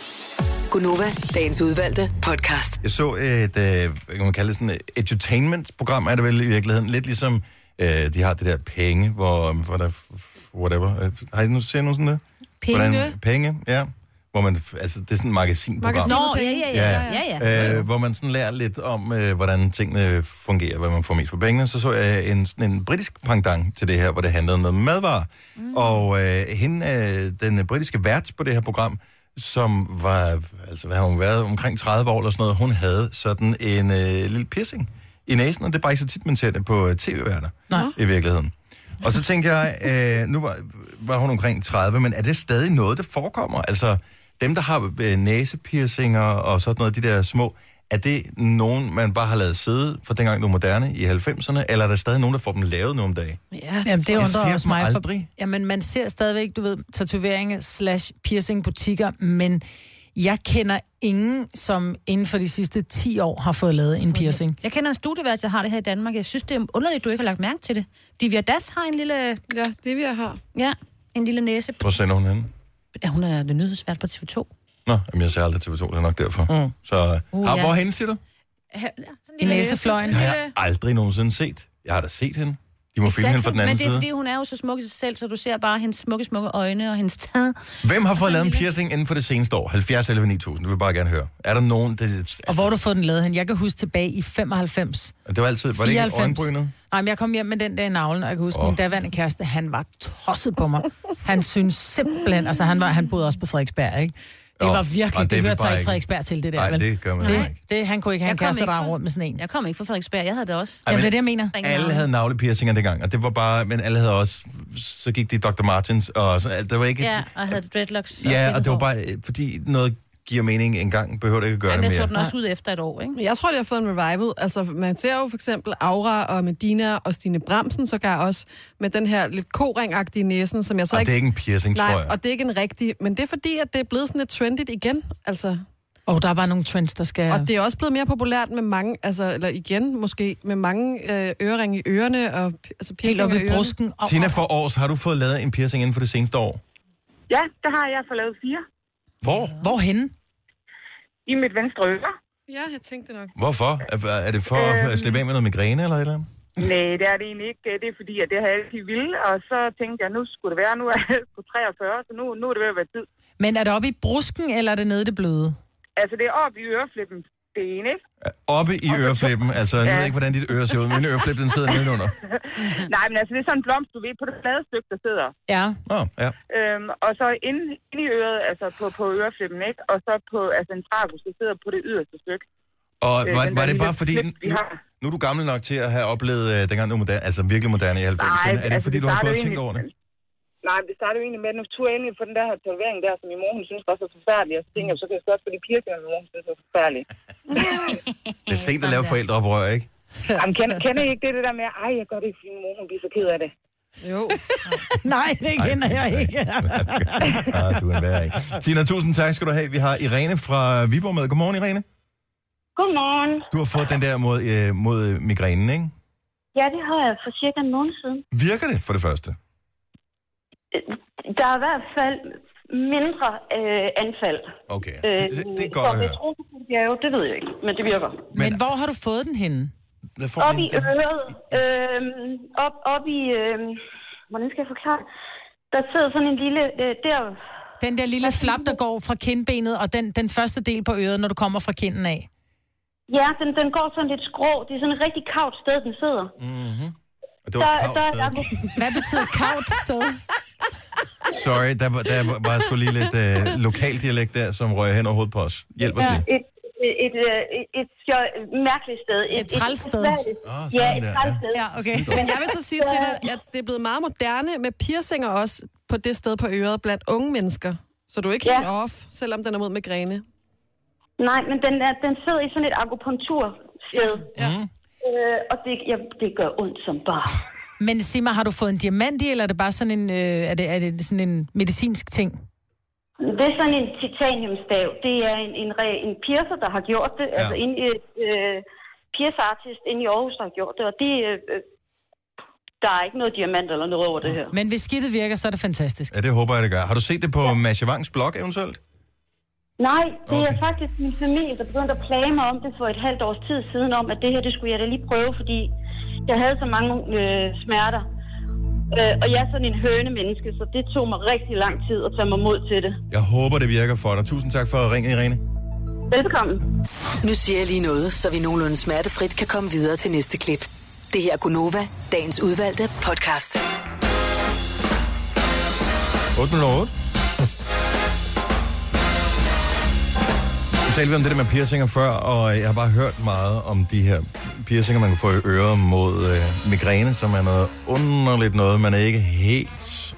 Speaker 6: Gunova, dagens udvalgte podcast.
Speaker 1: Jeg så et, øh, hvad kan man kalde det, sådan et edutainment-program, er det vel i virkeligheden. Lidt ligesom, øh, de har det der penge, hvor, hvor der, whatever. Øh, Har I nu set nogen sådan det?
Speaker 2: Penge?
Speaker 1: penge, ja. Hvor man, f- altså, det er sådan et magasinprogram.
Speaker 4: Magasin med Nå, penge. ja, ja, ja, ja, ja.
Speaker 1: Øh, hvor man sådan lærer lidt om, øh, hvordan tingene fungerer, hvad man får mest for pengene. Så så jeg en, sådan en britisk pendant til det her, hvor det handlede om noget madvarer. Mm. Og øh, hende, øh, den britiske vært på det her program, som var, altså hvad har hun været, omkring 30 år eller sådan noget, hun havde sådan en øh, lille piercing i næsen, og det er bare ikke så tit, man ser det på øh, tv-værter
Speaker 2: Nej.
Speaker 1: i virkeligheden. Og så tænker jeg, øh, nu var, var hun omkring 30, men er det stadig noget, der forekommer? Altså, dem, der har øh, næsepiercinger og sådan noget, de der små, er det nogen, man bare har lavet sidde for dengang det var moderne i 90'erne, eller er der stadig nogen, der får dem lavet nu om dagen?
Speaker 2: Ja, Jamen, det
Speaker 1: Jeg
Speaker 2: undrer
Speaker 1: ser
Speaker 2: også
Speaker 1: dem
Speaker 2: mig.
Speaker 1: aldrig.
Speaker 2: For, jamen, man ser stadigvæk, du ved, tatoveringer slash piercing butikker, men jeg kender ingen, som inden for de sidste 10 år har fået lavet en piercing.
Speaker 4: Jeg kender en studievært, der har det her i Danmark. Jeg synes, det er underligt, at du ikke har lagt mærke til det. Divya Das har en lille...
Speaker 5: Ja, Divya har.
Speaker 4: Ja, en lille næse.
Speaker 1: Hvor sender hun hende?
Speaker 4: Ja, hun er det nyhedsvært på TV2.
Speaker 1: Nå, jamen, jeg ser aldrig TV2, det er nok derfor. Mm. Så, uh,
Speaker 4: Uh,
Speaker 1: har,
Speaker 4: ja.
Speaker 1: hvor hende siger du?
Speaker 4: Ja, en
Speaker 2: I næsefløjen.
Speaker 1: Det har jeg aldrig nogensinde set. Jeg har da set hende. De må finde hende fra den anden
Speaker 4: men det er,
Speaker 1: side.
Speaker 4: fordi hun er jo så smuk i sig selv, så du ser bare hendes smukke, smukke øjne og hendes [laughs] tad.
Speaker 1: Hvem har fået lavet en piercing inden for det seneste år? 70 11 9000, det vil jeg bare gerne høre. Er der nogen, det,
Speaker 2: Og hvor har du fået den lavet hen? Jeg kan huske tilbage i 95.
Speaker 1: det var altid, var det ikke øjenbrynet?
Speaker 2: Nej, men jeg kom hjem med den der i navlen, og jeg kan huske, oh. min daværende kæreste, han var tosset på mig. Han synes simpelthen, altså han, var, han boede også på Frederiksberg, ikke? Det
Speaker 1: Jo,
Speaker 2: var
Speaker 1: og
Speaker 2: virkelig,
Speaker 1: det er
Speaker 2: det
Speaker 1: vi
Speaker 2: hørte sig
Speaker 1: bare
Speaker 2: ikke
Speaker 1: ikke.
Speaker 2: Frederiksberg til, det der.
Speaker 1: Nej,
Speaker 2: vel?
Speaker 1: det gør man
Speaker 2: det,
Speaker 1: ikke.
Speaker 2: Det, han kunne ikke have en
Speaker 4: Jeg kom
Speaker 2: kæreste,
Speaker 4: ikke
Speaker 2: der
Speaker 4: fra-
Speaker 2: rundt med sådan en.
Speaker 4: Jeg kom ikke fra Frederiksberg, jeg havde det også.
Speaker 1: Ej, men
Speaker 2: Jamen, det er det, jeg mener.
Speaker 1: Alle havde navlepiercinger dengang, og det var bare, men alle havde også, så gik de Dr. Martens, og så, det var ikke...
Speaker 4: Ja, og havde dreadlocks.
Speaker 1: ja og det var
Speaker 4: fedtet hår.
Speaker 1: bare, øh, fordi noget giver mening en gang, behøver det ikke at gøre
Speaker 4: Ej, men
Speaker 1: det
Speaker 4: jeg
Speaker 1: mere.
Speaker 4: tog den også ud efter et år, ikke?
Speaker 5: Men Jeg tror, det har fået en revival. Altså, man ser jo for eksempel Aura og Medina og Stine Bramsen sågar også med den her lidt koringagtige næsen, som jeg så
Speaker 1: Og
Speaker 5: ikke...
Speaker 1: det er ikke en piercing,
Speaker 5: Nej,
Speaker 1: tror jeg.
Speaker 5: og det er ikke en rigtig... Men det er fordi, at det er blevet sådan lidt trendigt igen, altså...
Speaker 2: Og der er bare nogle trends, der skal...
Speaker 5: Og det er også blevet mere populært med mange, altså, eller igen måske, med mange øh, øreringe i ørerne og p- altså, piercinger
Speaker 2: op i
Speaker 5: ørerne.
Speaker 2: brusken.
Speaker 1: Tina, for års, har du fået lavet en piercing inden for det seneste år?
Speaker 15: Ja, der har jeg fået lavet fire
Speaker 1: Hvor?
Speaker 2: Hvorhenne?
Speaker 15: i mit venstre øre.
Speaker 5: Ja, jeg tænkte nok.
Speaker 1: Hvorfor? Er, er det for at slippe af med noget migræne eller et eller andet?
Speaker 15: Nej, det er det egentlig ikke. Det er fordi, at det har jeg altid ville, og så tænkte jeg, nu skulle det være, nu er jeg på 43, så nu, nu er det ved at være tid.
Speaker 2: Men er det oppe i brusken, eller er det nede i det bløde?
Speaker 15: Altså, det er op i øreflippen, det ene,
Speaker 5: [laughs]
Speaker 15: ikke?
Speaker 1: Oppe i øreflippen, altså, jeg ved ikke, hvordan dit øre ser ud, men min øreflip, den sidder nedenunder.
Speaker 15: Nej, men altså, det er sådan en blomst, du ved, på det flade stykke, der sidder.
Speaker 2: Ja.
Speaker 1: Nå, ja.
Speaker 15: Øhm, og så inde, inde i øret, altså på, på øreflippen, ikke? Og så på, altså en tragus, der sidder på det yderste stykke.
Speaker 1: Og
Speaker 15: Øh,
Speaker 1: var,
Speaker 15: den
Speaker 1: var
Speaker 15: der
Speaker 1: det
Speaker 15: lille
Speaker 1: bare fordi,
Speaker 15: knip, vi
Speaker 1: nu,
Speaker 15: har.
Speaker 1: nu er du gammel nok til at have oplevet øh, dengang du var moderne, altså virkelig moderne i 90'erne. Er
Speaker 10: altså,
Speaker 1: det fordi, du har
Speaker 15: altså, startede
Speaker 1: gået og
Speaker 15: jo
Speaker 1: tænkt over det?
Speaker 15: egentlig- Nej, men det startede jo egentlig med, at nu tog jeg endelig på den der her tatovering der, som min mor, hun synes var så forfærdelig. Og så tænkte jeg, så kan jeg godt få de piercinger, min mor, hun synes var
Speaker 4: [laughs]
Speaker 15: forfærdelige.
Speaker 1: Det er sent at lave forældreoprør, ikke?
Speaker 15: Jamen, kender, kender I ikke det, det der med, ej, jeg gør det ikke, fordi min mor, hun bliver så ked af det? [laughs]
Speaker 5: Jo.
Speaker 2: Nej, det kender jeg ikke.
Speaker 1: [laughs] Nej, Ah, du er en værre, ikke? Tina, tusind tak skal du have. Vi har Irene fra Viborg med. Godmorgen, Irene.
Speaker 16: Godmorgen.
Speaker 1: Du har fået den der mod, øh, mod øh, migrænen, ikke?
Speaker 16: Ja, det har jeg for cirka en måned siden.
Speaker 1: Virker det for det første?
Speaker 16: Der er i hvert fald mindre øh, anfald. Øh,
Speaker 1: Okay, det, det, det er godt
Speaker 16: så
Speaker 1: at høre.
Speaker 16: tror, det er jo, det ved jeg ikke, men det virker.
Speaker 2: Men, men hvor har du fået den henne?
Speaker 1: Lad
Speaker 2: få
Speaker 16: Op
Speaker 2: den
Speaker 16: i
Speaker 2: der.
Speaker 16: øret, øh, op, op i, øh, hvordan skal jeg forklare? Der sidder sådan en lille, øh, der,
Speaker 2: Den der lille flap, der går fra kindbenet, og den, den første del på øret, når du kommer fra kinden af.
Speaker 16: ja, den, den går sådan lidt skrå. Det er sådan et rigtig kavt sted, den sidder.
Speaker 1: Mm-hmm. Og det
Speaker 16: Der,
Speaker 1: var et
Speaker 16: der,
Speaker 1: kavt
Speaker 16: der,
Speaker 1: sted.
Speaker 2: Hvad betyder kavt sted?
Speaker 1: Sorry, der, var- der var- var sgu lige lidt øh, lokal dialekt der, som røg hen over hovedet på os. Hjælp os
Speaker 16: Ja,
Speaker 1: lige.
Speaker 16: et, et, et, øh, et, et, sjov- mærkeligt sted. Et, et
Speaker 2: træls sted.
Speaker 16: besværligt-
Speaker 1: Ah,
Speaker 16: ja,
Speaker 1: sådan
Speaker 16: et
Speaker 1: der,
Speaker 16: træls
Speaker 1: ja.
Speaker 16: sted.
Speaker 2: Ja, okay.
Speaker 5: Men jeg vil så sige til dig, at det er blevet meget moderne med piercinger også på det sted på øret blandt unge mennesker. Så du er ikke helt off, selvom den er mod migræne.
Speaker 16: Nej, men den, er, den sidder i sådan et akupunktursted.
Speaker 5: Ja.
Speaker 16: Øh, og det, ja, det gør ondt som bare.
Speaker 2: Men sig mig, har du fået en diamant i, eller er det bare sådan en, øh, er det, er det sådan en medicinsk ting?
Speaker 16: Det er sådan en titaniumstav. Det er en, en, re, en piercer, der har gjort det. Ja. Altså en øh, piercerartist inde i Aarhus, der har gjort det. Og det, øh, øh, der er ikke noget diamant eller noget over det her.
Speaker 2: Men hvis skidtet virker, så er det fantastisk.
Speaker 1: Ja, det håber jeg, det gør. Har du set det på ja. Masha Wangs blog eventuelt?
Speaker 16: Nej, det okay. er faktisk min familie, der begyndte at plage mig om det for et halvt års tid siden, om at det her, det skulle jeg da lige prøve, fordi jeg havde så mange øh, smerter. Øh, og jeg er sådan en hønemenneske, så det tog mig rigtig lang tid at tage mig mod til det.
Speaker 1: Jeg håber, det virker for dig. Tusind tak for at ringe, Irene.
Speaker 16: Velbekomme.
Speaker 6: Nu siger jeg lige noget, så vi nogenlunde smertefrit kan komme videre til næste klip. Det her er Gunova, dagens udvalgte podcast.
Speaker 1: 808. Nu talte vi om det der med piercinger før, og jeg har bare hørt meget om de her piercinger, man kan få i øret mod øh, migræne, som er noget underligt noget, man ikke helt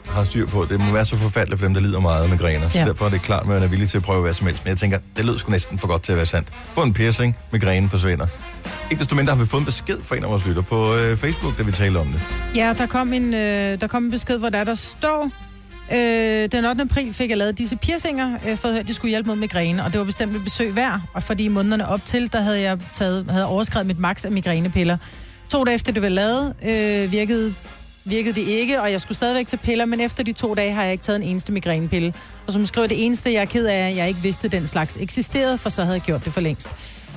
Speaker 1: har styr på. Det må være så forfærdeligt for dem, der lider meget af migræner. Så
Speaker 2: Ja.
Speaker 1: ja. derfor er det klart, at man er villig til at prøve hvad som helst. Men jeg tænker, det lød sgu næsten for godt til at være sandt. Få en piercing, migrænen forsvinder. Ikke desto mindre har vi fået en besked fra en af vores lytter på øh, Facebook, da vi talte om det.
Speaker 2: Ja, der kom en, øh, der kom en besked, hvor der, der står... Øh, den 8. april fik jeg lavet disse piercinger, øh, for at høre, at de skulle hjælpe mod migræne, og det var bestemt et besøg værd, og fordi i månederne op til, der havde jeg taget, havde overskrevet mit max af migrænepiller. To dage efter det var lavet, øh, virkede, virkede de ikke, og jeg skulle stadigvæk til piller, men efter de to dage har jeg ikke taget en eneste migrænepille. Og som hun skriver, det eneste jeg er ked af, er, at jeg ikke vidste, den slags eksisterede, for så havde jeg gjort det for længst.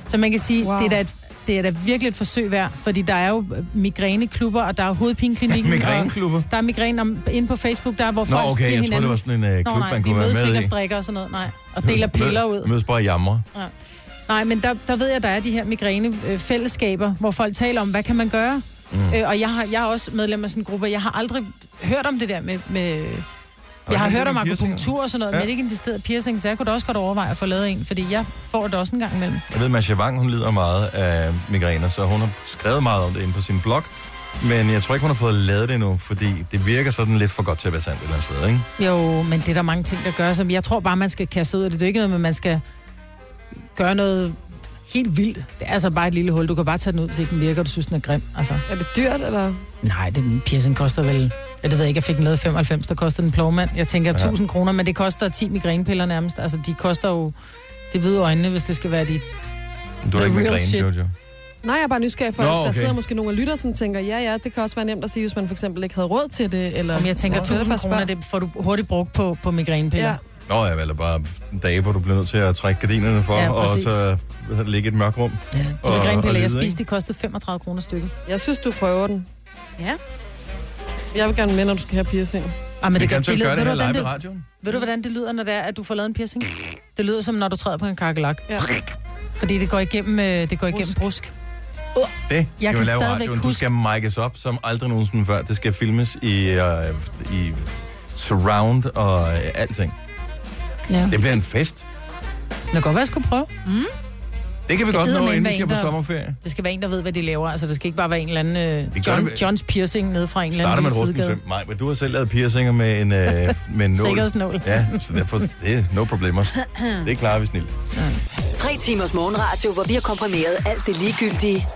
Speaker 2: Så man kan sige, wow. det er da et det er da virkelig et forsøg værd, fordi der er jo øh, migræneklubber, og der er hovedpineklinikken.
Speaker 1: Migræneklubber?
Speaker 2: og Der er migræne om- inde på Facebook, der hvor
Speaker 1: Nå,
Speaker 2: folk
Speaker 1: okay,
Speaker 2: giver
Speaker 1: jeg
Speaker 2: hinanden.
Speaker 1: troede, det var sådan en, øh, klub,
Speaker 2: Nå, nej,
Speaker 1: man kunne
Speaker 2: de
Speaker 1: være
Speaker 2: mødes
Speaker 1: med
Speaker 2: ikke
Speaker 1: i.
Speaker 2: og strikker og sådan noget, nej. Og deler piller ud.
Speaker 1: Mødes bare og jamre.
Speaker 2: Ja. Nej, men der, der ved jeg, der er de her migrænefællesskaber, hvor folk taler om, hvad kan man gøre? Mm.
Speaker 1: Mm.
Speaker 2: Øh, og jeg, har, jeg er også medlem af sådan en gruppe, og jeg har aldrig hørt om det der med... med jeg har
Speaker 1: det
Speaker 2: hørt
Speaker 1: med
Speaker 2: om
Speaker 1: piercinger?
Speaker 2: akupunktur og sådan noget, ja.
Speaker 1: Ja.
Speaker 2: men ikke en decideret piercing, så jeg kunne da også godt overveje at få lavet en, fordi jeg får det også en gang imellem.
Speaker 1: Jeg ved, Masha Wang, hun lider meget af migræner, så hun har skrevet meget om det inde på sin blog. Men jeg tror ikke, hun har fået lavet det endnu, fordi det virker sådan lidt for godt til at være sandt et eller andet sted, ikke?
Speaker 2: Jo, men det er der mange ting, der gør, som jeg tror bare, man skal kaste ud af det. Det er jo ikke noget med, at man skal gøre noget helt vildt. Det er altså bare et lille hul. Du kan bare tage den ud, så ikke den virker, og du synes, den er grim. Altså. Er det dyrt, eller? Nej, den piercing koster vel... Jeg ved ikke, jeg fik den lavet i 95, der kostede en plovmand. Jeg tænker
Speaker 1: Ja.
Speaker 2: ja. 1000 kroner, men det koster 10 migrænepiller nærmest. Altså, de koster jo... Det ved øjnene, hvis det skal være dit.
Speaker 1: Du har
Speaker 2: The
Speaker 1: ikke
Speaker 2: real
Speaker 1: migræne,
Speaker 2: shit.
Speaker 1: Jojo.
Speaker 5: Nej, jeg er bare nysgerrig for,
Speaker 1: Nå,
Speaker 5: Nå, okay. der
Speaker 1: okay.
Speaker 5: sidder måske nogle og lytter, som tænker, ja, ja, det kan også være nemt at sige, hvis man for eksempel ikke havde råd til det. Eller
Speaker 2: Om jeg tænker, 1000 kroner, det får du hurtigt brugt på, på migrænepiller.
Speaker 5: Ja.
Speaker 2: Ja.
Speaker 1: Nå ja, eller bare dage, hvor du bliver nødt til at trække gardinerne for,
Speaker 2: Ja,
Speaker 1: ja, og
Speaker 2: præcis.
Speaker 1: så øh, ligge i et mørkt rum.
Speaker 2: Ja, Så migrænepiller, jeg
Speaker 1: lide, ikke?
Speaker 2: spiste, de kostede 35 kroner stykket.
Speaker 5: Jeg synes, du prøver den.
Speaker 2: Ja.
Speaker 5: Jeg vil gerne med, når du skal have piercing.
Speaker 2: Ah, men
Speaker 1: Vi kan
Speaker 2: det gør,
Speaker 1: eventuelt gøre det
Speaker 2: det, lyder- ved du,
Speaker 1: her
Speaker 2: hvordan
Speaker 1: live i radioen.
Speaker 2: Ved du, hvordan det lyder, når det er, at du får lavet en piercing? Det lyder som, når du træder på en kakelak. Ja. Fordi det går igennem, øh, det går igennem brusk.
Speaker 1: Det
Speaker 2: Jeg
Speaker 1: jeg
Speaker 2: kan
Speaker 1: kan lave
Speaker 2: stadigvæk
Speaker 1: radioen. Du skal mic'es op som aldrig nogensinde før. Det skal filmes i, øh, i surround og øh, alting.
Speaker 2: Ja.
Speaker 1: Det bliver en fest.
Speaker 2: Det kan godt være, jeg skulle prøve. Mm.
Speaker 1: Det kan vi godt nå,
Speaker 2: eddermame
Speaker 1: inden vi
Speaker 2: være
Speaker 1: skal
Speaker 2: en,
Speaker 1: på
Speaker 2: der-
Speaker 1: sommerferie.
Speaker 2: Det skal være en, der ved, hvad de laver. Altså, det skal ikke bare være en eller anden
Speaker 1: Vi
Speaker 2: øh,
Speaker 1: gør
Speaker 2: John,
Speaker 1: det ved-
Speaker 2: Johns piercing nede fra en eller
Speaker 1: Starter
Speaker 2: anden
Speaker 1: med
Speaker 2: lille
Speaker 1: rusten søm. Nej, men du har selv lavet piercinger med en, øh,
Speaker 2: [laughs]
Speaker 1: med en nål.
Speaker 2: Sikkerhedsnål.
Speaker 1: Ja, så derfor, det er no problemer.
Speaker 2: [clears throat]
Speaker 1: Det klarer vi
Speaker 7: [clears throat]
Speaker 1: snilt.
Speaker 6: Tre timers morgenradio, hvor vi har komprimeret alt det ligegyldige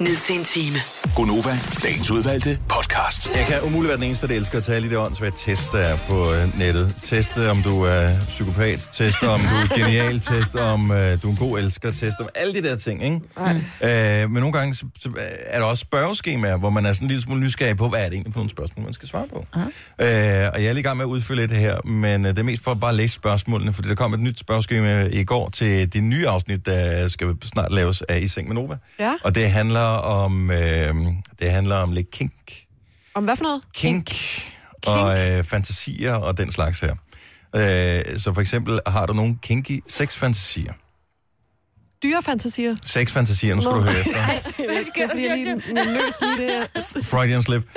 Speaker 6: ned til en time.
Speaker 7: Gonova, dagens udvalgte podcast.
Speaker 1: Jeg kan umuligt være den eneste, der elsker at tage alle de der åndssvage test, der er på øh, nettet. Test, øh, om du er psykopat. Test, om du er
Speaker 2: [laughs]
Speaker 1: genial. Test, om øh, du er en god elsker. Test, om alle de der ting, ikke? Øh, men nogle gange så, så er der også spørgeskemaer, hvor man er sådan en lille smule nysgerrig på, hvad er det egentlig for nogle spørgsmål, man skal svare på. Øh, og jeg er lige i gang med at udfylde et her, men øh, det er mest for at bare læse spørgsmålene, fordi der kom et nyt spørgeskema i går til det nye afsnit, der skal snart laves af I Seng med Nova.
Speaker 5: Ja.
Speaker 1: Og det handler om, øh, det handler om lidt kink
Speaker 5: Om hvad for noget?
Speaker 1: kink, og øh, fantasier og den slags her. Øh, så for eksempel, har du nogle kinky sexfantasier?
Speaker 5: Dyrefantasier.
Speaker 1: Sexfantasier, nu skal du høre efter.
Speaker 5: [laughs] Hvad sker der, Jojo? Nervøs [laughs] lige det her.
Speaker 1: Freudian slip.
Speaker 3: [laughs]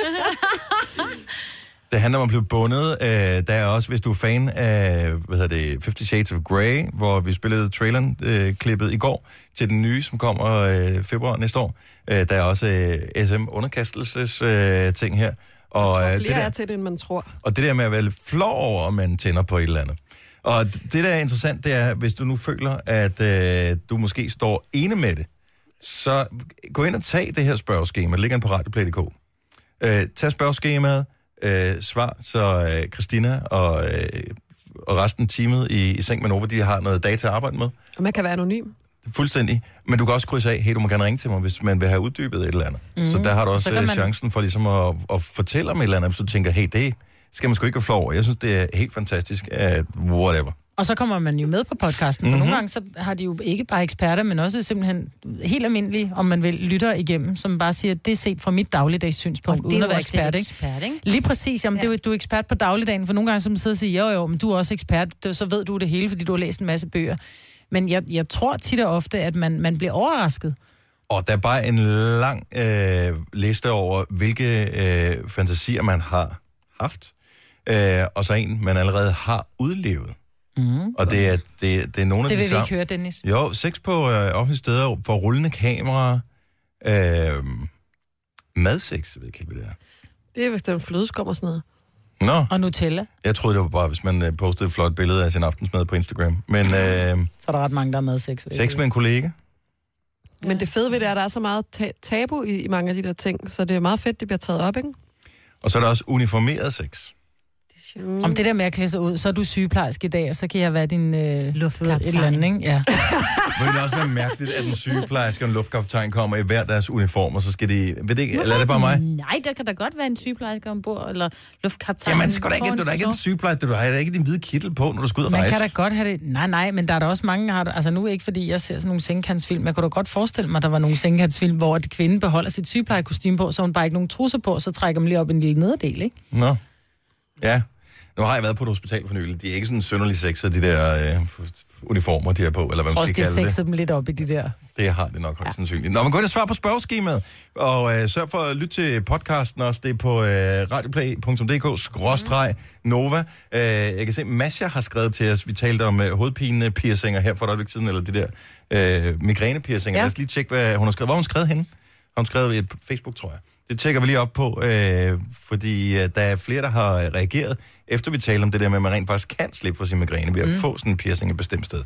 Speaker 1: Det handler om at blive bundet. Øh, der er også, hvis du er fan af, hvad hedder det, 50 Shades of Grey, hvor vi spillede traileren-klippet i går til den nye, som kommer øh, februar næste år. Øh, der er også øh, SM-underkastelses-ting øh, ting her. Og, øh,
Speaker 5: Flere er til det, end man tror.
Speaker 1: Og det der med at være lidt flov over, om man tænder på et eller andet. Og det, der er interessant, det er, hvis du nu føler, at øh, du måske står ene med det, så gå ind og tag det her spørgeskema. Det ligger inde på radioplay.dk. Øh, tag spørgeskemaet, øh, svar, så øh, Christina og, øh, og resten af teamet i, i Seng med Nova, de har noget data at arbejde med.
Speaker 5: Og man kan være anonym.
Speaker 1: Fuldstændig. Men du kan også krydse af, hey, du må gerne ringe til mig, hvis man vil have uddybet et eller andet. Mm. Så der har du
Speaker 2: Mhm.
Speaker 1: også
Speaker 2: Så kan
Speaker 1: man...
Speaker 2: man-
Speaker 1: chancen for ligesom at, at fortælle om et eller andet, hvis du tænker, hey, det skal man sgu ikke være flov over. Jeg synes, det er helt fantastisk, at whatever.
Speaker 2: Og så kommer man jo med på podcasten,
Speaker 1: Mhm.
Speaker 2: for mm-hmm. nogle gange så har de jo ikke bare eksperter, men også simpelthen helt almindelige, om man vil, lytter igennem, som bare siger, det er set fra mit dagligdags synspunkt,
Speaker 4: Og det er
Speaker 2: uden
Speaker 4: jo
Speaker 2: at være
Speaker 4: også det
Speaker 2: ekspert, ikke?
Speaker 4: ekspert, ikke?
Speaker 2: Lige præcis, jamen, ja. det er jo, du er ekspert på dagligdagen, for nogle gange så man sidder og siger, jo jo, men du er også ekspert, det- så ved du det hele, fordi du har læst en masse bøger. Men jeg, jeg tror tit og ofte, at man, man bliver overrasket.
Speaker 1: Og der er bare en lang øh, liste over, hvilke øh, fantasier man har haft, øh, og så en, man allerede har udlevet.
Speaker 2: Mm.
Speaker 1: Og det er, det, det er nogle af de
Speaker 2: Det vil vi
Speaker 1: samme-
Speaker 2: ikke høre, Dennis.
Speaker 1: Jo, sex på øh, offentlige steder for rullende kameraer. Øh, madsex, jeg ved ikke, helt, hvad det er.
Speaker 5: Det er vist den flødeskum og sådan noget.
Speaker 1: Nå,
Speaker 2: Og Nutella.
Speaker 1: jeg troede, det var bare, hvis man øh, postede et flot billede af sin aftensmad på Instagram.
Speaker 2: [laughs]
Speaker 1: Men øh,
Speaker 2: Så er der ret mange, der er med sex. vil jeg
Speaker 1: sex
Speaker 2: sige.
Speaker 1: med en kollega?
Speaker 5: Men det fede ved det er, at der er så meget ta- tabu i, i mange af de der ting, så det er meget fedt, det bliver taget op, ikke?
Speaker 1: Og så er der også uniformeret sex.
Speaker 5: Mm.
Speaker 2: Om det der med at klæde sig ud, så er du sygeplejerske i dag, og så kan jeg være din øh,
Speaker 4: luftkaptajn.
Speaker 2: Et eller andet, ikke? Ja.
Speaker 1: Må det også være mærkeligt, at en sygeplejerske og en luftkaptajn kommer i hver deres uniform, og så skal de... Ved det ikke, eller er det bare mig?
Speaker 4: Nej, der kan da godt være en sygeplejerske ombord, eller luftkaptajn.
Speaker 1: Jamen, skal da ikke,
Speaker 4: foran
Speaker 1: du er da ikke
Speaker 4: så-
Speaker 1: en sygeplejerske, du har da ikke din hvide kittel på, når du skal ud og
Speaker 2: Man
Speaker 1: rejse.
Speaker 2: kan da godt have det. Nej, nej, men der er der også mange, har, altså nu ikke fordi jeg ser sådan nogle sengekantsfilm, men jeg kunne da godt forestille mig, at der var nogle sengekantsfilm, hvor et kvinde beholder sit sygeplejekostyme på, så har hun bare ikke nogen trusser på, så trækker man lige op i en lille nederdel, ikke?
Speaker 1: Nå. Ja. Nu har jeg været på et hospital for nylig. De er ikke sådan sønderlig sexet, de der øh, f- uniformer, de har på, eller hvad
Speaker 2: Jeg
Speaker 1: man
Speaker 2: tror også,
Speaker 1: skal
Speaker 2: de har
Speaker 1: kalde det.
Speaker 2: sexet dem lidt op i de der.
Speaker 1: Det har det nok højst sandsynligt. Nå, men gå ind og svar på spørgeskemaet, og øh, sørg for at lytte til podcasten også. Det er på øh, radioplay.dk-nova. Øh, jeg kan se, Masha har skrevet til os. Vi talte om øh, hovedpine-piercinger her for et øjeblik siden, eller de der øh, migræne-piercinger. Ja.
Speaker 17: Ja.
Speaker 1: Lad os lige tjekke, hvad hun har skrevet. Hvor har hun skrevet henne? Har hun skrevet i Facebook, tror jeg. Det tjekker vi lige op på, øh, fordi øh, der er flere, der har øh, reageret, efter vi taler om det der med, at man rent faktisk kan slippe for sin migræne ved at mm. få sådan en piercing et bestemt sted.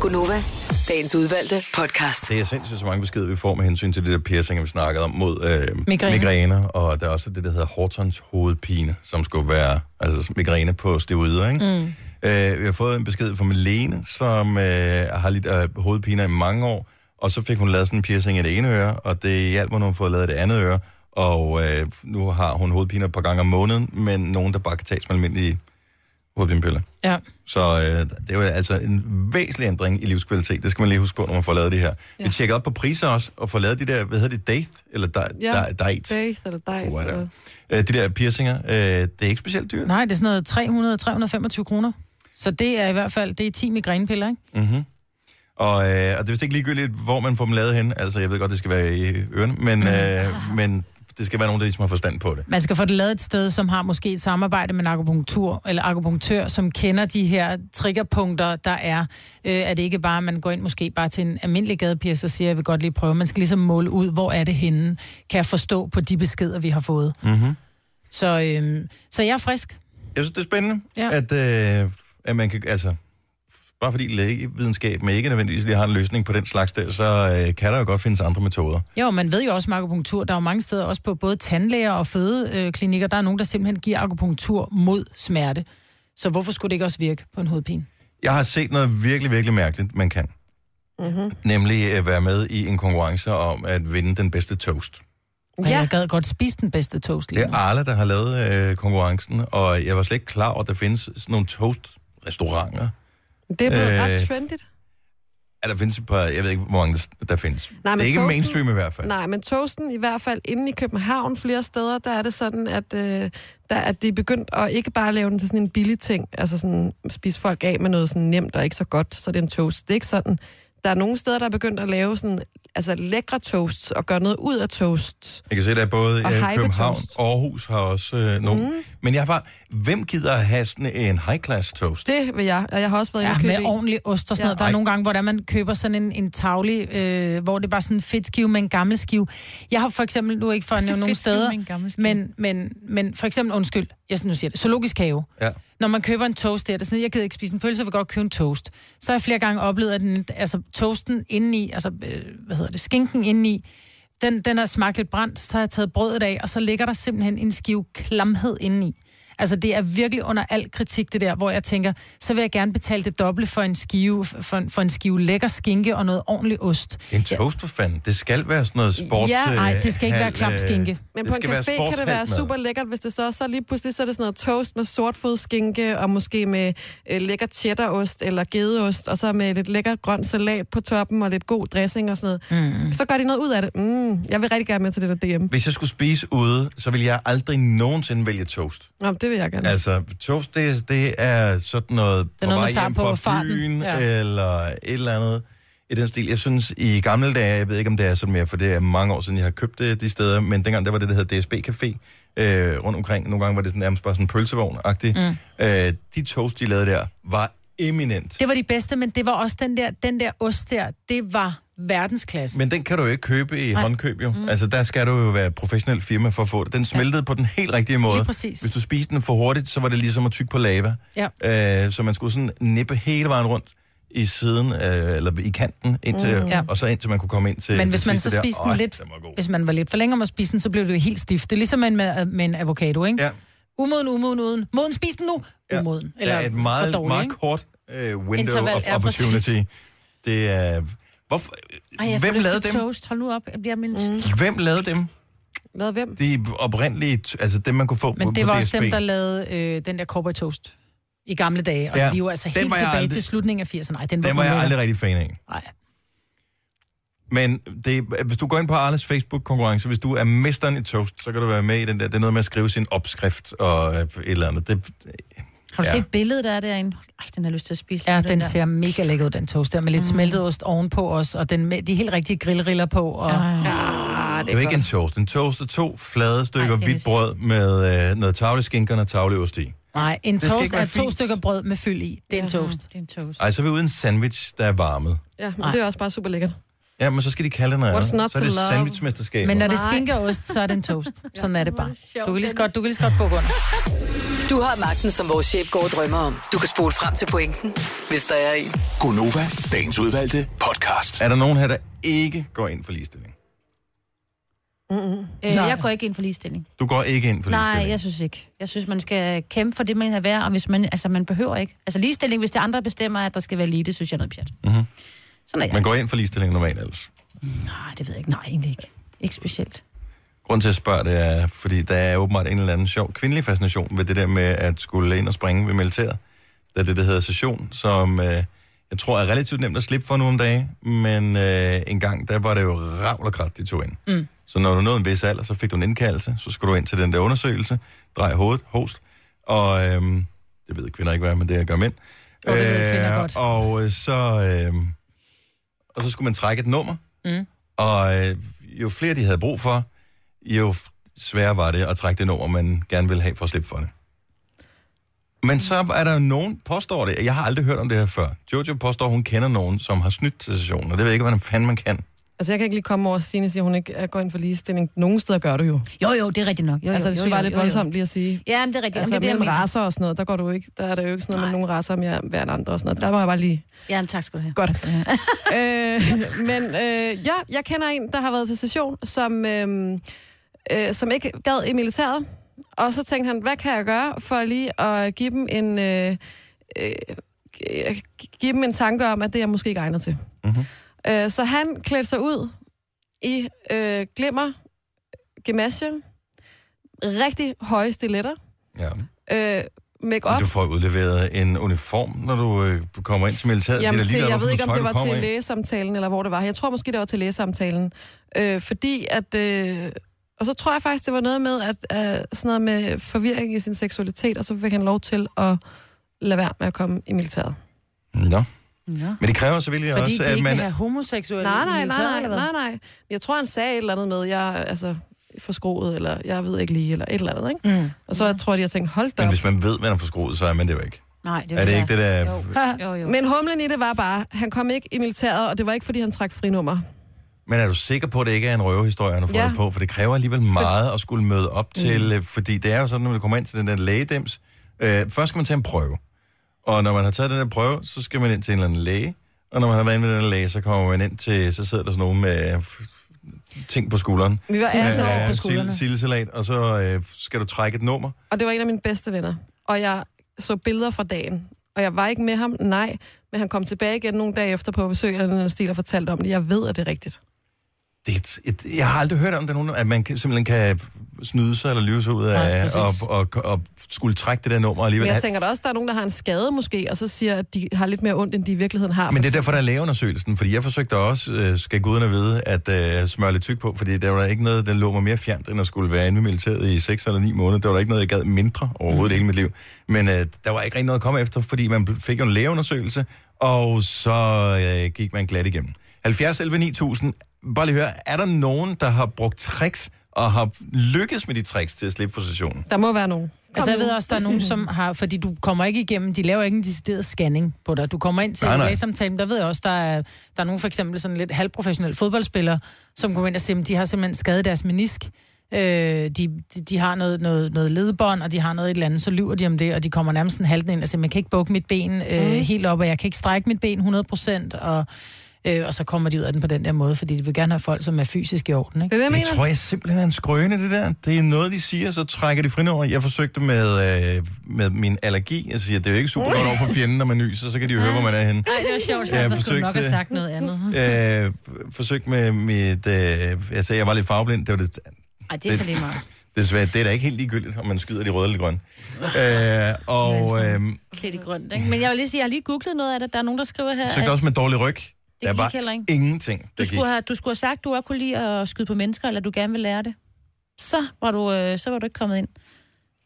Speaker 6: Gunova, dagens udvalgte podcast.
Speaker 1: Det er sindssygt så mange beskeder, vi får med hensyn til det der piercing, vi snakkede om mod øh,
Speaker 6: Migræne.
Speaker 1: migræne. migræner. Og der er også det, der hedder Hortons hovedpine, som skulle være altså migræne på steroider, ikke?
Speaker 17: Mm.
Speaker 1: Øh, vi har fået en besked fra Melene, som øh, har lidt øh, hovedpiner i mange år, og så fik hun lavet sådan en piercing i det ene øre, og det hjalp, når hun har fået lavet det andet øre, og øh, nu har hun hovedpiner et par gange om måneden, men nogen, der bare kan tages med almindelige hovedpinepiller.
Speaker 2: Ja.
Speaker 1: Så øh, det er jo altså en væsentlig ændring i livskvalitet. Det skal man lige huske på, når man får lavet det her. Ja. Vi tjekker op på priser også, og får lavet de der, hvad hedder det, date? Eller da, ja. da, date?
Speaker 5: Date eller date.
Speaker 1: Whatever.
Speaker 5: Eller...
Speaker 1: Øh, de der piercinger, øh, det er ikke specielt dyrt.
Speaker 2: Nej, det er sådan noget 300-325 kroner. Så det er i hvert fald, det er 10 migrænepiller, ikke?
Speaker 1: Mm-hmm. Og, øh, og det er vist ikke ligegyldigt, hvor man får dem lavet hen. Altså, jeg ved godt, det skal være i ørerne, men, mm. øh, men det skal være nogen, der ligesom har forstand på det.
Speaker 2: Man skal få det lavet et sted, som har måske et samarbejde med en akupunktur, eller akupunktør, som kender de her triggerpunkter, der er. Øh, er det ikke bare, at man går ind måske bare til en almindelig gadepiercer og siger, jeg vil godt lige prøve. Man skal ligesom måle ud, hvor er det henne, kan jeg forstå på de beskeder, vi har fået.
Speaker 1: Mm-hmm.
Speaker 2: Så, øh, så jeg er frisk.
Speaker 1: Jeg synes, det er spændende,
Speaker 2: Ja.
Speaker 1: ja. at, øh, at man kan, altså, bare fordi lægevidenskaben ikke nødvendigvis lige har en løsning på den slags der, så øh, kan der jo godt findes andre metoder.
Speaker 2: Jo, man ved jo også med akupunktur, der er jo mange steder, også på både tandlæger og fødeklinikker, der er nogen, der simpelthen giver akupunktur mod smerte. Så hvorfor skulle det ikke også virke på en hovedpine?
Speaker 1: Jeg har set noget virkelig, virkelig mærkeligt, man kan.
Speaker 2: Mm-hmm.
Speaker 1: Nemlig at være med i en konkurrence om at vinde den bedste toast.
Speaker 2: Ja. Jeg gad godt spise den bedste toast lige
Speaker 1: Det er Arla, der har lavet øh, konkurrencen, og jeg var slet ikke klar over, at der findes sådan nogle toast-restauranter.
Speaker 5: Det er blevet øh...
Speaker 1: Øh,
Speaker 5: ret trendigt.
Speaker 1: Ja, der findes et par, jeg ved ikke, hvor mange der, der findes. Nej,
Speaker 5: men
Speaker 1: det er ikke
Speaker 5: toasten-
Speaker 1: mainstream i hvert fald.
Speaker 5: Nej, men toasten i hvert fald inde i København flere steder, der er det sådan, at, øh, der, at de er begyndt at ikke bare lave den til sådan en billig ting, altså sådan spise folk af med noget sådan nemt og ikke så godt, så det er en toast. Det er ikke sådan. Der er nogle steder, der er begyndt at lave sådan, altså lækre toasts og gøre noget ud af toasts.
Speaker 1: Jeg kan se, der er både
Speaker 5: Og
Speaker 1: øh,
Speaker 5: hype
Speaker 1: København
Speaker 5: toast.
Speaker 1: og Aarhus har også øh, nogle. Mm. Men jeg har bare, hvem gider at have sådan en high-class toast?
Speaker 5: Det vil jeg, og jeg har også været inde
Speaker 2: Ja,
Speaker 5: og købe
Speaker 2: med
Speaker 5: en.
Speaker 2: ordentlig ost og sådan ja. noget. Der er
Speaker 1: Ej.
Speaker 2: nogle gange, hvor der man køber sådan en, en tavlig, øh, hvor det er bare sådan en fedtskive med en gammel skive. Jeg har for eksempel, nu er jeg ikke for at nævne nogle
Speaker 4: Fedtskive
Speaker 2: steder,
Speaker 4: med en
Speaker 2: men, men, men for eksempel, undskyld, jeg nu siger det, zoologisk have.
Speaker 1: Ja.
Speaker 2: Når man køber en toast der, der er sådan, jeg gider ikke spise en pølse, jeg vil godt købe en toast. Så har jeg flere gange oplevet, at den, altså, toasten indeni, altså, øh, hvad hedder det, skinken indeni, den, den har smagt lidt brændt, så har jeg taget brødet af, og så ligger der simpelthen en skive klamhed indeni. Altså, det er virkelig under al kritik, det der, hvor jeg tænker, så vil jeg gerne betale det doble for en skive, for, en- for en skive lækker skinke og noget ordentligt ost.
Speaker 1: En toast for fanden. Det skal være sådan noget sports...
Speaker 2: Ja, ej, det skal ikke være
Speaker 1: øh,
Speaker 2: klam skinke.
Speaker 5: Men
Speaker 1: det
Speaker 5: på en
Speaker 1: skal være
Speaker 5: café kan det være
Speaker 1: sportshalmad.
Speaker 5: super lækkert, hvis det så, så lige pludselig så er det sådan noget toast med sortfodskinke, og måske med øh, lækker cheddarost eller gedeost, og så med lidt lækker grøn salat på toppen, og lidt god dressing og sådan noget. Mm. Så gør de noget ud af det. Mm, jeg vil rigtig gerne med til det der DM.
Speaker 1: Hvis jeg skulle spise ude, så ville jeg aldrig nogensinde vælge toast.
Speaker 5: Nå, det vil jeg gerne.
Speaker 1: Altså, toast, det, det er sådan noget på
Speaker 5: noget, man
Speaker 1: vej
Speaker 5: tager
Speaker 1: hjem
Speaker 5: på
Speaker 1: fra
Speaker 5: farten.
Speaker 1: byen,
Speaker 5: Ja.
Speaker 1: ja. eller et eller andet i den stil. Jeg synes, i gamle dage, jeg ved ikke, om det er sådan mere, for det er mange år siden, jeg har købt det de steder, men dengang der var det, der hedder DSB Café øh, rundt omkring. Nogle gange var det sådan, nærmest bare sådan pølsevogn-agtigt. Mm. Øh, de toast, de lavede der, var eminent.
Speaker 2: Det var de bedste, men det var også den der, den der ost der, det var verdensklasse.
Speaker 1: Men den kan du jo ikke købe i
Speaker 2: Nej.
Speaker 1: håndkøb, jo.
Speaker 2: Mm.
Speaker 1: Mm. Altså, der skal du jo være et professionelt firma for at få det. Den smeltede ja. på den helt rigtige måde.
Speaker 2: Lige præcis.
Speaker 1: Hvis du spiste den for hurtigt, så var det ligesom at tykke på lava.
Speaker 2: Ja.
Speaker 1: Øh, så man skulle sådan nippe hele vejen rundt i siden, øh, eller i kanten, indtil,
Speaker 2: Mm.
Speaker 1: mm.
Speaker 2: Ja.
Speaker 1: og så indtil man kunne komme ind til
Speaker 2: Men hvis
Speaker 1: det
Speaker 2: man
Speaker 1: sidste
Speaker 2: så
Speaker 1: der.
Speaker 2: spiste den
Speaker 1: Øj,
Speaker 2: lidt,
Speaker 1: den var god.
Speaker 2: hvis man var lidt for længe om at spise den, så blev det jo helt stift. Det er ligesom med en, med, med en avocado, ikke?
Speaker 1: Ja.
Speaker 2: Umoden, umoden, uden. Moden, spis den nu! Umoden.
Speaker 1: Eller ja, et meget,
Speaker 2: for dårlig,
Speaker 1: meget
Speaker 2: ikke?
Speaker 1: kort øh, window
Speaker 2: Interval,
Speaker 1: of
Speaker 2: ja, præcis.
Speaker 1: opportunity. Det er... Hvorfor,
Speaker 4: Ej, jeg får
Speaker 1: hvem
Speaker 4: lyst
Speaker 1: lavede
Speaker 4: til
Speaker 1: dem?
Speaker 4: Toast. Hold nu op, jeg bliver min... Mm.
Speaker 1: Hvem lavede dem?
Speaker 5: Lavede hvem?
Speaker 1: De oprindelige, t- altså dem, man kunne få på,
Speaker 2: Men det
Speaker 1: på
Speaker 2: var
Speaker 1: DSB.
Speaker 2: også dem, der lavede øh, den der cowboy toast i gamle dage. Og ja.
Speaker 1: Ja.
Speaker 2: de er jo altså
Speaker 1: Den
Speaker 2: helt
Speaker 1: var jeg
Speaker 2: tilbage aldrig...
Speaker 1: aldrig-
Speaker 2: til slutningen af 80'erne. Nej, den var,
Speaker 1: Den var jeg
Speaker 2: ulækker.
Speaker 1: aldrig rigtig fan af.
Speaker 2: Nej.
Speaker 1: Men det, hvis du går ind på Arnes Facebook-konkurrence, hvis du er mesteren i toast, så kan du være med i den der. Det er noget med at skrive sin opskrift og øh, et eller andet. Det,
Speaker 4: Har du
Speaker 1: Ja.
Speaker 4: set billedet, der er derinde? Ej, den har jeg lyst til at spise.
Speaker 2: Ja,
Speaker 4: nu,
Speaker 2: den, den ser mega lækker ud, den toast der, med lidt mm. smeltet ost ovenpå os, og den med de helt rigtige grillriller på. Og... Ja,
Speaker 1: det er jo ikke en toast. En toast er to flade stykker
Speaker 2: det er
Speaker 1: hvidt brød med øh, noget tavleskinker og noget tavleost i.
Speaker 2: Nej, en
Speaker 1: Det skal
Speaker 2: toast
Speaker 1: ikke være
Speaker 2: er to
Speaker 1: fint.
Speaker 2: stykker brød med fyld i. Det er en toast.
Speaker 4: Det er en toast.
Speaker 1: Ej, så er vi ude i en sandwich, der er varmet.
Speaker 5: Ja, men det er også bare super lækkert.
Speaker 1: Ja, men så skal de kalde det noget
Speaker 5: What's
Speaker 1: andet.
Speaker 5: not
Speaker 1: Så er
Speaker 5: to
Speaker 1: det
Speaker 5: love?
Speaker 1: sandwichmesterskab.
Speaker 2: Men når det er
Speaker 6: Nej.
Speaker 2: skinke og ost, så er det en
Speaker 5: [laughs]
Speaker 2: toast. Sådan er det bare.
Speaker 6: sjovt,
Speaker 2: Du kan lige så
Speaker 6: Dennis.
Speaker 2: godt, du kan lige så godt bukke under.
Speaker 6: Du har magten, som vores chef går og drømmer om. Du kan spole frem til pointen, hvis der er en.
Speaker 7: Gonova, dagens udvalgte podcast.
Speaker 1: Er der nogen her, der ikke går ind for ligestilling? Mm,
Speaker 4: Mm-hmm. Øh,
Speaker 1: Nej.
Speaker 4: jeg går ikke ind for ligestilling.
Speaker 1: Du går ikke ind for
Speaker 4: Nej,
Speaker 1: ligestilling?
Speaker 4: jeg synes ikke. Jeg synes, man skal kæmpe for det, man er værd, og hvis man, altså, man behøver ikke. Altså ligestilling, hvis det er andre der bestemmer, at der skal være lige, det synes jeg er noget pjat.
Speaker 1: Mm-hmm.
Speaker 4: Sådan er jeg.
Speaker 1: Man går ind for ligestilling normalt ellers.
Speaker 4: Nej, det ved jeg ikke. Nej, egentlig ikke. Ikke specielt.
Speaker 1: Grunden til at spørge det er, fordi der er åbenbart en eller anden sjov kvindelig fascination ved det der med at skulle ind og springe ved militæret. Der er det, der hedder session, som øh, jeg tror er relativt nemt at slippe for nu om dagen, men øh, en gang, der var det jo ravl og krat, de tog ind.
Speaker 2: Mm.
Speaker 1: Så når du nåede en vis alder, så fik du en indkaldelse, så skulle du ind til den der undersøgelse, drej hovedet, host, og øh, det ved kvinder ikke, hvad er, men det gør mænd.
Speaker 2: Og det ved kvinder
Speaker 1: Øh,
Speaker 2: godt.
Speaker 1: Og, øh, så, øh, og så skulle man trække et nummer,
Speaker 2: Mm.
Speaker 1: og øh, jo flere de havde brug for, jo f- sværere var det at trække det nummer, man gerne ville have for at slippe for det. Men så er der jo nogen, påstår det, jeg har aldrig hørt om det her før. Jojo påstår, hun kender nogen, som har snydt til sessionen, og det ved jeg ikke, hvordan fanden man kan.
Speaker 5: Altså, jeg kan ikke lige komme over og sige, at hun ikke er- går ind for ligestilling. Nogle steder gør du jo.
Speaker 4: Jo, jo, det er rigtigt nok. Jo, jo,
Speaker 5: altså, det
Speaker 4: jo,
Speaker 5: synes
Speaker 4: jo,
Speaker 5: jeg bare er lidt
Speaker 4: jo, jo.
Speaker 5: voldsomt lige at sige.
Speaker 4: Ja, men det er rigtigt.
Speaker 5: Altså,
Speaker 4: Jamen, det er det, jeg
Speaker 5: mellem
Speaker 4: mener.
Speaker 5: raser og sådan noget, der går du jo ikke. Der er der jo ikke sådan noget med nogle raser, om jeg er værre end andre og sådan noget. Der må jeg bare lige...
Speaker 4: Ja, men tak skal du have.
Speaker 5: Godt. [laughs] øh, men øh, ja, jeg kender en, der har været til session, som, øh, øh, som ikke gad i militæret. Og så tænkte han, hvad kan jeg gøre for lige at give dem en, øh, øh, gi- give dem en tanke om, at det er jeg måske ikke egnet til. Mm-hmm. Øh, så han klædte sig ud i øh, glimmer, gemasje, rigtig høje stiletter,
Speaker 1: Ja.
Speaker 5: øh, make-up.
Speaker 1: Du får udleveret en uniform, når du øh, kommer ind til militæret.
Speaker 5: Jamen,
Speaker 1: det er da
Speaker 5: til,
Speaker 1: ligeglad,
Speaker 5: jeg ved
Speaker 1: hvorfor
Speaker 5: ikke, om
Speaker 1: tøj,
Speaker 5: det
Speaker 1: du
Speaker 5: var
Speaker 1: kommer
Speaker 5: til
Speaker 1: i.
Speaker 5: lægesamtalen, eller hvor det var. Jeg tror måske, det var til lægesamtalen. Øh, fordi at... Øh, og så tror jeg faktisk, det var noget med, at øh, sådan noget med forvirring i sin seksualitet, og så fik han lov til at lade være med at komme i militæret.
Speaker 1: Nå.
Speaker 4: Ja.
Speaker 1: Men det kræver selvfølgelig
Speaker 2: Fordi
Speaker 1: også,
Speaker 2: de ikke
Speaker 1: at man...
Speaker 2: vil have homoseksuelle
Speaker 5: Nej, nej,
Speaker 2: i
Speaker 5: nej,
Speaker 2: militæret,
Speaker 5: nej,
Speaker 2: eller hvad?
Speaker 5: nej, nej. Men Jeg tror, han sagde et eller andet med, jeg er, altså forskroet, eller jeg ved ikke lige, eller et eller andet, ikke?
Speaker 2: Mm.
Speaker 5: Og så tror jeg, de har tænkt, hold da
Speaker 1: Men
Speaker 5: op.
Speaker 1: hvis man ved, man er forskruet, så er man det jo ikke.
Speaker 4: Nej,
Speaker 1: er det ikke det, der... [laughs]
Speaker 4: Jo, jo.
Speaker 5: Men humlen i det var bare, han kom ikke i militæret, og det var ikke, fordi han trak frinummer.
Speaker 1: Men er du sikker på, at det ikke er en røvehistorie, han har fået
Speaker 5: Ja.
Speaker 1: ja. på? For det kræver alligevel meget at skulle møde op til, mm. fordi det er jo sådan, når man kommer ind til den der lægedems, øh, først skal man tage en prøve. Og når man har taget den der prøve, så skal man ind til en eller anden læge. Og når man har været inde ved den her læge, så kommer man ind til, så sidder der sådan nogen med øh, ting på skulderen.
Speaker 5: Vi var alle sammen
Speaker 1: Øh,
Speaker 5: på skuldrene.
Speaker 1: sil- Sildesalat, og så øh, skal du trække et nummer.
Speaker 5: Og det var en af mine bedste venner. Og jeg så billeder fra dagen. Og jeg var ikke med ham, nej. Men han kom tilbage igen nogle dage efter på besøg eller den stil og fortalte om det. Jeg ved, at det er rigtigt.
Speaker 1: Det er et, et, jeg har aldrig hørt om det, nogen, at man kan, simpelthen kan snyde sig eller lyve sig ud
Speaker 5: Nej,
Speaker 1: af,
Speaker 5: præcis.
Speaker 1: og, og, og, skulle trække det der nummer alligevel.
Speaker 5: Men jeg tænker da også, at der er nogen, der har en skade måske, og så siger, at de har lidt mere ondt, end de i virkeligheden har.
Speaker 1: Men det er derfor, der er lægeundersøgelsen, fordi jeg forsøgte også, øh, skal guderne vide, at øh, smøre lidt tyk på, fordi der var der ikke noget, der lå mig mere fjernt, end at skulle være inde med militæret i 6 eller 9 måneder. Der var der ikke noget, jeg gad mindre overhovedet mm. hele mit liv. Men øh, der var ikke rigtig noget at komme efter, fordi man bl- fik jo en lægeundersøgelse, og så øh, gik man glat igennem. 70 11 9000. Bare lige høre, er der nogen, der har brugt tricks og har lykkes med de tricks til at slippe for sessionen?
Speaker 5: Der må være nogen. Kom
Speaker 2: Altså, jeg
Speaker 5: nu.
Speaker 2: ved også, der er nogen, som har... Fordi du kommer ikke igennem, de laver ikke en decideret scanning på dig. Du kommer ind til
Speaker 1: Nej,
Speaker 2: en
Speaker 1: nej.
Speaker 2: lægesamtale, men der ved jeg også, der er, der er nogen for eksempel sådan lidt halvprofessionelle fodboldspillere, som kommer ind og siger, at de har simpelthen skadet deres menisk. Øh, de, de, de, har noget, noget, noget ledbånd, og de har noget et eller andet, så lyver de om det, og de kommer nærmest sådan halten ind og siger, man kan ikke bukke mit ben øh,
Speaker 5: Mm.
Speaker 2: helt op, og jeg kan ikke strække mit ben 100 procent, og, øh, og så kommer de ud af den på den der måde, fordi de vil gerne have folk, som er fysisk i orden. Ikke?
Speaker 5: Det er
Speaker 1: Det tror jeg simpelthen er en skrøne, det der. Det er noget, de siger, så trækker de frinummer. Jeg forsøgte med, øh, med min allergi. Jeg siger, det er jo ikke super godt over for fjenden, når man nyser, så kan de jo høre, hvor man er henne.
Speaker 4: Nej, det var sjovt, så
Speaker 1: Ja,
Speaker 4: man skulle
Speaker 1: forsøgte-
Speaker 4: nok have sagt noget andet.
Speaker 1: Øh, f- forsøgte med mit... Øh, jeg sagde, jeg var lidt farveblind. Det var det,
Speaker 4: Ej, det er så lige meget.
Speaker 1: desværre, det er da ikke helt ligegyldigt, om man skyder de røde eller de grønne. Øh, og øh,
Speaker 4: Klædt i grønt, ikke? Men jeg vil lige sige, jeg har lige googlet noget af det. Der er nogen, der skriver her,
Speaker 1: søgte også med dårlig ryg.
Speaker 4: Det
Speaker 1: Der
Speaker 4: gik
Speaker 1: var
Speaker 4: heller ikke.
Speaker 1: ingenting, der
Speaker 4: du,
Speaker 1: gik.
Speaker 4: skulle have, du skulle have sagt, du også kunne lide at skyde på mennesker, eller du gerne vil lære det. Så var du, øh, så var du ikke kommet ind.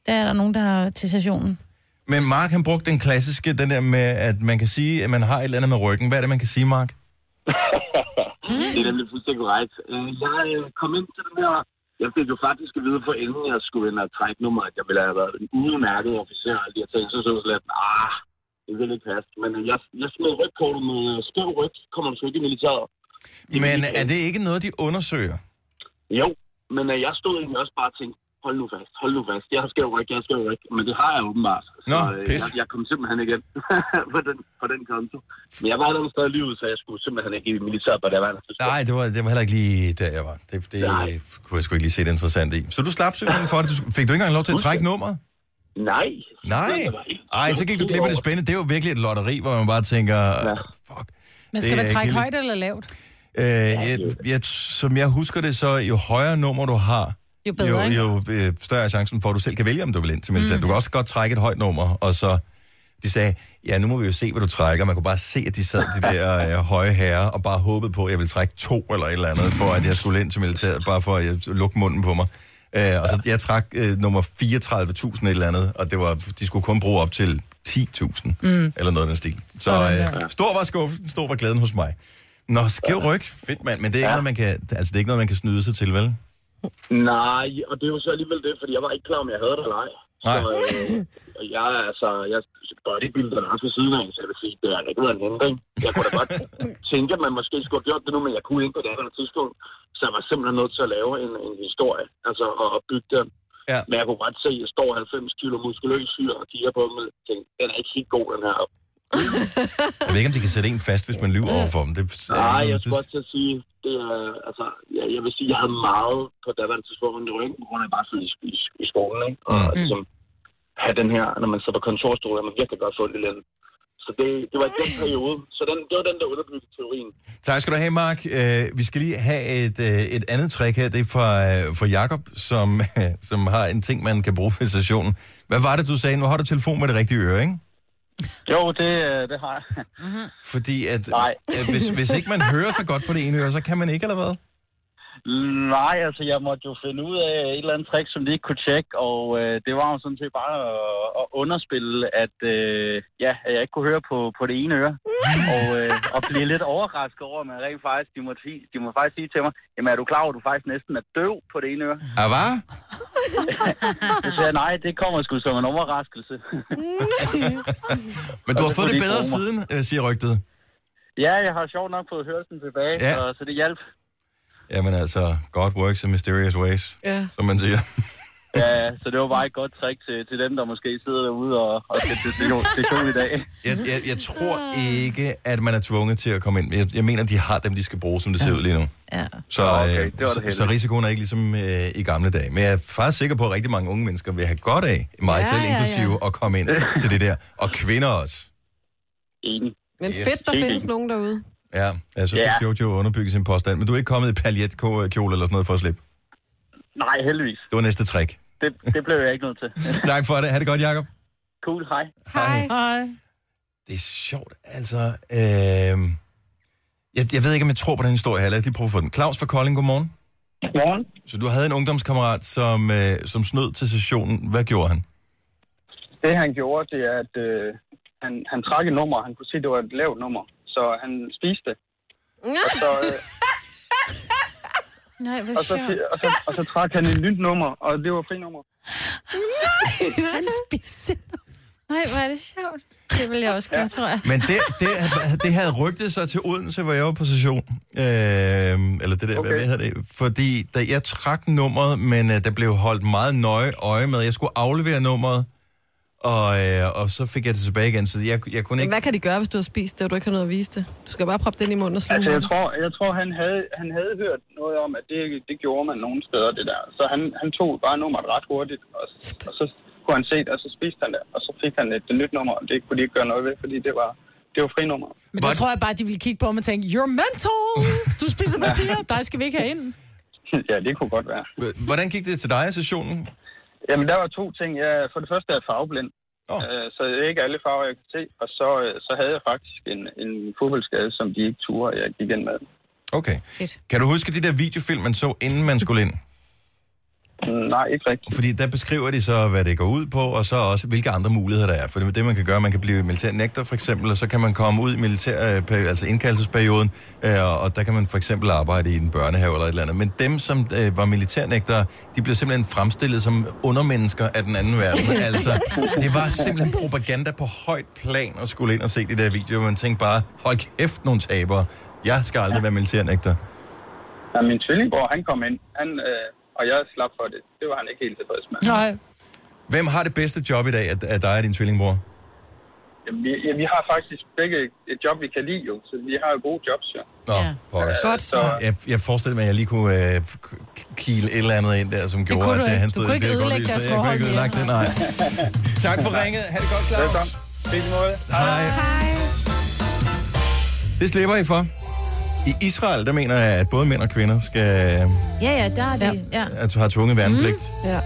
Speaker 4: Der er der nogen, der har til sessionen.
Speaker 1: Men Mark, han brugte den klassiske, den der med, at man kan sige, at man har et eller andet med ryggen. Hvad er det, man kan sige, Mark?
Speaker 17: det er nemlig fuldstændig korrekt. Øh, Jeg øh, kom ind til den her... Jeg fik jo faktisk at vide, for inden jeg skulle ind og trække nummer, at jeg ville have været en udmærket officer, og de her ting, så så jeg lidt, ah, det vil ikke passe. Men øh, jeg, jeg smed rygkortet med øh, skæv ryg, kommer du sgu ikke i militæret.
Speaker 1: Men øh- er det ikke noget, de undersøger?
Speaker 17: Jo, men øh, jeg stod egentlig også bare og tænkte, hold nu fast, hold nu fast, jeg har skæv ryg, jeg har skæv ryg, men det har jeg åbenbart.
Speaker 1: Nå,
Speaker 17: øh,
Speaker 1: pis.
Speaker 17: jeg, jeg kom simpelthen igen [laughs] på, den, på den konto. Men jeg var allerede stadig i livet, så jeg skulle simpelthen ikke i militæret på det var
Speaker 1: Nej, det var, det var heller ikke lige der, jeg var. Det, det øh, kunne jeg sgu ikke lige se det interessant i. Så du slap simpelthen for det. Du, sk- fik du ikke engang lov til at trække nummeret?
Speaker 17: Nej.
Speaker 1: Nej? Ej, så gik du glip af det spændende. Det er jo virkelig et lotteri, hvor man bare tænker, fuck.
Speaker 2: Men
Speaker 1: det
Speaker 2: skal man
Speaker 1: er
Speaker 2: trække
Speaker 1: ikke
Speaker 2: højt eller lavt?
Speaker 1: helt- Øh, jeg, jeg, som jeg husker det, så jo højere nummer du har,
Speaker 2: Jo bedre, ikke?
Speaker 1: jo, jo øh, større er chancen for, at du selv kan vælge, om du vil ind til militæret.
Speaker 2: Mm.
Speaker 1: Mm. Du kan også godt trække et højt nummer, og så... De sagde, ja, nu må vi jo se, hvad du trækker. Man kunne bare se, at de sad, de der øh,
Speaker 2: [laughs]
Speaker 1: høje herrer, og bare håbede på, at jeg ville trække to eller et eller andet, for at jeg skulle ind til militæret, bare for at jeg lukke munden på mig. Øh, og så jeg trak øh, nummer 34.000 et eller andet, og det var, de skulle kun bruge op til 10.000,
Speaker 18: Mm.
Speaker 1: mm. eller noget af den stil. Så
Speaker 18: Sådan der.
Speaker 1: øh, stor var skuffelsen, stor var glæden hos mig. Nå, skæv ryg. Fedt, mand. Men det er, ikke noget, man kan, altså, det er ikke noget, man kan snyde sig til, vel?
Speaker 17: Nej, og det er jo så alligevel det, fordi jeg var ikke klar, om jeg havde det eller ej.
Speaker 1: Nej.
Speaker 17: Så, øh, jeg, er altså, jeg bodybuilder også ved siden af, så jeg vil sige, det har ikke været en ændring. Jeg kunne da
Speaker 1: [laughs]
Speaker 17: godt tænke, at man måske skulle have gjort det nu, men jeg kunne ikke på det andet tidspunkt. Så jeg var simpelthen nødt til at lave en, en historie, altså at, at bygge den.
Speaker 1: Ja.
Speaker 17: Men jeg kunne godt se, at jeg står 90 kilo muskuløs fyr og kigger på dem og tænker, den er ikke helt god, den her.
Speaker 1: Jeg ved ikke, om de kan sætte en fast, hvis man lyver overfor dem. Det,
Speaker 17: Nej, jeg skulle godt til at sige, det er, altså, jeg, jeg vil sige, jeg havde meget på daværende tidspunkt rundt i ryggen, på grund af bare sidde i, i, i skolen, ikke? Og
Speaker 1: Mm.
Speaker 17: mm. ligesom, have den her, når man sidder på kontorstol, at man virkelig godt få det lidt. Så det, det var i den periode. Så den, det var den, der underbyggede teorien.
Speaker 1: Tak skal du have, Mark. Uh, vi skal lige have et, uh, et andet trick her. Det er fra, uh, fra Jakob, som, [laughs] uh, som har en ting, man kan bruge ved sessionen. Hvad var det, du sagde? Nu har du telefon med det rigtige øre, ikke?
Speaker 14: Jo, det, øh, det har jeg.
Speaker 1: Fordi at, uh, hvis, hvis ikke man hører så godt på det ene øre, så kan man ikke, eller hvad?
Speaker 14: [laughs] Nej, altså jeg måtte jo finde ud af et eller andet trick, som de ikke kunne tjekke, og øh, det var jo sådan set bare at, at underspille, at, øh, ja, at jeg ikke kunne høre på, på det ene
Speaker 1: [laughs]
Speaker 14: øre, og, øh, og blive lidt overrasket over, at man rent faktisk, de må, sige, de må faktisk sige til mig, jamen er du klar over, at du faktisk næsten er døv på det ene øre?
Speaker 1: Ah, hvad?
Speaker 14: Så sagde [laughs] jeg, nej, det kommer sgu som en overraskelse. [laughs]
Speaker 1: Men du har
Speaker 14: Og så
Speaker 1: fået
Speaker 14: kunne
Speaker 1: det
Speaker 14: de
Speaker 1: bedre
Speaker 14: bruge
Speaker 1: siden, uh, siger rygtet.
Speaker 14: Ja, jeg har sjovt nok fået hørelsen tilbage,
Speaker 1: Ja.
Speaker 14: ja. så, så det hjalp.
Speaker 1: Jamen altså, God works in mysterious ways,
Speaker 14: Ja.
Speaker 1: som man siger.
Speaker 14: Ja, så det var bare et godt trick til, til dem, der måske sidder derude og, og skal til session, session i dag.
Speaker 1: Jeg, jeg, jeg tror ikke, at man er tvunget til at komme ind. Jeg, jeg mener, de har dem, de skal bruge, som det ser ud lige nu.
Speaker 4: Ja.
Speaker 1: Så,
Speaker 14: Nå, okay,
Speaker 1: øh,
Speaker 14: det var da heldigt.
Speaker 1: så, så risikoen er ikke ligesom øh, i gamle dage. Men jeg er faktisk sikker på, at rigtig mange unge mennesker vil have godt af, mig
Speaker 5: Ja,
Speaker 1: selv
Speaker 5: ja, ja.
Speaker 1: inklusive, at komme ind til det der. Og kvinder også.
Speaker 14: Enig.
Speaker 5: Men fedt, der findes nogen derude.
Speaker 1: Ja, jeg synes, yeah. Jojo underbygger sin påstand. Men du er ikke kommet i paljetkjole eller sådan noget for at slippe?
Speaker 14: Nej, heldigvis.
Speaker 1: Det var næste trick.
Speaker 14: Det, det blev jeg ikke nødt
Speaker 1: [laughs]
Speaker 14: til.
Speaker 1: tak for det. Ha' det godt, Jacob.
Speaker 14: Cool, hej.
Speaker 5: Hej. Hej.
Speaker 1: Det er sjovt, altså. Øh, jeg, jeg ved ikke, om jeg tror på den historie her. Lad os lige prøve at få den. Claus fra Kolding, godmorgen.
Speaker 18: Godmorgen.
Speaker 1: Så du havde en ungdomskammerat, som, øh, som snød til sessionen. Hvad gjorde han?
Speaker 18: Det han gjorde, det er, at øh, han, han trak et nummer. Han kunne se, det var et lavt nummer. Så han spiste det. Og så, øh,
Speaker 4: Nej,
Speaker 18: og, så, si- og, så, og så trak han et nyt nummer, og det var frinummer.
Speaker 4: Han spiste. Nej, hvor er det sjovt. Det vil jeg også gøre, tror jeg.
Speaker 1: Men det, det, det havde rygtet sig til Odense, hvor jeg var på session. Øh, eller det der, okay. hvad hedder det? Fordi da jeg trak nummeret, men øh, der blev holdt meget nøje øje med. Jeg skulle aflevere nummeret, og, øh, og så fik jeg det tilbage igen. Så jeg, jeg kunne
Speaker 5: Men
Speaker 1: ikke...
Speaker 5: hvad kan de gøre, hvis du har spist det, og du ikke har noget at vise det? Du skal bare proppe det ind i munden og sluge
Speaker 18: Altså, jeg
Speaker 5: den.
Speaker 18: tror, jeg tror han, havde, han havde hørt noget om, at det, det gjorde man nogle steder, det der. Så han, han tog bare nummeret ret hurtigt, og, og så kunne han se det, og så spiste han det. Og så fik han et, et nyt nummer, og det kunne de ikke gøre noget ved, fordi det var, det var frinummer. [laughs]
Speaker 2: Men der tror jeg bare, de ville kigge på mig og tænke, you're mental! Du
Speaker 1: [laughs]
Speaker 2: spiser papir, dig skal vi ikke have ind.
Speaker 18: ja, det kunne godt være.
Speaker 1: Hvordan gik det til dig, sessionen?
Speaker 18: Jamen, der var to ting. Jeg, for det første er jeg farveblind. Øh,
Speaker 1: Oh.
Speaker 18: Så det er ikke alle farver, jeg kan se. Og så, øh, så havde jeg faktisk en, en fodboldskade, som de ikke turde, jeg gik ind med.
Speaker 1: Okay. Kan du huske de der videofilm, man så, inden man skulle ind?
Speaker 18: Nej, ikke rigtigt.
Speaker 1: Fordi der beskriver de så, hvad det går ud på, og så også, hvilke andre muligheder der er. For det, det man kan gøre, man kan blive militær nægter for eksempel, og så kan man komme ud i militær, øh, peri- altså indkaldelsesperioden, øh, og der kan man for eksempel arbejde i en børnehave eller et eller andet. Men dem, som øh, var militærnægtere, de blev simpelthen fremstillet som undermennesker af den anden verden. altså, det var simpelthen propaganda på højt plan at skulle ind og se de der videoer. Man tænkte bare, hold kæft, nogle tabere. Jeg skal aldrig ja. være militærnægter.
Speaker 18: Ja, min tvillingbror, han kom ind, han, øh, og jeg slap for det. Det var han ikke helt tilfreds med.
Speaker 2: Nej.
Speaker 1: Hvem har det bedste job i dag af- af dig og din tvillingbror?
Speaker 18: Jamen, vi, ja, vi har faktisk begge et job, vi kan lide jo, så vi har jo gode jobs jo.
Speaker 1: Nå, ja. pokkers.
Speaker 18: Godt smart.
Speaker 1: Jeg, jeg forestiller mig, at jeg lige kunne øh, k- k- kile et eller andet ind der, som gjorde,
Speaker 18: kunne
Speaker 1: at
Speaker 18: du
Speaker 1: øh,
Speaker 18: ikke.
Speaker 1: han
Speaker 18: Du
Speaker 1: stod
Speaker 18: kunne
Speaker 1: i
Speaker 18: ikke
Speaker 1: det her
Speaker 18: ødelægge
Speaker 1: godt lys.
Speaker 18: deres
Speaker 1: så Jeg kunne ikke
Speaker 18: forhold
Speaker 1: ødelægge det, nej. Tak for ringet. Ha' det godt, Claus.
Speaker 18: Velkommen. Det er måde.
Speaker 1: Hej. Det slipper I for. I Israel, der mener jeg, at både mænd og kvinder skal,
Speaker 4: Ja, ja, der er det. Ja.
Speaker 1: at har tvunget værnepligt. Mm.
Speaker 4: ja.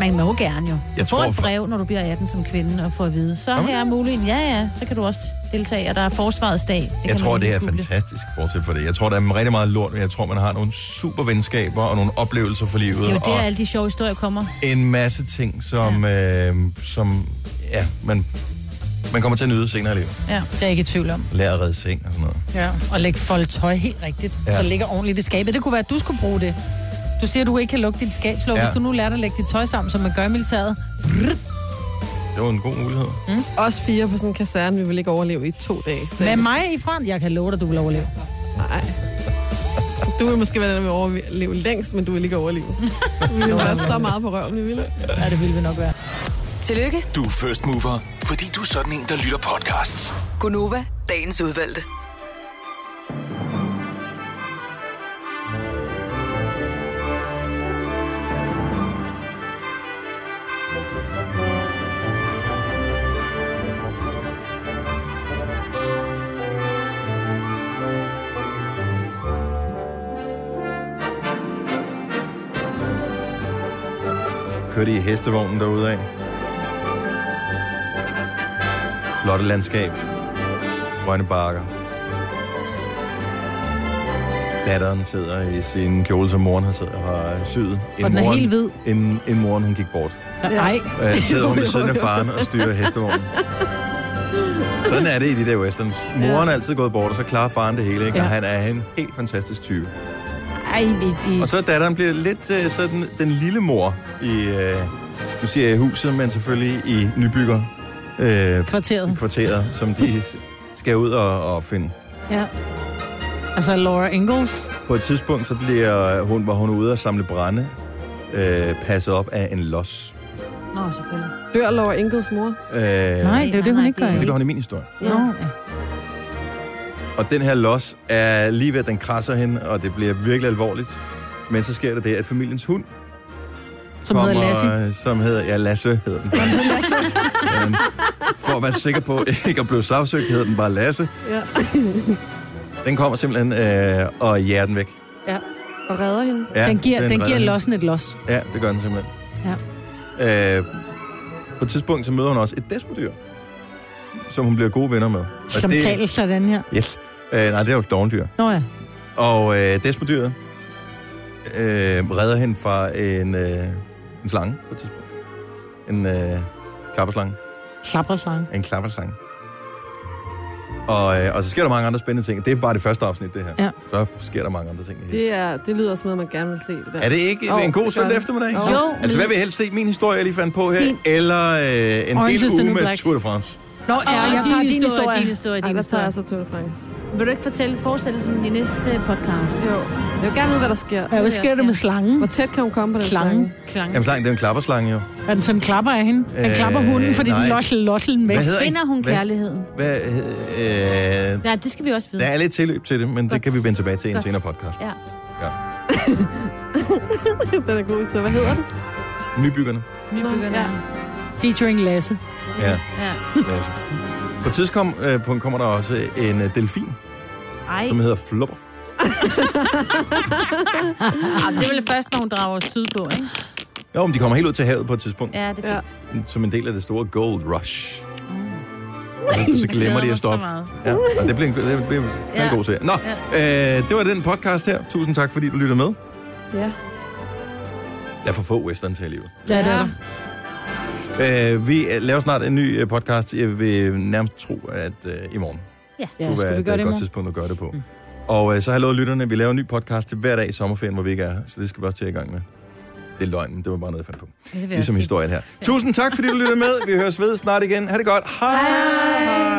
Speaker 4: Man må gerne jo. Du
Speaker 1: Jeg
Speaker 4: jeg får
Speaker 1: tror
Speaker 4: et
Speaker 1: for-
Speaker 4: brev, når du bliver 18 som kvinde, og får at vide, så
Speaker 1: Nå, men-
Speaker 4: her er muligheden. Ja, ja, så kan du også deltage, og der er forsvarets dag. Det
Speaker 1: Jeg
Speaker 4: kan
Speaker 1: tror,
Speaker 4: man
Speaker 1: det
Speaker 4: lige
Speaker 1: er
Speaker 4: google.
Speaker 1: fantastisk, bortset for det. Jeg tror, der er rigtig meget lort, men jeg tror, man har nogle super venskaber og nogle oplevelser for livet.
Speaker 4: Det er jo
Speaker 1: og-
Speaker 4: der, alle de sjove historier kommer.
Speaker 1: en masse ting, som, ja. Øh, som ja, man, man kommer til at nyde senere i livet.
Speaker 2: Ja, det er jeg ikke i tvivl om.
Speaker 1: Lære at redde seng og sådan noget.
Speaker 2: Ja, og lægge folde tøj helt rigtigt,
Speaker 1: Ja.
Speaker 2: ja. så det ligger ordentligt i skabet. Det kunne være, at du skulle bruge det. Du siger, at du ikke kan lukke dit skabslåg.
Speaker 1: Ja.
Speaker 2: Ja. Hvis du nu lærte at lægge dit tøj sammen, som man gør i militæret.
Speaker 1: Det var en god mulighed.
Speaker 5: Mm. Os fire på sådan en kaserne, vi vil ikke overleve i to dage. Så
Speaker 2: Med mig i front, jeg kan love dig, du vil overleve.
Speaker 5: Nej. Du vil måske være den, der vil overleve længst, men du vil ikke overleve. Vi vil være så meget på røven, vi vil.
Speaker 2: Ja, det vil vi nok være.
Speaker 6: Tillykke,
Speaker 7: Du er first mover, fordi du er sådan en, der lytter podcasts.
Speaker 6: Gunova, dagens udvalgte.
Speaker 1: Kørte i hestevognen derude af. Flotte landskab. Grønne bakker. Datteren sidder i sin kjole, som moren har, siddet, har syet.
Speaker 2: Og den er helt hvid.
Speaker 1: En, en moren, hun gik bort.
Speaker 2: Nej.
Speaker 1: Øh, sidder hun ved siden af faren og styrer hestevognen. Sådan er det i de der westerns. Moren er altid gået bort, og så klarer faren det hele, ikke? Og
Speaker 2: Ja.
Speaker 1: han er en helt fantastisk type.
Speaker 2: Ej, i, i.
Speaker 1: Og så er datteren bliver lidt øh, sådan den lille mor i, øh, nu siger jeg i huset, men selvfølgelig i nybygger. Øh,
Speaker 2: kvarteret.
Speaker 1: Kvarteret, som de skal ud og, og opfinde.
Speaker 2: Ja. Altså Laura Ingalls.
Speaker 1: På et tidspunkt, så bliver hun, var hun ude og samle brænde øh, passet op af en los.
Speaker 4: Nå, selvfølgelig.
Speaker 5: Dør Laura Ingels mor?
Speaker 1: Øh,
Speaker 2: Nej, det er jo det, hun ikke gør.
Speaker 1: Men det gør hun i min historie.
Speaker 2: Nå, ja.
Speaker 1: Og den her los er lige ved, at den krasser hende, og det bliver virkelig alvorligt. Men så sker der det, at familiens hund øh,
Speaker 2: Som hedder Lassie.
Speaker 1: Som hedder, ja, Lasse hedder den. Øhm, For at være sikker på [laughs] ikke at blive sagsøgt, hedder den bare Lasse.
Speaker 2: [laughs]
Speaker 5: Ja.
Speaker 1: Den kommer simpelthen øh, og jager den væk.
Speaker 5: ja. Og redder hende.
Speaker 1: Ja,
Speaker 2: den giver,
Speaker 1: den
Speaker 2: den
Speaker 1: redder
Speaker 2: giver
Speaker 1: hende.
Speaker 2: lossen et los.
Speaker 1: Ja, det gør den simpelthen.
Speaker 2: Ja.
Speaker 1: Øh, på et tidspunkt, så møder hun også et desmodyr, som hun bliver gode venner med. Og
Speaker 2: Som det... taler sådan her.
Speaker 1: Yes. Øh, nej, det er jo et dovendyr.
Speaker 2: Nå ja.
Speaker 1: Og øh, desmodyret øh, redder hende fra en, øh, en slange på et tidspunkt. En øh, klapperslange.
Speaker 2: Klapperslange.
Speaker 1: En klapperslange. Og, øh, og så sker der mange andre spændende ting. Det er bare det første afsnit, det her.
Speaker 5: Ja.
Speaker 1: Så sker der mange andre ting. i det hele.
Speaker 5: Det, er, det lyder som noget, man gerne vil se. Det der.
Speaker 1: Er det ikke oh, en god søndag eftermiddag?
Speaker 5: Jo.
Speaker 1: Altså, hvad vil I helst se? Min historie, jeg lige fandt på her,
Speaker 5: Din.
Speaker 1: eller øh, en
Speaker 5: Orange
Speaker 1: hel
Speaker 5: is the
Speaker 1: uge
Speaker 5: New
Speaker 1: med
Speaker 5: Black.
Speaker 1: Tour de France?
Speaker 2: Nå,
Speaker 4: ja, jeg tager din historie.
Speaker 5: Din historie, din Ej, der
Speaker 4: historie.
Speaker 5: tager jeg så Tour de France.
Speaker 4: Vil du ikke fortælle forestillelsen i næste podcast?
Speaker 5: Jo. Jeg vil gerne vide, hvad der sker.
Speaker 2: Ja, hvad sker der med slangen?
Speaker 5: Hvor tæt kan hun komme på den
Speaker 2: Slangen.
Speaker 5: slange?
Speaker 4: Klang.
Speaker 1: Jamen, slangen, det er en klapperslange, jo.
Speaker 2: Er den sådan klapper af hende? Den
Speaker 1: Øh,
Speaker 2: klapper hunden, fordi
Speaker 1: nej.
Speaker 2: den losser lossen væk.
Speaker 1: Hvad hedder
Speaker 4: Finder
Speaker 1: en-
Speaker 4: hun
Speaker 1: hvad-
Speaker 4: kærligheden?
Speaker 1: Hvad, øh,
Speaker 4: Ja, det skal vi også vide.
Speaker 1: der er lidt tilløb til det, men det kan vi vende tilbage til i en
Speaker 4: Godt.
Speaker 1: senere podcast.
Speaker 4: Ja. [laughs]
Speaker 5: den er god historie. Hvad hedder den?
Speaker 1: Nybyggerne.
Speaker 4: Nybegynder.
Speaker 5: Ja.
Speaker 2: Featuring Lasse.
Speaker 1: Ja.
Speaker 4: Ja.
Speaker 1: lad os. På et tidspunkt øh, punkt kommer der også en øh, delfin,
Speaker 4: Ej.
Speaker 1: som
Speaker 4: [laughs]
Speaker 1: hedder Flubber.
Speaker 4: Jamen, det er vel først, når hun drager sydpå, ikke?
Speaker 1: Jo, men de kommer helt ud til havet på et tidspunkt,
Speaker 4: Ja, det er fint.
Speaker 1: som en del af det store gold rush. Og
Speaker 4: [laughs]
Speaker 1: så, så glemmer
Speaker 4: glæder
Speaker 1: de
Speaker 4: mig
Speaker 1: at stoppe.
Speaker 4: så meget.
Speaker 1: Ja, og det bliver en, det bliver ja.
Speaker 4: Ja.
Speaker 1: en god serie. Nå, øh, det var den podcast her. Tusind tak, fordi du lyttede med.
Speaker 5: Ja.
Speaker 1: Der er for få westerns her i livet.
Speaker 2: Ja, det er der.
Speaker 1: Øh, vi øh, laver snart en ny øh, podcast. Jeg vil nærmest tro, at øh, i morgen.
Speaker 4: Ja,
Speaker 1: kunne være et godt tidspunkt at gøre det på. Mm. Og øh, så har jeg lovet lytterne, at vi laver en ny podcast til hver dag i sommerferien, hvor vi ikke er her. Så det skal vi også til i gang med. Det er løgn, men det var bare noget, jeg fandt på.
Speaker 4: vil jeg
Speaker 1: Ligesom
Speaker 4: sige.
Speaker 1: historien her. Tusind tak, fordi du lyttede med. Vi høres ved snart igen. Ha' det godt. Hej. Hej.